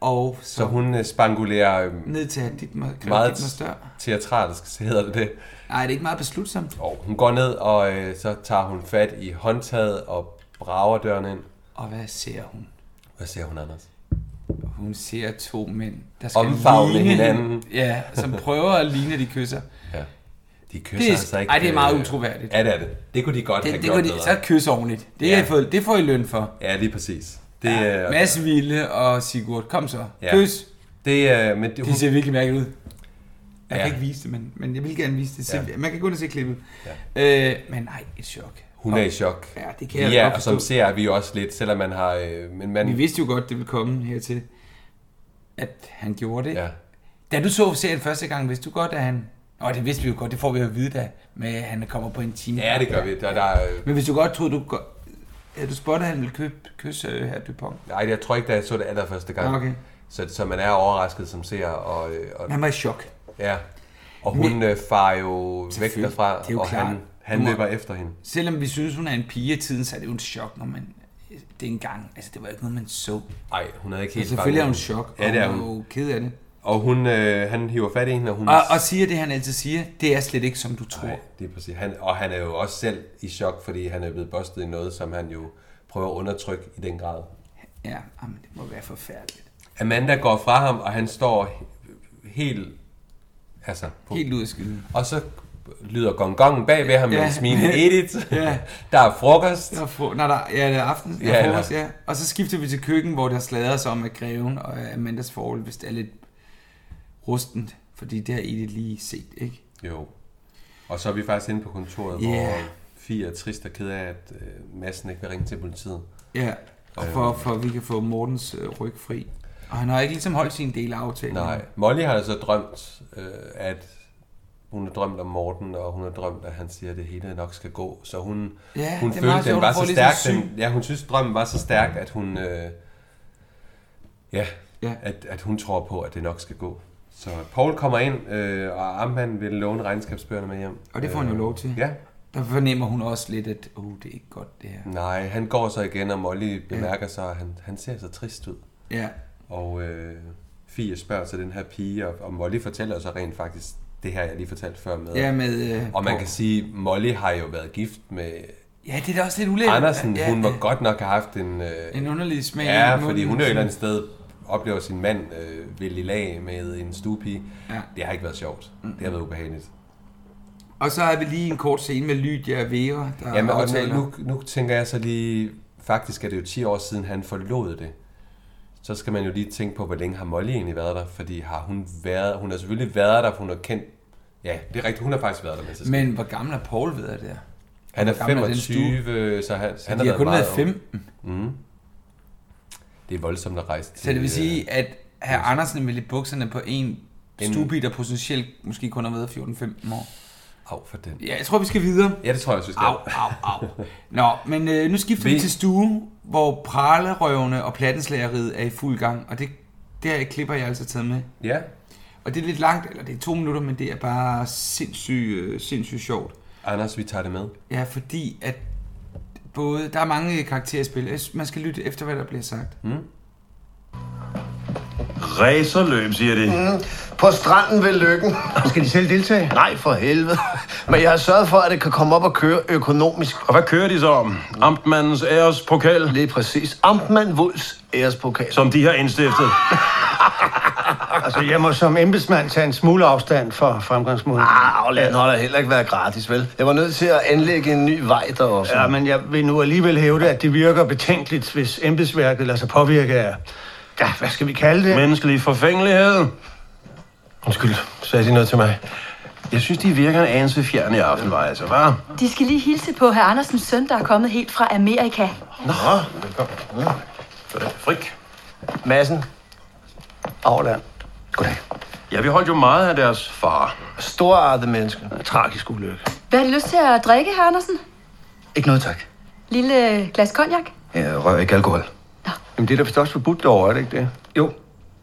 Speaker 2: Og så,
Speaker 3: Så hun øh, spangulerer øh,
Speaker 2: ned til at dit mig
Speaker 3: meget
Speaker 2: større.
Speaker 3: teatralsk, så hedder det det.
Speaker 2: Nej, det er ikke meget beslutsomt.
Speaker 3: Og hun går ned, og øh, så tager hun fat i håndtaget og brager døren ind.
Speaker 2: Og hvad ser hun?
Speaker 3: Hvad ser hun, Anders?
Speaker 2: Hun ser to mænd, der skal
Speaker 3: Omfavne
Speaker 2: ligne
Speaker 3: hinanden.
Speaker 2: hende. Ja, som prøver at ligne, de kysser.
Speaker 3: De kysser
Speaker 2: Det er-
Speaker 3: altså ikke.
Speaker 2: ej, det er meget
Speaker 3: øh,
Speaker 2: utroværdigt.
Speaker 3: Ja, det er det. Det kunne de godt have
Speaker 2: Det, det går
Speaker 3: gjort
Speaker 2: de,
Speaker 3: bedre.
Speaker 2: så kys ordentligt. Det, ja.
Speaker 3: Ja.
Speaker 2: I fået, det får I løn for.
Speaker 3: Ja, lige præcis. Det, øh, ja,
Speaker 2: Mads Ville og Sigurd, kom så.
Speaker 3: Ja.
Speaker 2: Ja. Kys.
Speaker 3: det, øh, men det, hun,
Speaker 2: De ser virkelig mærkeligt ud. Jeg
Speaker 3: Ja.
Speaker 2: ja. kan ikke vise det, men, men jeg vil gerne vise det.
Speaker 3: Ja.
Speaker 2: Ja. Man kan gå ind og se klippet. Ja. Øh, men nej, et chok.
Speaker 3: hun er i chok.
Speaker 2: Ja, det kan jeg
Speaker 3: Ja,
Speaker 2: godt
Speaker 3: og
Speaker 2: forstå.
Speaker 3: som ser er vi jo også lidt, selvom man har... Øh, men man,
Speaker 2: Vi vidste jo godt, det ville komme hertil, at han gjorde det.
Speaker 3: Ja.
Speaker 2: Ja. Da du så serien første gang, vidste du godt, at han... Og det vidste vi jo godt, det får vi jo at vide, da med, at han kommer på en time.
Speaker 3: ja, det gør vi. Der, der, er-
Speaker 2: Men hvis du godt troede, du... Godt, havde du spottet, at han ville købe, kysse øh, her Dupont?
Speaker 3: Nej, jeg tror ikke, da jeg så det allerførste gang.
Speaker 2: Okay.
Speaker 3: Så, så man er overrasket som ser, og, øh, og
Speaker 2: Han var i chok.
Speaker 3: ja. Og hun
Speaker 2: Men-
Speaker 3: øh, farer jo væk
Speaker 2: Selvfølgelig.
Speaker 3: derfra,
Speaker 2: Det er jo
Speaker 3: og
Speaker 2: klart.
Speaker 3: han, han
Speaker 2: Du må-
Speaker 3: løber efter hende.
Speaker 2: Selvom vi synes, hun er en pige i tiden, så er det jo en chok, når man... Det er en gang. Altså, det var ikke noget, man så.
Speaker 3: Nej, hun er ikke helt
Speaker 2: Altså, Selvfølgelig er hun
Speaker 3: fanget.
Speaker 2: i chok, og
Speaker 3: Ja, det er
Speaker 2: hun er
Speaker 3: hun.
Speaker 2: jo ked af det.
Speaker 3: Og hun, øh, han hiver fat i hende, og hun...
Speaker 2: Og, og siger det, han altid siger, det er slet ikke, som du tror.
Speaker 3: Nej, det er præcis. Han, og han er jo også selv i chok, fordi han er blevet bustet i noget, som han jo prøver at undertrykke i den grad.
Speaker 2: Ja, jamen, det må være forfærdeligt.
Speaker 3: Amanda går fra ham, og han står he- helt... Altså, på,
Speaker 2: Helt ud af skiden.
Speaker 3: Og så lyder gongongen bag ved ham med
Speaker 2: [LAUGHS] Ja.
Speaker 3: en smilende Edith.
Speaker 2: Ja.
Speaker 3: Der er frokost.
Speaker 2: Der er fro- Nå, der, ja, det er aften. Der
Speaker 3: Ja,
Speaker 2: er
Speaker 3: ja.
Speaker 2: frokost, ja. Og så skifter vi til køkken, hvor der slader sig om, at greven og øh, Amandas forhold, hvis det er lidt rustent. Fordi det har Edith lige set, ikke?
Speaker 3: Jo. Og så er vi faktisk inde på kontoret,
Speaker 2: Ja.
Speaker 3: yeah. hvor Fie er trist og ked af, at øh, Madsen ikke vil ringe til politiet.
Speaker 2: Ja, og for,
Speaker 3: Øhm.
Speaker 2: for at vi kan få Mortens øh, ryg fri. Og han har ikke ligesom holdt sin del af aftalen.
Speaker 3: Nej. Molly har så drømt, øh, at hun har drømt om Morten, og hun har drømt, at han siger, at det hele nok skal gå. Så hun,
Speaker 2: Ja,
Speaker 3: hun
Speaker 2: det er meget sjovt, ligesom
Speaker 3: den
Speaker 2: hun
Speaker 3: var
Speaker 2: får
Speaker 3: så
Speaker 2: lidt sådan
Speaker 3: stærk. Den, ja, hun synes, drømmen var så stærk, at hun... Øh, ja,
Speaker 2: Ja.
Speaker 3: at, at hun tror på, at det nok skal gå. Så Paul kommer ind, øh, og Amman vil låne regnskabsbøgerne med hjem. Øh,
Speaker 2: Og det får han jo lov til.
Speaker 3: Ja.
Speaker 2: Der fornemmer hun også lidt, at oh, det er ikke godt, det her.
Speaker 3: Nej, han går så igen, og Molly bemærker så, at han, han ser så trist ud.
Speaker 2: Ja,
Speaker 3: Og øh, Fie spørger så den her pige, og, og Molly fortæller så rent faktisk det her, jeg lige fortalte før med.
Speaker 2: ja med... Øh,
Speaker 3: og man
Speaker 2: Paul.
Speaker 3: kan sige, Molly har jo været gift med
Speaker 2: Ja, det er da også lidt ulækkert.
Speaker 3: Andersen.
Speaker 2: ja,
Speaker 3: Hun må godt nok have haft en... Øh,
Speaker 2: En underlig smag
Speaker 3: Ja,
Speaker 2: i munden.
Speaker 3: fordi hun er jo et eller andet sted oplever sin mand øh, vil i lag med en stuepige.
Speaker 2: Ja.
Speaker 3: Det har ikke været sjovt. Det har været ubehageligt.
Speaker 2: Og så har vi lige en kort scene med Lydia og Vera, der
Speaker 3: Jamen, og
Speaker 2: aftaler.
Speaker 3: nu, nu tænker jeg så lige, faktisk er det jo 10 år siden, han forlod det. Så skal man jo lige tænke på, hvor længe har Molly egentlig været der, fordi har hun været, hun har selvfølgelig været der, for hun har kendt, ja, det er rigtigt, hun har faktisk været der, mens det skete.
Speaker 2: Men hvor gammel er Paul ved at det er?
Speaker 3: Han er
Speaker 2: hvor gammel er den
Speaker 3: 25, så han, så han
Speaker 2: De har
Speaker 3: været
Speaker 2: kun
Speaker 3: meget
Speaker 2: været
Speaker 3: ung.
Speaker 2: 15.
Speaker 3: Det er voldsomt at rejse
Speaker 2: Så det vil
Speaker 3: til, øh,
Speaker 2: sige, at herr Andersen vil i bukserne på en stubi, der potentielt måske kun har været 14-15 år.
Speaker 3: øh, Au for den.
Speaker 2: Ja, jeg tror, vi skal videre.
Speaker 3: Ja, det tror jeg også, vi skal.
Speaker 2: Au, au, au. Nå, men øh, nu skifter vi,
Speaker 3: Vi-
Speaker 2: til stue, hvor pralerøvene og plattenslageriet er i fuld gang, og det der klipper jeg altså taget med.
Speaker 3: Ja,
Speaker 2: Og det er lidt langt, eller det er to minutter, men det er bare sindssygt øh, sindssyg sjovt.
Speaker 3: Anders, vi tager det med.
Speaker 2: Ja, fordi at både, der er mange karakterer i spil. Jeg synes, Man skal lytte efter, hvad der bliver sagt. Mm.
Speaker 5: Racerløb, siger de.
Speaker 8: På stranden ved Lykken.
Speaker 5: Skal de selv deltage?
Speaker 8: Nej, for helvede. Men jeg har sørget for, at det kan komme op og køre økonomisk.
Speaker 5: Og hvad kører de så om? Amtmandens ærespokal,
Speaker 8: Lige præcis. Amtmand Wulfs ærespokal.
Speaker 5: som de har indstiftet.
Speaker 9: Altså, jeg må som embedsmand tage en smule afstand for fremgangsmåden.
Speaker 8: Ah, afland har da heller ikke været gratis, vel? Jeg var nødt til at anlægge en ny vej der også.
Speaker 9: Ja, men jeg vil nu alligevel hævde, at det virker betænkeligt, hvis embedsværket lader sig påvirke af... Ja, hvad skal vi kalde det?
Speaker 5: Menneskelig forfængelighed.
Speaker 8: Undskyld, sagde de noget til mig.
Speaker 5: Jeg synes, de virker en anelse fjerne i aften, var altså, hva'?
Speaker 10: De skal lige hilse på herr Andersens søn, der er kommet helt fra Amerika.
Speaker 5: Frik.
Speaker 8: Madsen. Afland. Goddag.
Speaker 5: Ja, vi holdt jo meget af deres far.
Speaker 8: Storartet menneske. Tragisk ulykke.
Speaker 10: Hvad har du lyst til at drikke, herr Andersen?
Speaker 8: Ikke noget tak.
Speaker 10: Lille øh, glas cognac?
Speaker 8: Jeg rører ikke alkohol.
Speaker 9: Jamen, det er da vist også forbudt derovre, er det ikke det? Jo,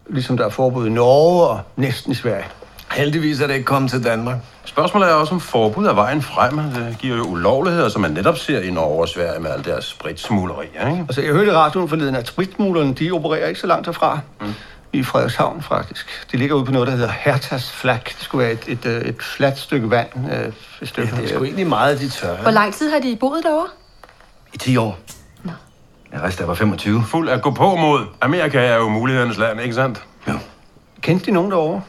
Speaker 9: ligesom der er forbud i Norge og næsten i Sverige.
Speaker 8: Heldigvis er det ikke kommet til Danmark.
Speaker 5: Spørgsmålet er også, om forbud er vejen frem. Det giver jo ulovligheder, som man netop ser i Norge og Sverige med al deres spritsmuglerier, ikke?
Speaker 9: Altså, jeg hørte i radioen forleden, at spritsmuglerne, de opererer ikke så langt herfra. Mm. I Frederikshavn, faktisk. De ligger ude på noget, der hedder Hertas Flak. Det skulle være et, et, øh, et fladt stykke vand. øh, Et stykke,
Speaker 8: Det er sgu egentlig meget, de
Speaker 10: Hvor
Speaker 8: tør.
Speaker 10: lang tid har de boet derovre?
Speaker 8: I 10 år. Jeg rejste, da jeg var 25.
Speaker 5: Fuld at gå på mod. Amerika er jo mulighedernes land, ikke sandt?
Speaker 9: Kendte de nogen derovre?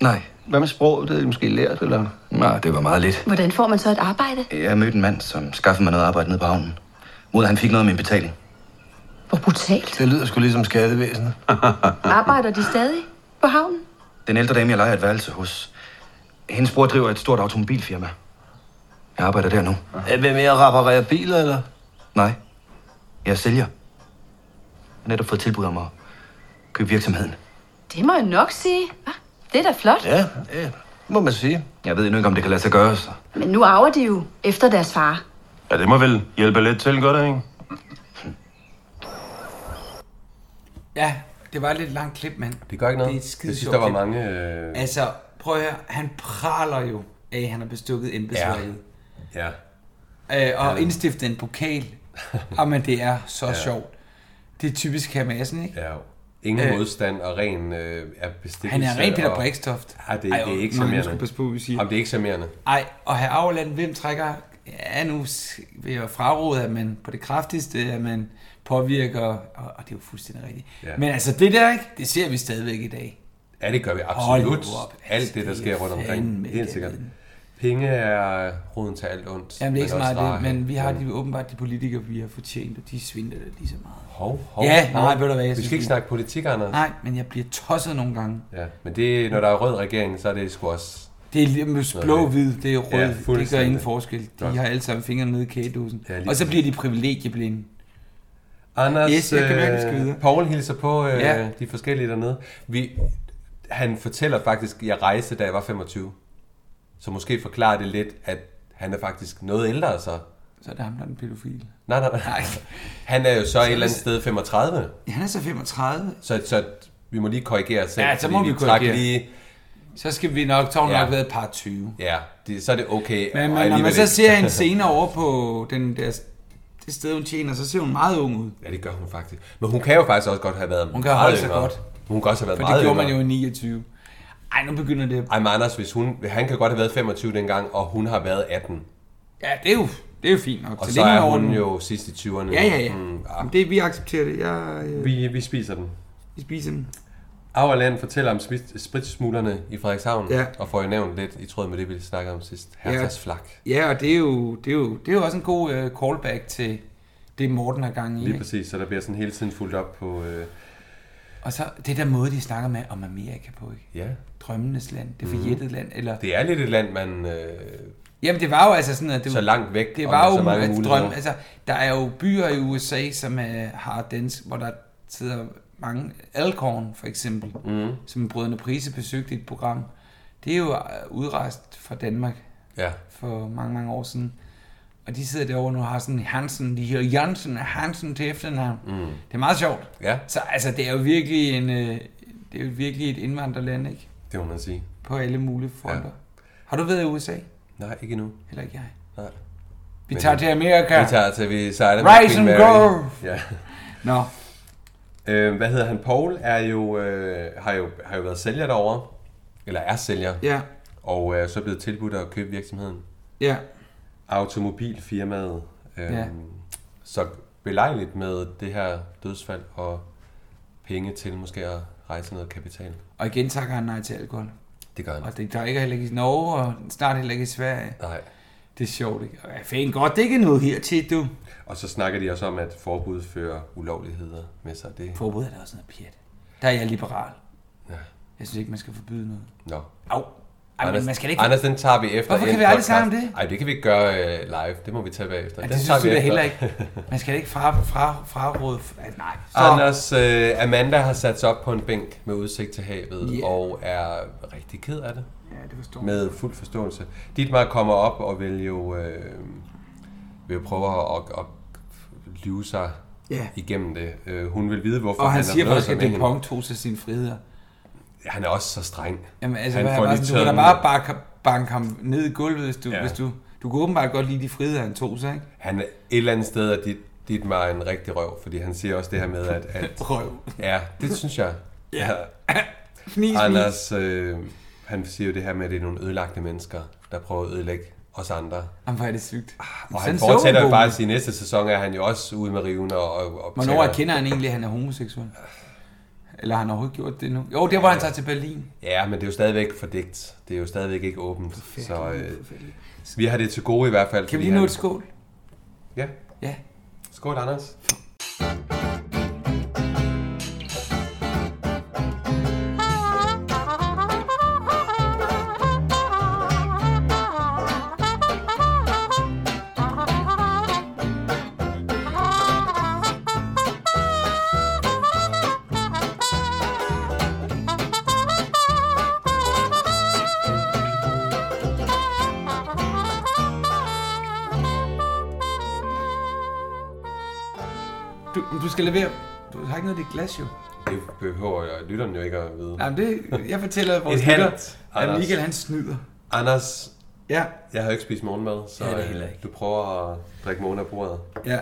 Speaker 8: Nej,
Speaker 9: Hvad med sproget? Det havde de måske lært, eller?
Speaker 8: nej, det var meget lidt.
Speaker 10: Hvordan får man så et arbejde?
Speaker 8: Jeg mødte en mand, som skaffede mig noget arbejde nede på havnen. Mod at han fik noget af min betaling.
Speaker 10: Hvor brutalt.
Speaker 8: Det lyder sgu ligesom skattevæsenet.
Speaker 10: Arbejder de stadig på havnen?
Speaker 8: Den ældre dame, jeg leger et værelse hos, hendes bror driver et stort automobilfirma. Jeg arbejder der nu. Hvem er reparerer biler, eller? Nej. Jeg er sælger. Jeg har netop fået tilbud om at købe virksomheden.
Speaker 10: Det må jeg nok sige. Hva? Det er da flot.
Speaker 8: Ja, det må man sige. Jeg ved endnu ikke, om det kan lade sig gøre, så.
Speaker 10: Men nu arver de jo efter deres far.
Speaker 5: Ja, det må vel hjælpe lidt til, gør det, ikke?
Speaker 2: Ja, det var et lidt langt klip, mand.
Speaker 3: Det gør ikke noget.
Speaker 2: Det er et
Speaker 3: jeg
Speaker 2: skide
Speaker 3: synes,
Speaker 2: sjovt
Speaker 3: der var
Speaker 2: klip.
Speaker 3: mange... Øh...
Speaker 2: Altså, prøv at høre, han praler jo af, at han har bestukket embedsværket.
Speaker 3: Ja.
Speaker 2: Ja. Øh, og indstiftet en
Speaker 3: [LAUGHS]
Speaker 2: pokal. Jamen, det er så ja. sjovt. Det er typisk her Madsen, ikke?
Speaker 3: Ja, ingen øh, modstand og ren øh, er bestikkelse.
Speaker 2: Han er ren Peter
Speaker 3: og-
Speaker 2: Brikstoft.
Speaker 3: Ja, det, det er ikke
Speaker 2: nu- Nu skal
Speaker 3: charmerende.
Speaker 2: vi passe på, hvad vi siger.
Speaker 3: Jamen, det er ikke charmerende.
Speaker 2: Ej, og herr Auerland, hvem trækker... Ja, nu s- vil jeg fraråde, at man på det kraftigste, at man påvirker... Og, og det er jo fuldstændig rigtigt. Ja.
Speaker 3: Ja.
Speaker 2: Men altså, det der, ikke? Det ser vi stadigvæk i dag.
Speaker 3: Ja, det gør vi
Speaker 2: Hold nu
Speaker 3: absolut.
Speaker 2: op, altså,
Speaker 3: alt det, der
Speaker 2: det
Speaker 3: sker
Speaker 2: er
Speaker 3: rundt omkring.
Speaker 2: fandme
Speaker 3: Helt
Speaker 2: ikke
Speaker 3: sikkert.
Speaker 2: andet.
Speaker 3: Penge er roden til alt ondt.
Speaker 2: Jamen, det er ikke så
Speaker 3: men også
Speaker 2: meget det,
Speaker 3: rarhed.
Speaker 2: men vi har de, åbenbart de politikere, vi har fortjent, og de svindler det lige så meget.
Speaker 3: Hov, hov,
Speaker 2: Ja,
Speaker 3: hov.
Speaker 2: nej, ved du hvad, jeg
Speaker 3: Vi
Speaker 2: synes,
Speaker 3: skal ikke
Speaker 2: vi-
Speaker 3: snakke politik, Anders.
Speaker 2: Nej, men jeg bliver tosset nogle gange.
Speaker 3: Ja, men det, når der er rød regering, så er det sgu også...
Speaker 2: Det er lidt blå-hvid, det er rød,
Speaker 3: Ja,
Speaker 2: ja, det gør
Speaker 3: fuldstændig.
Speaker 2: ingen forskel. De
Speaker 3: Godt.
Speaker 2: har alle sammen fingrene nede i kagedåsen.
Speaker 3: Ja, lige
Speaker 2: og så
Speaker 3: præcis.
Speaker 2: bliver de privilegieblinde.
Speaker 3: Anders,
Speaker 2: Yes, jeg kan mærke, vi skal videre.
Speaker 3: Paul hilser på øh,
Speaker 2: Ja.
Speaker 3: ja. de forskellige dernede. Vi, han fortæller faktisk, at jeg rejste, da jeg var 25. Så måske forklarer det lidt, at han er faktisk noget ældre, så.
Speaker 2: Så er det ham, der er den pædofile.
Speaker 3: Nej, nej, nej. Han er jo så, et eller andet sted 35.
Speaker 2: Ja, han er så 35.
Speaker 3: Så, så Vi må lige korrigere os selv.
Speaker 2: Ja, så
Speaker 3: fordi
Speaker 2: må vi
Speaker 3: trak
Speaker 2: korrigere.
Speaker 3: Lige,
Speaker 2: Så skal vi nok, så har hun
Speaker 3: Ja.
Speaker 2: nok været et par 20.
Speaker 3: ja, det, så er det okay.
Speaker 2: Men,
Speaker 3: og
Speaker 2: men når
Speaker 3: alligevel
Speaker 2: man så
Speaker 3: ikke.
Speaker 2: ser
Speaker 3: [LAUGHS]
Speaker 2: hende senere over på den der, det sted, hun tjener, så ser hun meget ung ud.
Speaker 3: Ja, det gør hun faktisk. Men hun kan jo faktisk også godt have været
Speaker 2: Hun kan holde sig godt.
Speaker 3: Hun kan også have været
Speaker 2: For
Speaker 3: meget
Speaker 2: det gjorde
Speaker 3: yngre.
Speaker 2: man jo i 29. Ej, nu begynder det.
Speaker 3: Ej, men Anders, hvis hun, han kan godt have været 25 dengang, og hun har været 18.
Speaker 2: Ja, det er jo, det er jo fint nok.
Speaker 3: Og så,
Speaker 2: Tillykke
Speaker 3: så
Speaker 2: med
Speaker 3: er hun
Speaker 2: ordenen.
Speaker 3: jo sidst i 20'erne.
Speaker 2: Ja, ja, ja.
Speaker 3: Mm, ah.
Speaker 2: Jamen, det, vi accepterer det. Jeg, øh,
Speaker 3: vi, vi spiser den.
Speaker 2: vi spiser den.
Speaker 3: Auerland fortæller om smit- spritsmuglerne i Frederikshavn,
Speaker 2: Ja.
Speaker 3: og får jo nævnt lidt i tråd med det, vi snakkede om sidst. Hertas ja. flak.
Speaker 2: Ja, og det er jo, det er jo, det er jo også en god øh, callback til det, Morten har gang i.
Speaker 3: Lige
Speaker 2: ikke?
Speaker 3: præcis, så der bliver sådan hele tiden fuldt op på... Øh,
Speaker 2: Og så det der måde, de snakker med om Amerika på, ikke?
Speaker 3: ja,
Speaker 2: Drømmenes land, det
Speaker 3: Mhm.
Speaker 2: forjættede land, eller...
Speaker 3: det er lidt et land, man... Øh,
Speaker 2: Jamen, det var jo altså sådan, at det
Speaker 3: Så
Speaker 2: var-
Speaker 3: langt væk,
Speaker 2: Det
Speaker 3: og
Speaker 2: var
Speaker 3: med
Speaker 2: jo
Speaker 3: så mange
Speaker 2: et
Speaker 3: muligheder.
Speaker 2: drøm. Altså, der er jo byer i USA, som er hard dance, hvor der sidder mange... Alcorn, for eksempel,
Speaker 3: Mhm.
Speaker 2: som Brødrene Prise besøgte i et program. Det er jo øh, udrejst fra Danmark
Speaker 3: Ja.
Speaker 2: for mange, mange år siden. Og de sidder derovre nu og har sådan Hansen, de hedder Jansen og Hansen til efternavn.
Speaker 3: Mm.
Speaker 2: Det er meget sjovt.
Speaker 3: Ja.
Speaker 2: Så altså, det er jo virkelig, en, øh, det er jo virkelig et indvandrerland, ikke?
Speaker 3: det må man sige.
Speaker 2: På alle mulige fronter. Ja. Har du været i USA?
Speaker 3: Nej, ikke endnu.
Speaker 2: Heller ikke jeg.
Speaker 3: Nej.
Speaker 2: Vi
Speaker 3: Men
Speaker 2: tager
Speaker 3: det-
Speaker 2: til Amerika.
Speaker 3: Vi tager til, vi sejler
Speaker 2: Rise
Speaker 3: Queen
Speaker 2: and
Speaker 3: Mary.
Speaker 2: go!
Speaker 3: Ja.
Speaker 2: Nå.
Speaker 3: Øh, hvad hedder han? Paul er jo, øh, har jo, har jo været sælger derovre. Eller er sælger.
Speaker 2: Ja.
Speaker 3: Og øh, så er blevet tilbudt at købe virksomheden.
Speaker 2: Ja.
Speaker 3: Automobilfirmaet. Øh,
Speaker 2: Ja.
Speaker 3: Så belejligt med det her dødsfald og penge til måske at rejse noget kapital.
Speaker 2: Og igen takker han nej til alkohol.
Speaker 3: Det gør han.
Speaker 2: Og det drikker heller ikke i Norge, og snart heller ikke i Sverige.
Speaker 3: Nej.
Speaker 2: Det er sjovt, ikke? Ja, fanden godt, det ikke er noget her til, du.
Speaker 3: Og så snakker de også om, at forbud fører ulovligheder med sig. Det...
Speaker 2: Forbud er da også noget pjat. Der er jeg liberal.
Speaker 3: Ja.
Speaker 2: Jeg synes ikke, man skal forbyde noget.
Speaker 3: Nå.
Speaker 2: Au. Ej, men
Speaker 3: Anders,
Speaker 2: man skal da ikke...
Speaker 3: Anders, den tager vi efter.
Speaker 2: Hvorfor kan
Speaker 3: en
Speaker 2: vi aldrig
Speaker 3: podcast.
Speaker 2: snakke om det?
Speaker 3: Ej, det kan vi ikke gøre øh, live. Det må vi tage bagefter.
Speaker 2: Ja,
Speaker 3: Den
Speaker 2: det
Speaker 3: tager
Speaker 2: synes
Speaker 3: vi
Speaker 2: du da
Speaker 3: efter.
Speaker 2: heller
Speaker 3: [LAUGHS]
Speaker 2: ikke. Man skal da ikke fra, fra, fraråde... Ej, nej.
Speaker 3: Så. Anders, øh, Amanda har sat sig op på en bænk med udsigt til havet
Speaker 2: Ja.
Speaker 3: yeah. og er rigtig ked af det.
Speaker 2: Ja, det forstår
Speaker 3: Med fuld forståelse. Dietmar kommer op og vil jo, øh, vil jo prøve at, at, at lyve sig
Speaker 2: Ja.
Speaker 3: igennem det. Øh, hun vil vide, hvorfor
Speaker 2: Og han
Speaker 3: har
Speaker 2: siger
Speaker 3: fornøjet
Speaker 2: faktisk,
Speaker 3: sig
Speaker 2: at
Speaker 3: med hende.
Speaker 2: Dupont tog sig sine friheder.
Speaker 3: Han er også så streng.
Speaker 2: Jamen, altså, han
Speaker 3: får
Speaker 2: bare
Speaker 3: lige
Speaker 2: sådan, du kan
Speaker 3: taget
Speaker 2: da
Speaker 3: den-
Speaker 2: bare banke, banke ham ned i gulvet, hvis du,
Speaker 3: Ja.
Speaker 2: ja. hvis du... Du kunne åbenbart godt lide de friheder, han tog sig, ikke?
Speaker 3: han er et eller andet sted, at dit, dit mig en rigtig røv, fordi han siger også det her med, at... at
Speaker 2: [LAUGHS] Røv.
Speaker 3: Ja, det synes jeg.
Speaker 2: Ja. Fnis,
Speaker 3: Anders, øh, han siger jo det her med, at det er nogle ødelagte mennesker, der prøver at ødelægge os andre.
Speaker 2: Jamen, hvor er det sygt.
Speaker 3: Og
Speaker 2: Sådan
Speaker 3: Ah, han
Speaker 2: så
Speaker 3: fortsætter jo
Speaker 2: hun bogen.
Speaker 3: faktisk i næste sæson, er han jo også ude med riven og... og, og
Speaker 2: Hvornår erkender han egentlig, at han er homoseksuel? Eller har han overhovedet gjort det nu? Jo, det var, han tager til Berlin.
Speaker 3: Ja, men det er jo stadigvæk fordækt. Det er jo stadigvæk ikke åbent. Så øh, vi har det til gode i hvert fald.
Speaker 2: Kan
Speaker 3: fordi
Speaker 2: vi lige nå
Speaker 3: han-
Speaker 2: et skål?
Speaker 3: Ja.
Speaker 2: Ja.
Speaker 3: Skål, Anders.
Speaker 2: Du, du skal levere... Du har ikke noget af dit glas, jo.
Speaker 3: Det behøver jeg, lytteren jo ikke at vide.
Speaker 2: Nej, men det, jeg fortæller vores
Speaker 3: Et halvt,
Speaker 2: lytter, at
Speaker 3: Anders.
Speaker 2: Michael han snyder.
Speaker 3: Anders,
Speaker 2: Ja.
Speaker 3: jeg har jo ikke spist morgenmad, så
Speaker 2: Ja, det er
Speaker 3: øh,
Speaker 2: heller ikke.
Speaker 3: du prøver at drikke morgen af bordet.
Speaker 2: Ja.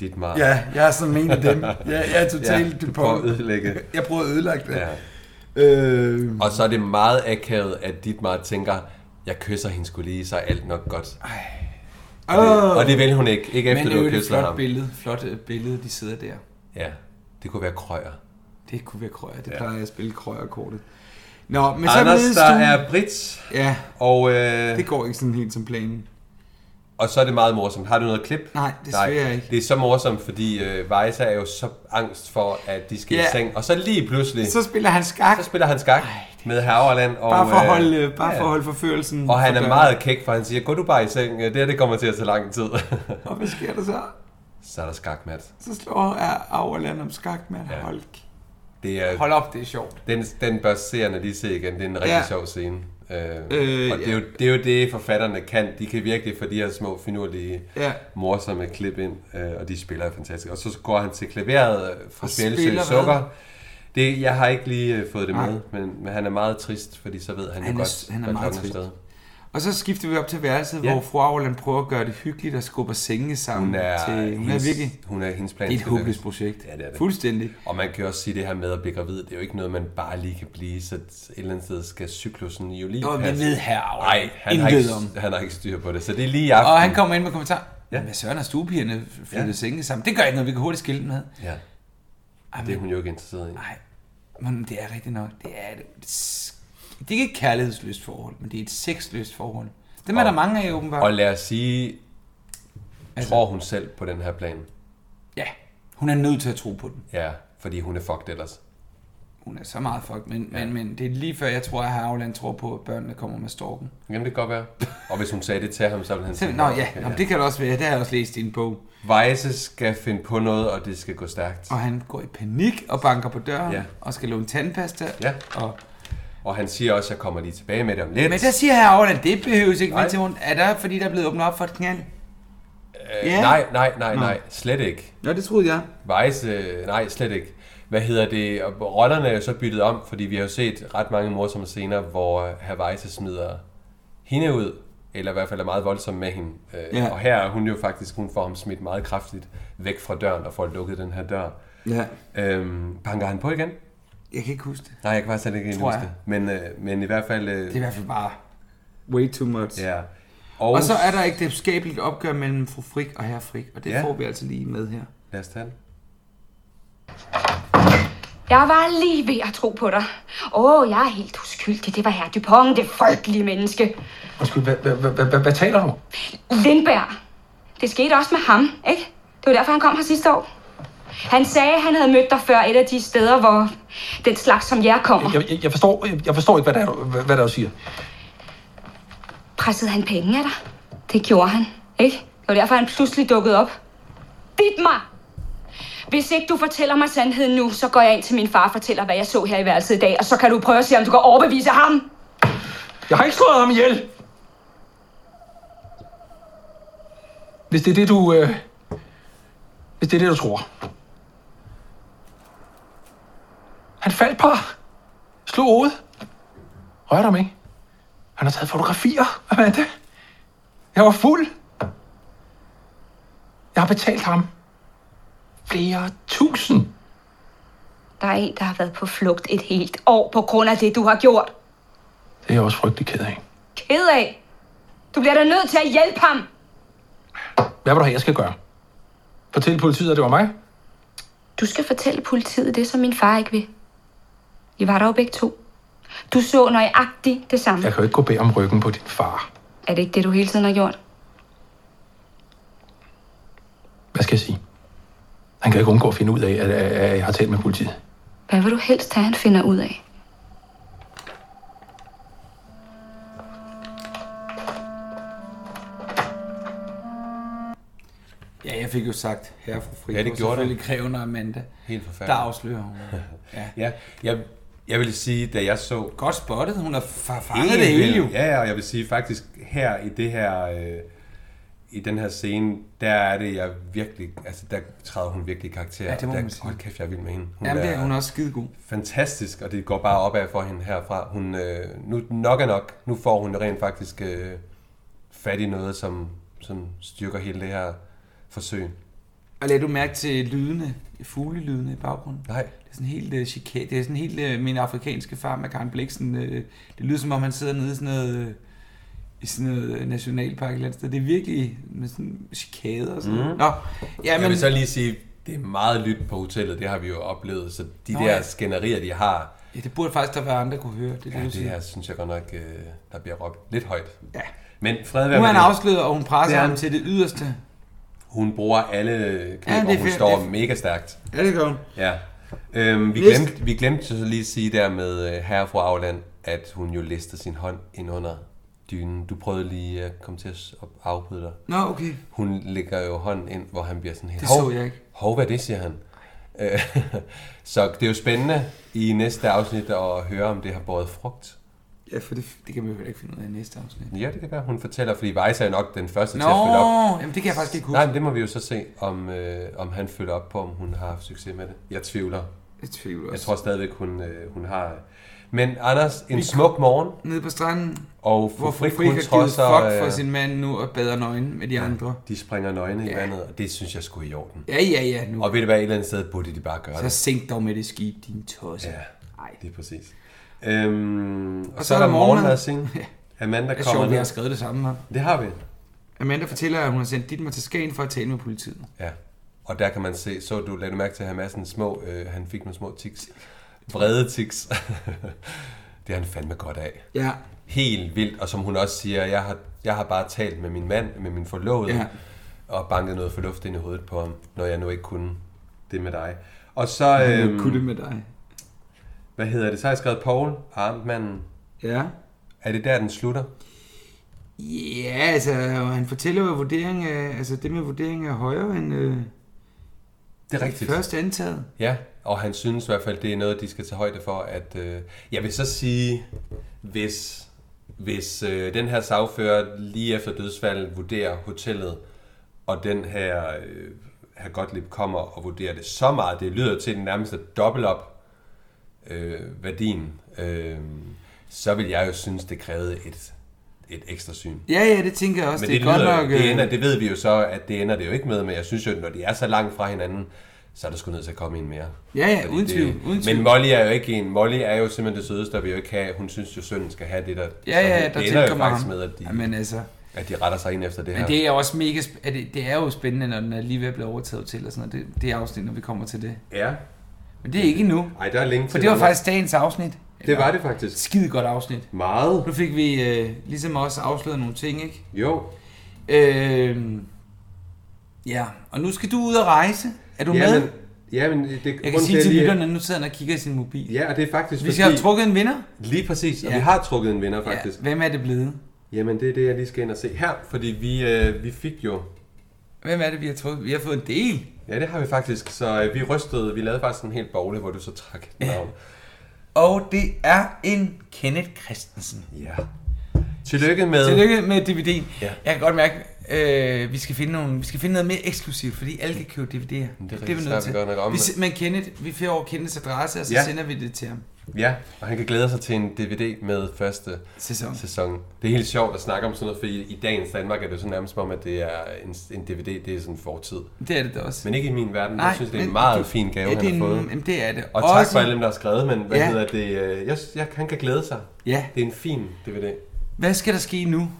Speaker 3: Dit mar.
Speaker 2: Ja, jeg er sådan en af dem. Jeg, jeg er totalt
Speaker 3: du prøver at ødelægge.
Speaker 2: Jeg prøver at ødelægge det.
Speaker 3: Ja.
Speaker 2: Øh,
Speaker 3: Og så er det meget akavet, at dit mar tænker, jeg kysser hende skulle lige, så er alt nok godt. Og det, og det vil hun ikke, ikke efter
Speaker 2: men det er
Speaker 3: du har
Speaker 2: jo et
Speaker 3: kysset
Speaker 2: flot
Speaker 3: ham.
Speaker 2: billede, flot øh, billede, de sidder der.
Speaker 3: Ja, det kunne være krøjer.
Speaker 2: Det kunne være krøjer. Det
Speaker 3: Ja.
Speaker 2: plejer jeg at spille krøjerkortet. Nå, men
Speaker 3: Men Anders,
Speaker 2: så
Speaker 3: der er Brits,
Speaker 2: Ja,
Speaker 3: og, øh,
Speaker 2: det går ikke sådan helt som planen.
Speaker 3: og så er det meget morsomt. Har du noget klip?
Speaker 2: Nej, desværre ikke.
Speaker 3: Det er så morsomt, fordi øh, Vejsa er jo så angst for, at de skal i
Speaker 2: Ja.
Speaker 3: seng. Og så lige pludselig,
Speaker 2: Så spiller han skak,
Speaker 3: så spiller han skak med Haverland. Og,
Speaker 2: bare for at holde,
Speaker 3: øh,
Speaker 2: øh, bare
Speaker 3: ja.
Speaker 2: for at holde forførelsen.
Speaker 3: Og han
Speaker 2: for
Speaker 3: er
Speaker 2: døren.
Speaker 3: meget kæk, for han siger, gå du bare i seng, det her det kommer til at tage lang tid. [LAUGHS]
Speaker 2: Og hvad sker der så?
Speaker 3: så er der skakmat.
Speaker 2: Så slår jeg Auerland om skak, mand.
Speaker 3: Ja.
Speaker 2: Hold,
Speaker 3: Det er,
Speaker 2: hold op, det er sjovt.
Speaker 3: den, den bør seerne lige se igen, det er en rigtig
Speaker 2: Ja.
Speaker 3: sjov scene. Øh, og
Speaker 2: Øh,
Speaker 3: det, er jo, det er jo det, forfatterne kan. De kan virkelig få de her små, finurlige,
Speaker 2: Ja.
Speaker 3: morsomme klip ind, øh, og de spiller fantastisk. Og så går han til klaveret øh, fra
Speaker 2: Og
Speaker 3: Bjælse
Speaker 2: spiller
Speaker 3: Sukker. Det, jeg har ikke lige øh, fået det
Speaker 2: Nej.
Speaker 3: med, men, men han er meget trist, fordi så ved han,
Speaker 2: Han
Speaker 3: jo
Speaker 2: er-
Speaker 3: godt,
Speaker 2: han er
Speaker 3: hvad
Speaker 2: meget
Speaker 3: klokken
Speaker 2: trist.
Speaker 3: slået.
Speaker 2: Og så skifter vi op til værelset,
Speaker 3: Ja.
Speaker 2: ja. hvor fru Auerland prøver at gøre det hyggeligt og skubber senge sammen.
Speaker 3: Hun er,
Speaker 2: til, hun er
Speaker 3: hendes-
Speaker 2: virkelig...
Speaker 3: hun er hendes plan.
Speaker 2: Det er et
Speaker 3: skal
Speaker 2: håbløst
Speaker 3: lykkes.
Speaker 2: projekt.
Speaker 3: Ja, det er det.
Speaker 2: Fuldstændig.
Speaker 3: Og man kan jo også sige det her med at blive gravid, det er jo ikke noget, man bare lige kan blive, så et eller andet sted skal cyklusen jo lige
Speaker 2: Jo, det ved herre Auer
Speaker 3: Nej, han, har
Speaker 2: intet
Speaker 3: ikke,
Speaker 2: om.
Speaker 3: han har ikke styr på det, så det er lige i aften.
Speaker 2: Og han kommer ind med kommentar. Ja.
Speaker 3: Ja.
Speaker 2: Hvad søren har stuepigerne flyttet
Speaker 3: Ja.
Speaker 2: ja. senge sammen? Det gør ikke noget, vi kan hurtigt skille dem ad.
Speaker 3: Ja.
Speaker 2: Ej,
Speaker 3: Det er
Speaker 2: men-
Speaker 3: hun jo ikke interesseret i.
Speaker 2: Nej, men det er rigtigt nok. Det er, et- det er ikke et kærlighedsløst forhold, men det er et sexløst forhold. Dem er
Speaker 3: Og-
Speaker 2: der mange af, åbenbart.
Speaker 3: Og lad os sige, altså, tror hun selv på den her plan?
Speaker 2: Ja, hun er nødt til at tro på den.
Speaker 3: Ja, fordi hun er fucked ellers.
Speaker 2: Hun er så meget fucked, men, ja. men, men det er lige før, jeg tror, at Havland tror på, at børnene kommer med storken.
Speaker 3: Jamen, det kan godt være. Og hvis hun sagde det til ham, så ville han
Speaker 2: Så, nå ja, nå, men det kan det også være. Det har jeg også læst i en bog.
Speaker 3: Vejse skal finde på noget, og det skal gå stærkt.
Speaker 2: Og han går i panik og banker på døren
Speaker 3: Ja.
Speaker 2: ja. og skal låne tandpasta.
Speaker 3: Ja.
Speaker 2: Og,
Speaker 3: og han siger også, at jeg kommer lige tilbage med det om lidt.
Speaker 2: Men der siger herre Auerland, det behøves ikke.
Speaker 3: Nej.
Speaker 2: Men til hun, er der, fordi der er blevet åbnet op for et knald?
Speaker 3: Øh,
Speaker 2: Ja.
Speaker 3: Nej, nej, nej,
Speaker 2: Nå.
Speaker 3: nej. Slet ikke.
Speaker 2: Ja, det troede jeg.
Speaker 3: Vejse, øh, nej, slet ikke. Hvad hedder det? Og rollerne er jo så byttet om, fordi vi har jo set ret mange morsomme scener, hvor øh, herr Vejse smider hende ud, eller i hvert fald er meget voldsom med hende. Ja.
Speaker 2: Ja.
Speaker 3: Og her er hun jo faktisk, hun får ham smidt meget kraftigt væk fra døren, og får lukket den her dør.
Speaker 2: Ja.
Speaker 3: Øhm, banker han på igen?
Speaker 2: Jeg kan ikke huske det.
Speaker 3: Nej, jeg kan faktisk slet ikke
Speaker 2: Tror
Speaker 3: huske det. Men, øh, men i hvert fald... Øh, det
Speaker 2: er i hvert fald bare way too much.
Speaker 3: Ja.
Speaker 2: Og, og så er der ikke det skabeligt opgør mellem fru Frik og herre Frik, og det
Speaker 3: Ja.
Speaker 2: ja. får vi altså lige med her.
Speaker 3: Lad os tage den.
Speaker 11: Jeg var lige ved at tro på dig. Åh, oh, jeg er helt uskyldig. Det var herr Dupont, det frygtelige menneske.
Speaker 8: Undskyld, hvad, hvad, hvad, hvad, hvad, hvad taler du om?
Speaker 11: Lindberg. Det skete også med ham, ikke? Det var derfor, han kom her sidste år. Han sagde, at han havde mødt dig før et af de steder, hvor den slags som jer kommer.
Speaker 8: Jeg, jeg, jeg, forstår, jeg, jeg forstår ikke, hvad der er, du- hvad, hvad der er, du siger.
Speaker 11: Pressede han penge af dig? Det gjorde han, ikke? Det var derfor, han pludselig dukkede op. Bid mig! Hvis ikke du fortæller mig sandheden nu, så går jeg ind til min far og fortæller, hvad jeg så her i værelset i dag, og så kan du prøve at se, om du kan overbevise ham.
Speaker 8: Jeg har ikke slået ham ihjel! Hvis det er det, du... Øh, hvis det er det, du tror. Han faldt på. Slog hovedet. Rørte ham ikke. Han har taget fotografier. Hvad er det? Jeg var fuld. Jeg har betalt ham. Flere tusind.
Speaker 11: Der er en, der har været på flugt et helt år på grund af det, du har gjort.
Speaker 8: Det er jeg også frygtelig ked af.
Speaker 11: Ked af. Du bliver da nødt til at hjælpe ham.
Speaker 8: Hvad vil du have, jeg skal gøre? Fortæl politiet, at det var mig.
Speaker 11: Du skal fortælle politiet det, som min far ikke vil. I var der jo begge to. Du så nøjagtigt det samme.
Speaker 8: Jeg kan jo ikke gå bag om ryggen på din far.
Speaker 11: Er det ikke det, du hele tiden har gjort?
Speaker 8: Hvad skal jeg sige? Han kan ikke undgå at finde ud af, at, at, at jeg har talt med politiet.
Speaker 11: Hvad vil du helst have, han finder ud af?
Speaker 2: Ja, jeg fik jo sagt herre fru Frik.
Speaker 3: Ja, det
Speaker 2: og
Speaker 3: gjorde
Speaker 2: selvfølgelig Greven og Amanda.
Speaker 3: Helt forfærdeligt.
Speaker 2: Der afslører
Speaker 3: [LAUGHS]
Speaker 2: hun. ja.
Speaker 3: ja. Jeg, jeg vil sige, da jeg så...
Speaker 2: Godt spottet. Hun har fa- fanget det hele jo.
Speaker 3: Ja, ja, og jeg vil sige faktisk, her i det her... Øh, i den her scene, der er det, jeg virkelig... Altså, der træder hun virkelig i karakter.
Speaker 2: Ja, det må
Speaker 3: der,
Speaker 2: man sige.
Speaker 3: Hold kæft, jeg er vild med hende.
Speaker 2: Jamen, det er hun også skide god.
Speaker 3: Fantastisk, og det går bare opad for hende herfra. Hun, øh, nu nok er nok. Nu får hun rent faktisk øh, fat i noget, som, som styrker hele det her forsøg.
Speaker 2: Og lagde du mærke til lydene, fuglelydene i baggrunden?
Speaker 3: Nej.
Speaker 2: Det er sådan helt uh, chikane. Det er sådan helt uh, min afrikanske far med Karen Bliksen. Uh, det lyder som om, han sidder nede i sådan noget, uh, i sådan noget øh, nationalpark eller et andet sted. Det er virkelig med sådan chikader og sådan
Speaker 3: Mm.
Speaker 2: mm. Nå,
Speaker 3: Ja, men...
Speaker 2: jamen,
Speaker 3: Jeg vil så lige sige, det er meget lyt på hotellet, det har vi jo oplevet, så de Nå,
Speaker 2: Nå,
Speaker 3: der ja.
Speaker 2: ja.
Speaker 3: skænderier, de har,
Speaker 2: Ja, det burde faktisk der være andre, der kunne høre. Det,
Speaker 3: ja,
Speaker 2: er du
Speaker 3: det
Speaker 2: siger.
Speaker 3: her synes jeg godt nok, øh, der bliver råbt lidt højt.
Speaker 2: Ja.
Speaker 3: Men fred være
Speaker 2: Nu er
Speaker 3: med
Speaker 2: han
Speaker 3: det.
Speaker 2: afsløret, og hun presser
Speaker 3: Det er
Speaker 2: ham til det yderste.
Speaker 3: Hun bruger alle knep,
Speaker 2: Ja, det
Speaker 3: ja,
Speaker 2: er
Speaker 3: og hun
Speaker 2: fair,
Speaker 3: står
Speaker 2: det er-
Speaker 3: mega stærkt.
Speaker 2: Ja, det gør hun.
Speaker 3: Ja. Øhm, vi,
Speaker 2: List.
Speaker 3: glemte, vi glemte så lige at sige der med øh, herre og fru Auland, at hun jo listede sin hånd ind under dynen. Du prøvede lige at komme til at s- at afbryde dig.
Speaker 2: Nå, okay.
Speaker 3: Hun lægger jo hånden ind, hvor han bliver sådan helt...
Speaker 2: Det
Speaker 3: "Hov,
Speaker 2: så jeg ikke."
Speaker 3: Hov, hvad er det, siger han. Øh, [LAUGHS] så det er jo spændende i næste afsnit at høre, om det har båret frugt.
Speaker 2: Ja, for det, det kan vi jo heller ikke finde ud af i næste afsnit.
Speaker 3: Ja, det kan være, hun fortæller, fordi Vejse er nok den første til
Speaker 2: Nå,
Speaker 3: at følge op.
Speaker 2: jamen, det kan jeg faktisk ikke huske.
Speaker 3: Nej, men det må vi jo så se, om, øh, om han følger op på, om hun har haft succes med det. Jeg tvivler.
Speaker 2: Jeg tvivler
Speaker 3: Jeg tror stadigvæk, hun, øh, hun har... Men Anders, en smuk morgen.
Speaker 2: Nede på stranden.
Speaker 3: Og fru
Speaker 2: Hvor fru
Speaker 3: Frik,
Speaker 2: Frik
Speaker 3: hun
Speaker 2: har givet
Speaker 3: trodser...
Speaker 2: fuck for
Speaker 3: øh,
Speaker 2: sin mand nu og bader nøgen med de andre.
Speaker 3: De springer nøgne i vandet, og det synes jeg skulle i orden.
Speaker 2: Ja, ja, ja, nu.
Speaker 3: Og ved du hvad, et eller andet sted burde de bare gøre
Speaker 2: Så
Speaker 3: det.
Speaker 2: sænk dog med det skib, din tosse.
Speaker 3: Ja, det er præcis. Øhm, og,
Speaker 2: så
Speaker 3: så,
Speaker 2: er
Speaker 3: er
Speaker 2: der
Speaker 3: der
Speaker 2: morgenmad. [LAUGHS]
Speaker 3: morgenmadsing.
Speaker 2: Ja.
Speaker 3: Amanda
Speaker 2: Det er
Speaker 3: kommer
Speaker 2: sjovt, vi
Speaker 3: ned.
Speaker 2: har skrevet det samme her.
Speaker 3: Det har vi.
Speaker 2: Amanda fortæller, at hun har sendt Dietmar til Skagen for at tale med politiet.
Speaker 3: Ja, og der kan man se, så du lagde du mærke til at Hamassen små, øh, han fik nogle små tiks. Vrede tiks. [LAUGHS] det er han fandme godt af.
Speaker 2: Ja.
Speaker 3: Helt vildt, og som hun også siger, jeg har, jeg har bare talt med min mand, med min forlovede,
Speaker 2: Ja.
Speaker 3: ja. og banket noget fornuft ind i hovedet på ham, når jeg nu ikke kunne det med dig. Og så...
Speaker 2: Han
Speaker 3: øhm,
Speaker 2: ikke kunne det med dig.
Speaker 3: Hvad hedder det? Så har jeg skrevet Paul, armanden.
Speaker 2: Ja.
Speaker 3: Er det der, den slutter?
Speaker 2: Ja, altså, og han fortæller jo, at vurdering af, altså, det med vurdering er højere end øh,
Speaker 3: Det er rigtigt.
Speaker 2: først antaget.
Speaker 3: Ja, og han synes i hvert fald, det er noget, de skal tage højde for. At, øh, jeg vil så sige, hvis, hvis øh, den her sagfører lige efter dødsfaldet vurderer hotellet, og den her, øh, her Gottlieb kommer og vurderer det så meget, det lyder til den nærmeste dobbelt op øh, værdien, øh, så vil jeg jo synes, det krævede et, et ekstra syn.
Speaker 2: Ja, ja, det tænker jeg også.
Speaker 3: Men
Speaker 2: det,
Speaker 3: det,
Speaker 2: er godt
Speaker 3: lyder, nok,
Speaker 2: nok...
Speaker 3: det,
Speaker 2: øh,
Speaker 3: ender, det ved vi jo så, at det ender det jo ikke med, men jeg synes jo, at når de er så langt fra hinanden, så er der sgu nødt til at komme en mere.
Speaker 2: Ja, ja,
Speaker 3: Fordi
Speaker 2: uden tvivl,
Speaker 3: det,
Speaker 2: uden tvivl.
Speaker 3: Men Molly er jo ikke en. Molly er jo simpelthen det sødeste, og vil jo ikke have. Hun synes jo, sønnen skal have det der.
Speaker 2: Ja, ja,
Speaker 3: så hun-
Speaker 2: der
Speaker 3: det ender jo
Speaker 2: tilkommer
Speaker 3: faktisk
Speaker 2: ham.
Speaker 3: med, at de,
Speaker 2: Jamen, altså.
Speaker 3: at de retter sig ind efter det her.
Speaker 2: Men det er også mega... sp- Er det, det er jo spændende, når den er lige ved at blive overtaget til, og sådan noget. Det, det er afsnit, når vi kommer til det.
Speaker 3: Ja.
Speaker 2: Men det er ikke endnu.
Speaker 3: Ej, der er længe
Speaker 2: For
Speaker 3: til,
Speaker 2: det var
Speaker 3: Anders.
Speaker 2: faktisk dagens afsnit.
Speaker 3: Det var det faktisk.
Speaker 2: Skide godt afsnit.
Speaker 3: Meget.
Speaker 2: Nu fik vi øh, ligesom også afsløret nogle ting, ikke?
Speaker 3: Jo.
Speaker 2: Øh, ja, og nu skal du ud og rejse. Er du
Speaker 3: Ja,
Speaker 2: med?
Speaker 3: men- ja, men det-
Speaker 2: jeg kan
Speaker 3: grunden til,
Speaker 2: sige
Speaker 3: at
Speaker 2: til
Speaker 3: jeg lige-
Speaker 2: lytterne, nu sidder han og kigger i sin mobil.
Speaker 3: Ja, og det er faktisk
Speaker 2: Vi skal have
Speaker 3: fordi-
Speaker 2: trukket en vinder.
Speaker 3: Lige præcis, og
Speaker 2: Ja.
Speaker 3: vi har trukket en vinder faktisk.
Speaker 2: Ja, hvem er det blevet?
Speaker 3: Jamen, det er det, jeg lige skal ind og se her, fordi vi, øh, vi fik jo...
Speaker 2: Hvem er det, vi har trukket? Vi har fået en del.
Speaker 3: Ja, det har vi faktisk. Så øh, vi rystede, vi lavede faktisk en helt bogle, hvor du så trak et navn.
Speaker 2: Og det er en Kenneth Christensen.
Speaker 3: Ja. Tillykke med...
Speaker 2: Tillykke med DVD'en.
Speaker 3: Ja.
Speaker 2: Jeg kan godt mærke, øh, vi skal finde nogle, vi skal finde noget mere eksklusivt, fordi alle kan købe DVD'er. Det er,
Speaker 3: rigtigt, så er vi godt nok om
Speaker 2: vi,
Speaker 3: det.
Speaker 2: s- men Kenneth, vi får Kenneths adresse, og så ja.
Speaker 3: Ja.
Speaker 2: sender vi det til ham.
Speaker 3: Ja, og han kan glæde sig til en DVD med første
Speaker 2: sæson.
Speaker 3: sæson. Det er helt sjovt at snakke om sådan noget, fordi i dagens Danmark er det jo så nærmest som om, at det er en, en DVD, det er sådan fortid.
Speaker 2: Det er det da også.
Speaker 3: Men ikke i min verden.
Speaker 2: Nej,
Speaker 3: jeg synes, det er
Speaker 2: men
Speaker 3: en meget
Speaker 2: du-
Speaker 3: fin gave,
Speaker 2: ja,
Speaker 3: han
Speaker 2: det er
Speaker 3: har
Speaker 2: en-
Speaker 3: fået.
Speaker 2: jamen, det er det.
Speaker 3: Og tak
Speaker 2: Også-
Speaker 3: for alle dem, der har skrevet, men hvad
Speaker 2: Ja.
Speaker 3: ja. hedder det? øh, Jeg, jeg, han kan glæde sig.
Speaker 2: Ja.
Speaker 3: Det er en fin DVD.
Speaker 2: Hvad skal der ske nu?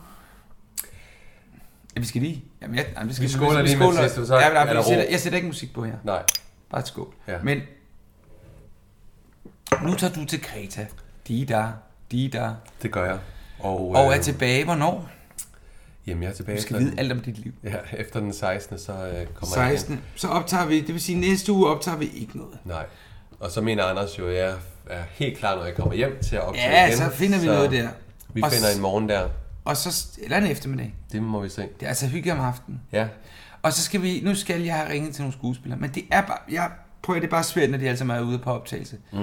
Speaker 2: Ja, vi skal lige. Jamen, jeg, jamen, vi, skal,
Speaker 3: Vi skåler lige med sidste, så
Speaker 2: ja, men,
Speaker 3: er
Speaker 2: jeg,
Speaker 3: der
Speaker 2: jeg,
Speaker 3: ro.
Speaker 2: sætter, jeg sætter ikke musik på her.
Speaker 3: Nej.
Speaker 2: Bare et skål.
Speaker 3: Ja.
Speaker 2: Men nu tager du til Kreta. De der, de der.
Speaker 3: Det gør jeg. Og,
Speaker 2: Og er
Speaker 3: øh,
Speaker 2: tilbage, hvornår?
Speaker 3: Jamen, jeg er tilbage.
Speaker 2: Du skal
Speaker 3: efter
Speaker 2: vide
Speaker 3: den-
Speaker 2: alt om dit liv.
Speaker 3: Ja, efter den 16. så øh, kommer jeg hjem.
Speaker 2: 16. Så optager vi, det vil sige, næste uge optager vi ikke noget.
Speaker 3: Nej. Og så mener Anders jo, at jeg er helt klar, når jeg kommer hjem til at optage
Speaker 2: Ja,
Speaker 3: igen.
Speaker 2: så finder vi noget der.
Speaker 3: Vi
Speaker 2: Og
Speaker 3: finder
Speaker 2: s-
Speaker 3: en morgen der.
Speaker 2: Og så, eller en eftermiddag.
Speaker 3: Det må vi se.
Speaker 2: Det er altså hygge om aftenen.
Speaker 3: Ja.
Speaker 2: Og så skal vi, nu skal jeg have ringet til nogle skuespillere, men det er bare, jeg prøver, det er bare svært, når de alle sammen er altså ude på optagelse.
Speaker 3: Mm.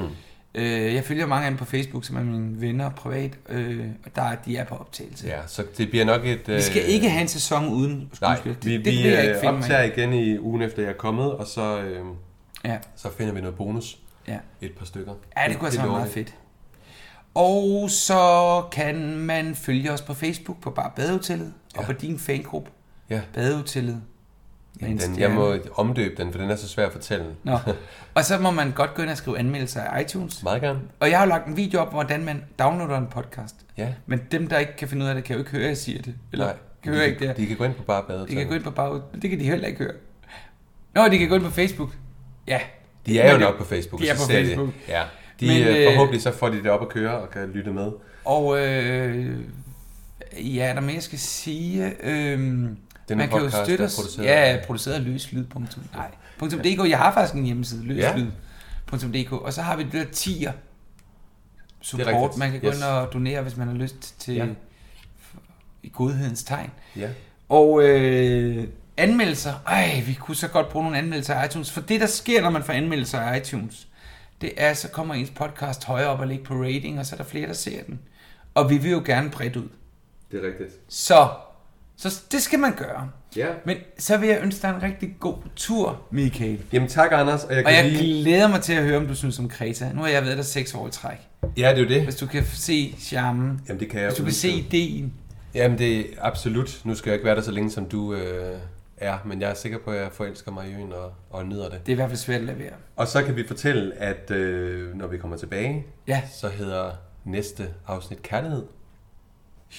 Speaker 2: Øh, jeg følger mange af dem på Facebook, som er mine venner privat, øh, og der, er- de er på optagelse.
Speaker 3: Ja, så det bliver nok et... øh,
Speaker 2: Vi skal ikke have en sæson uden
Speaker 3: Nej,
Speaker 2: skuespillere.
Speaker 3: vi,
Speaker 2: det,
Speaker 3: vi
Speaker 2: det vil jeg
Speaker 3: øh,
Speaker 2: ikke finde mig
Speaker 3: optager
Speaker 2: i.
Speaker 3: igen i ugen efter, jeg er kommet, og så, øh,
Speaker 2: Ja.
Speaker 3: så finder vi noget bonus.
Speaker 2: Ja.
Speaker 3: Et par stykker.
Speaker 2: Ja, det kunne altså være
Speaker 3: lover
Speaker 2: meget
Speaker 3: vi.
Speaker 2: fedt. Og så kan man følge os på Facebook på bare Badehotellet og på din fangruppe.
Speaker 3: Ja.
Speaker 2: Badehotellet. Med en
Speaker 3: Den, jeg
Speaker 2: stjerne.
Speaker 3: må omdøbe den, for den er så svær at fortælle.
Speaker 2: Nå. Og så må man godt gå ind og skrive anmeldelser i
Speaker 3: [LAUGHS]
Speaker 2: iTunes.
Speaker 3: Meget gerne.
Speaker 2: Og jeg har jo lagt en video op, hvordan man downloader en podcast.
Speaker 3: Ja.
Speaker 2: Men dem, der ikke kan finde ud af det, kan jo ikke høre, at jeg siger det.
Speaker 3: Nej,
Speaker 2: kan
Speaker 3: de
Speaker 2: høre
Speaker 3: kan-
Speaker 2: ikke det.
Speaker 3: de kan gå ind på bare badet.
Speaker 2: De kan gå ind på bare Det kan de heller ikke høre. Nå, de kan gå ind på Facebook. Ja.
Speaker 3: De er jo
Speaker 2: Men det-
Speaker 3: nok på Facebook.
Speaker 2: De er
Speaker 3: så
Speaker 2: på
Speaker 3: ser
Speaker 2: Facebook.
Speaker 3: Det. Ja. De,
Speaker 2: Men,
Speaker 3: Men,
Speaker 2: øh,
Speaker 3: øh, forhåbentlig så får de det op at køre og kan lytte med.
Speaker 2: Og øh, ja, er der mere, jeg skal sige? Øh, man kan jo
Speaker 3: podcast
Speaker 2: støtte
Speaker 3: er
Speaker 2: os.
Speaker 3: produceret
Speaker 2: ja,
Speaker 3: af-
Speaker 2: produceret af løslyd. punktum- Nej. punktum .dk. Jeg har faktisk en hjemmeside,
Speaker 3: Ja.
Speaker 2: løslyd.dk. Og så har vi det der tier
Speaker 3: Det er
Speaker 2: support.
Speaker 3: rigtigt.
Speaker 2: Man kan gå
Speaker 3: Yes.
Speaker 2: ind og donere, hvis man har lyst til
Speaker 3: Ja.
Speaker 2: i godhedens tegn.
Speaker 3: Ja.
Speaker 2: Og øh, anmeldelser. Ej, vi kunne så godt bruge nogle anmeldelser i iTunes. For det, der sker, når man får anmeldelser i iTunes, det er, så kommer ens podcast højere op og ligger på rating, og så er der flere, der ser den. Og vi vil jo gerne bredt ud.
Speaker 3: Det er rigtigt.
Speaker 2: Så Så det skal man gøre.
Speaker 3: Ja.
Speaker 2: Men så vil jeg ønske dig en rigtig god tur, Michael.
Speaker 3: Jamen tak, Anders. Og jeg,
Speaker 2: Og
Speaker 3: kan
Speaker 2: jeg
Speaker 3: lige...
Speaker 2: glæder mig til at høre, om du synes om Kreta. Nu har jeg været der seks år i træk.
Speaker 3: Ja, det er jo det.
Speaker 2: Hvis du kan se charmen.
Speaker 3: Jamen, det kan jeg
Speaker 2: Hvis du kan
Speaker 3: uden
Speaker 2: se
Speaker 3: tvivl.
Speaker 2: ideen.
Speaker 3: Jamen, det er absolut. Nu skal jeg ikke være der så længe, som du øh, er, men jeg er sikker på, at jeg forelsker mig i øen og, og nyder det.
Speaker 2: Det er i hvert fald svært at lade være.
Speaker 3: Og så kan vi fortælle, at øh, når vi kommer tilbage,
Speaker 2: Ja.
Speaker 3: så hedder næste afsnit Kærlighed.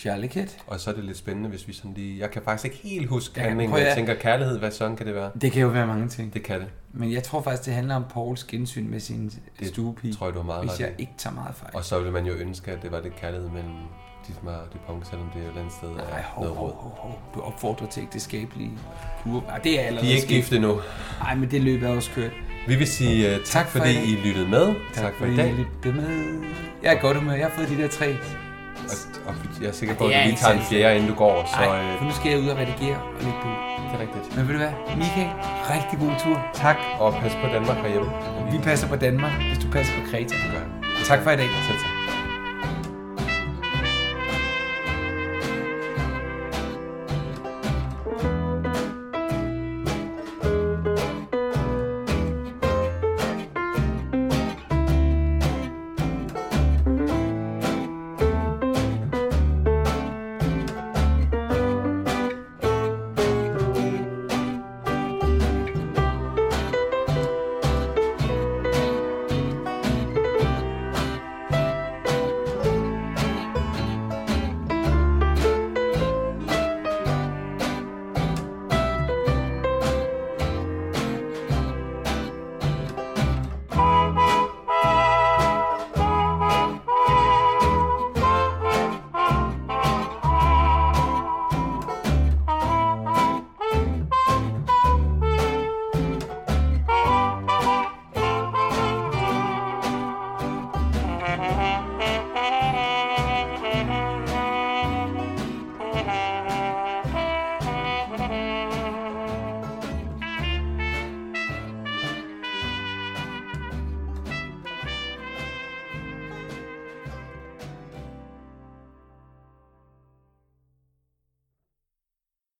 Speaker 2: Kærlighed.
Speaker 3: Og så er det lidt spændende, hvis vi sådan lige... Jeg kan faktisk ikke helt huske
Speaker 2: Ja,
Speaker 3: handlingen,
Speaker 2: prøv
Speaker 3: men jeg
Speaker 2: at-
Speaker 3: tænker kærlighed, hvad sådan kan det være?
Speaker 2: Det kan jo være mange ting.
Speaker 3: Det kan det.
Speaker 2: Men jeg tror faktisk, det handler om Pauls gensyn med sin
Speaker 3: Det
Speaker 2: stuepige.
Speaker 3: tror jeg, du har meget
Speaker 2: Hvis
Speaker 3: ret
Speaker 2: jeg
Speaker 3: i.
Speaker 2: ikke tager meget fejl.
Speaker 3: Og så ville man jo ønske, at det var lidt kærlighed mellem Dietmar og Dupont, selvom det er et eller andet sted
Speaker 2: Ej,
Speaker 3: er
Speaker 2: hov,
Speaker 3: noget
Speaker 2: hov,
Speaker 3: råd.
Speaker 2: hov, hov. Du opfordrer til ægteskabelige kur. Ej, det er allerede
Speaker 3: De er ikke
Speaker 2: sket.
Speaker 3: gift endnu.
Speaker 2: Nej, men det løb er også kørt.
Speaker 3: Vi vil sige øh, tak, tak
Speaker 2: for
Speaker 3: fordi
Speaker 2: i dag.
Speaker 3: I lyttede med. Tak, tak for i dag.
Speaker 2: I lyttede med. Jeg er i godt humør. Jeg har fået de der tre.
Speaker 3: Og, og jeg er sikker
Speaker 2: Ej,
Speaker 3: på, at
Speaker 2: det er
Speaker 3: du lige
Speaker 2: ikke
Speaker 3: tager en
Speaker 2: så-
Speaker 3: fjerde, inden du går. Så,
Speaker 2: Nej,
Speaker 3: øh,
Speaker 2: for nu skal jeg ud og redigere og lægge på.
Speaker 3: Det er rigtigt.
Speaker 2: Men ved du hvad, Michael, rigtig god tur.
Speaker 3: Tak, og pas på Danmark herhjemme.
Speaker 2: Vi passer på Danmark, hvis du passer på Kreta. Tak for i dag.
Speaker 3: Selv tak.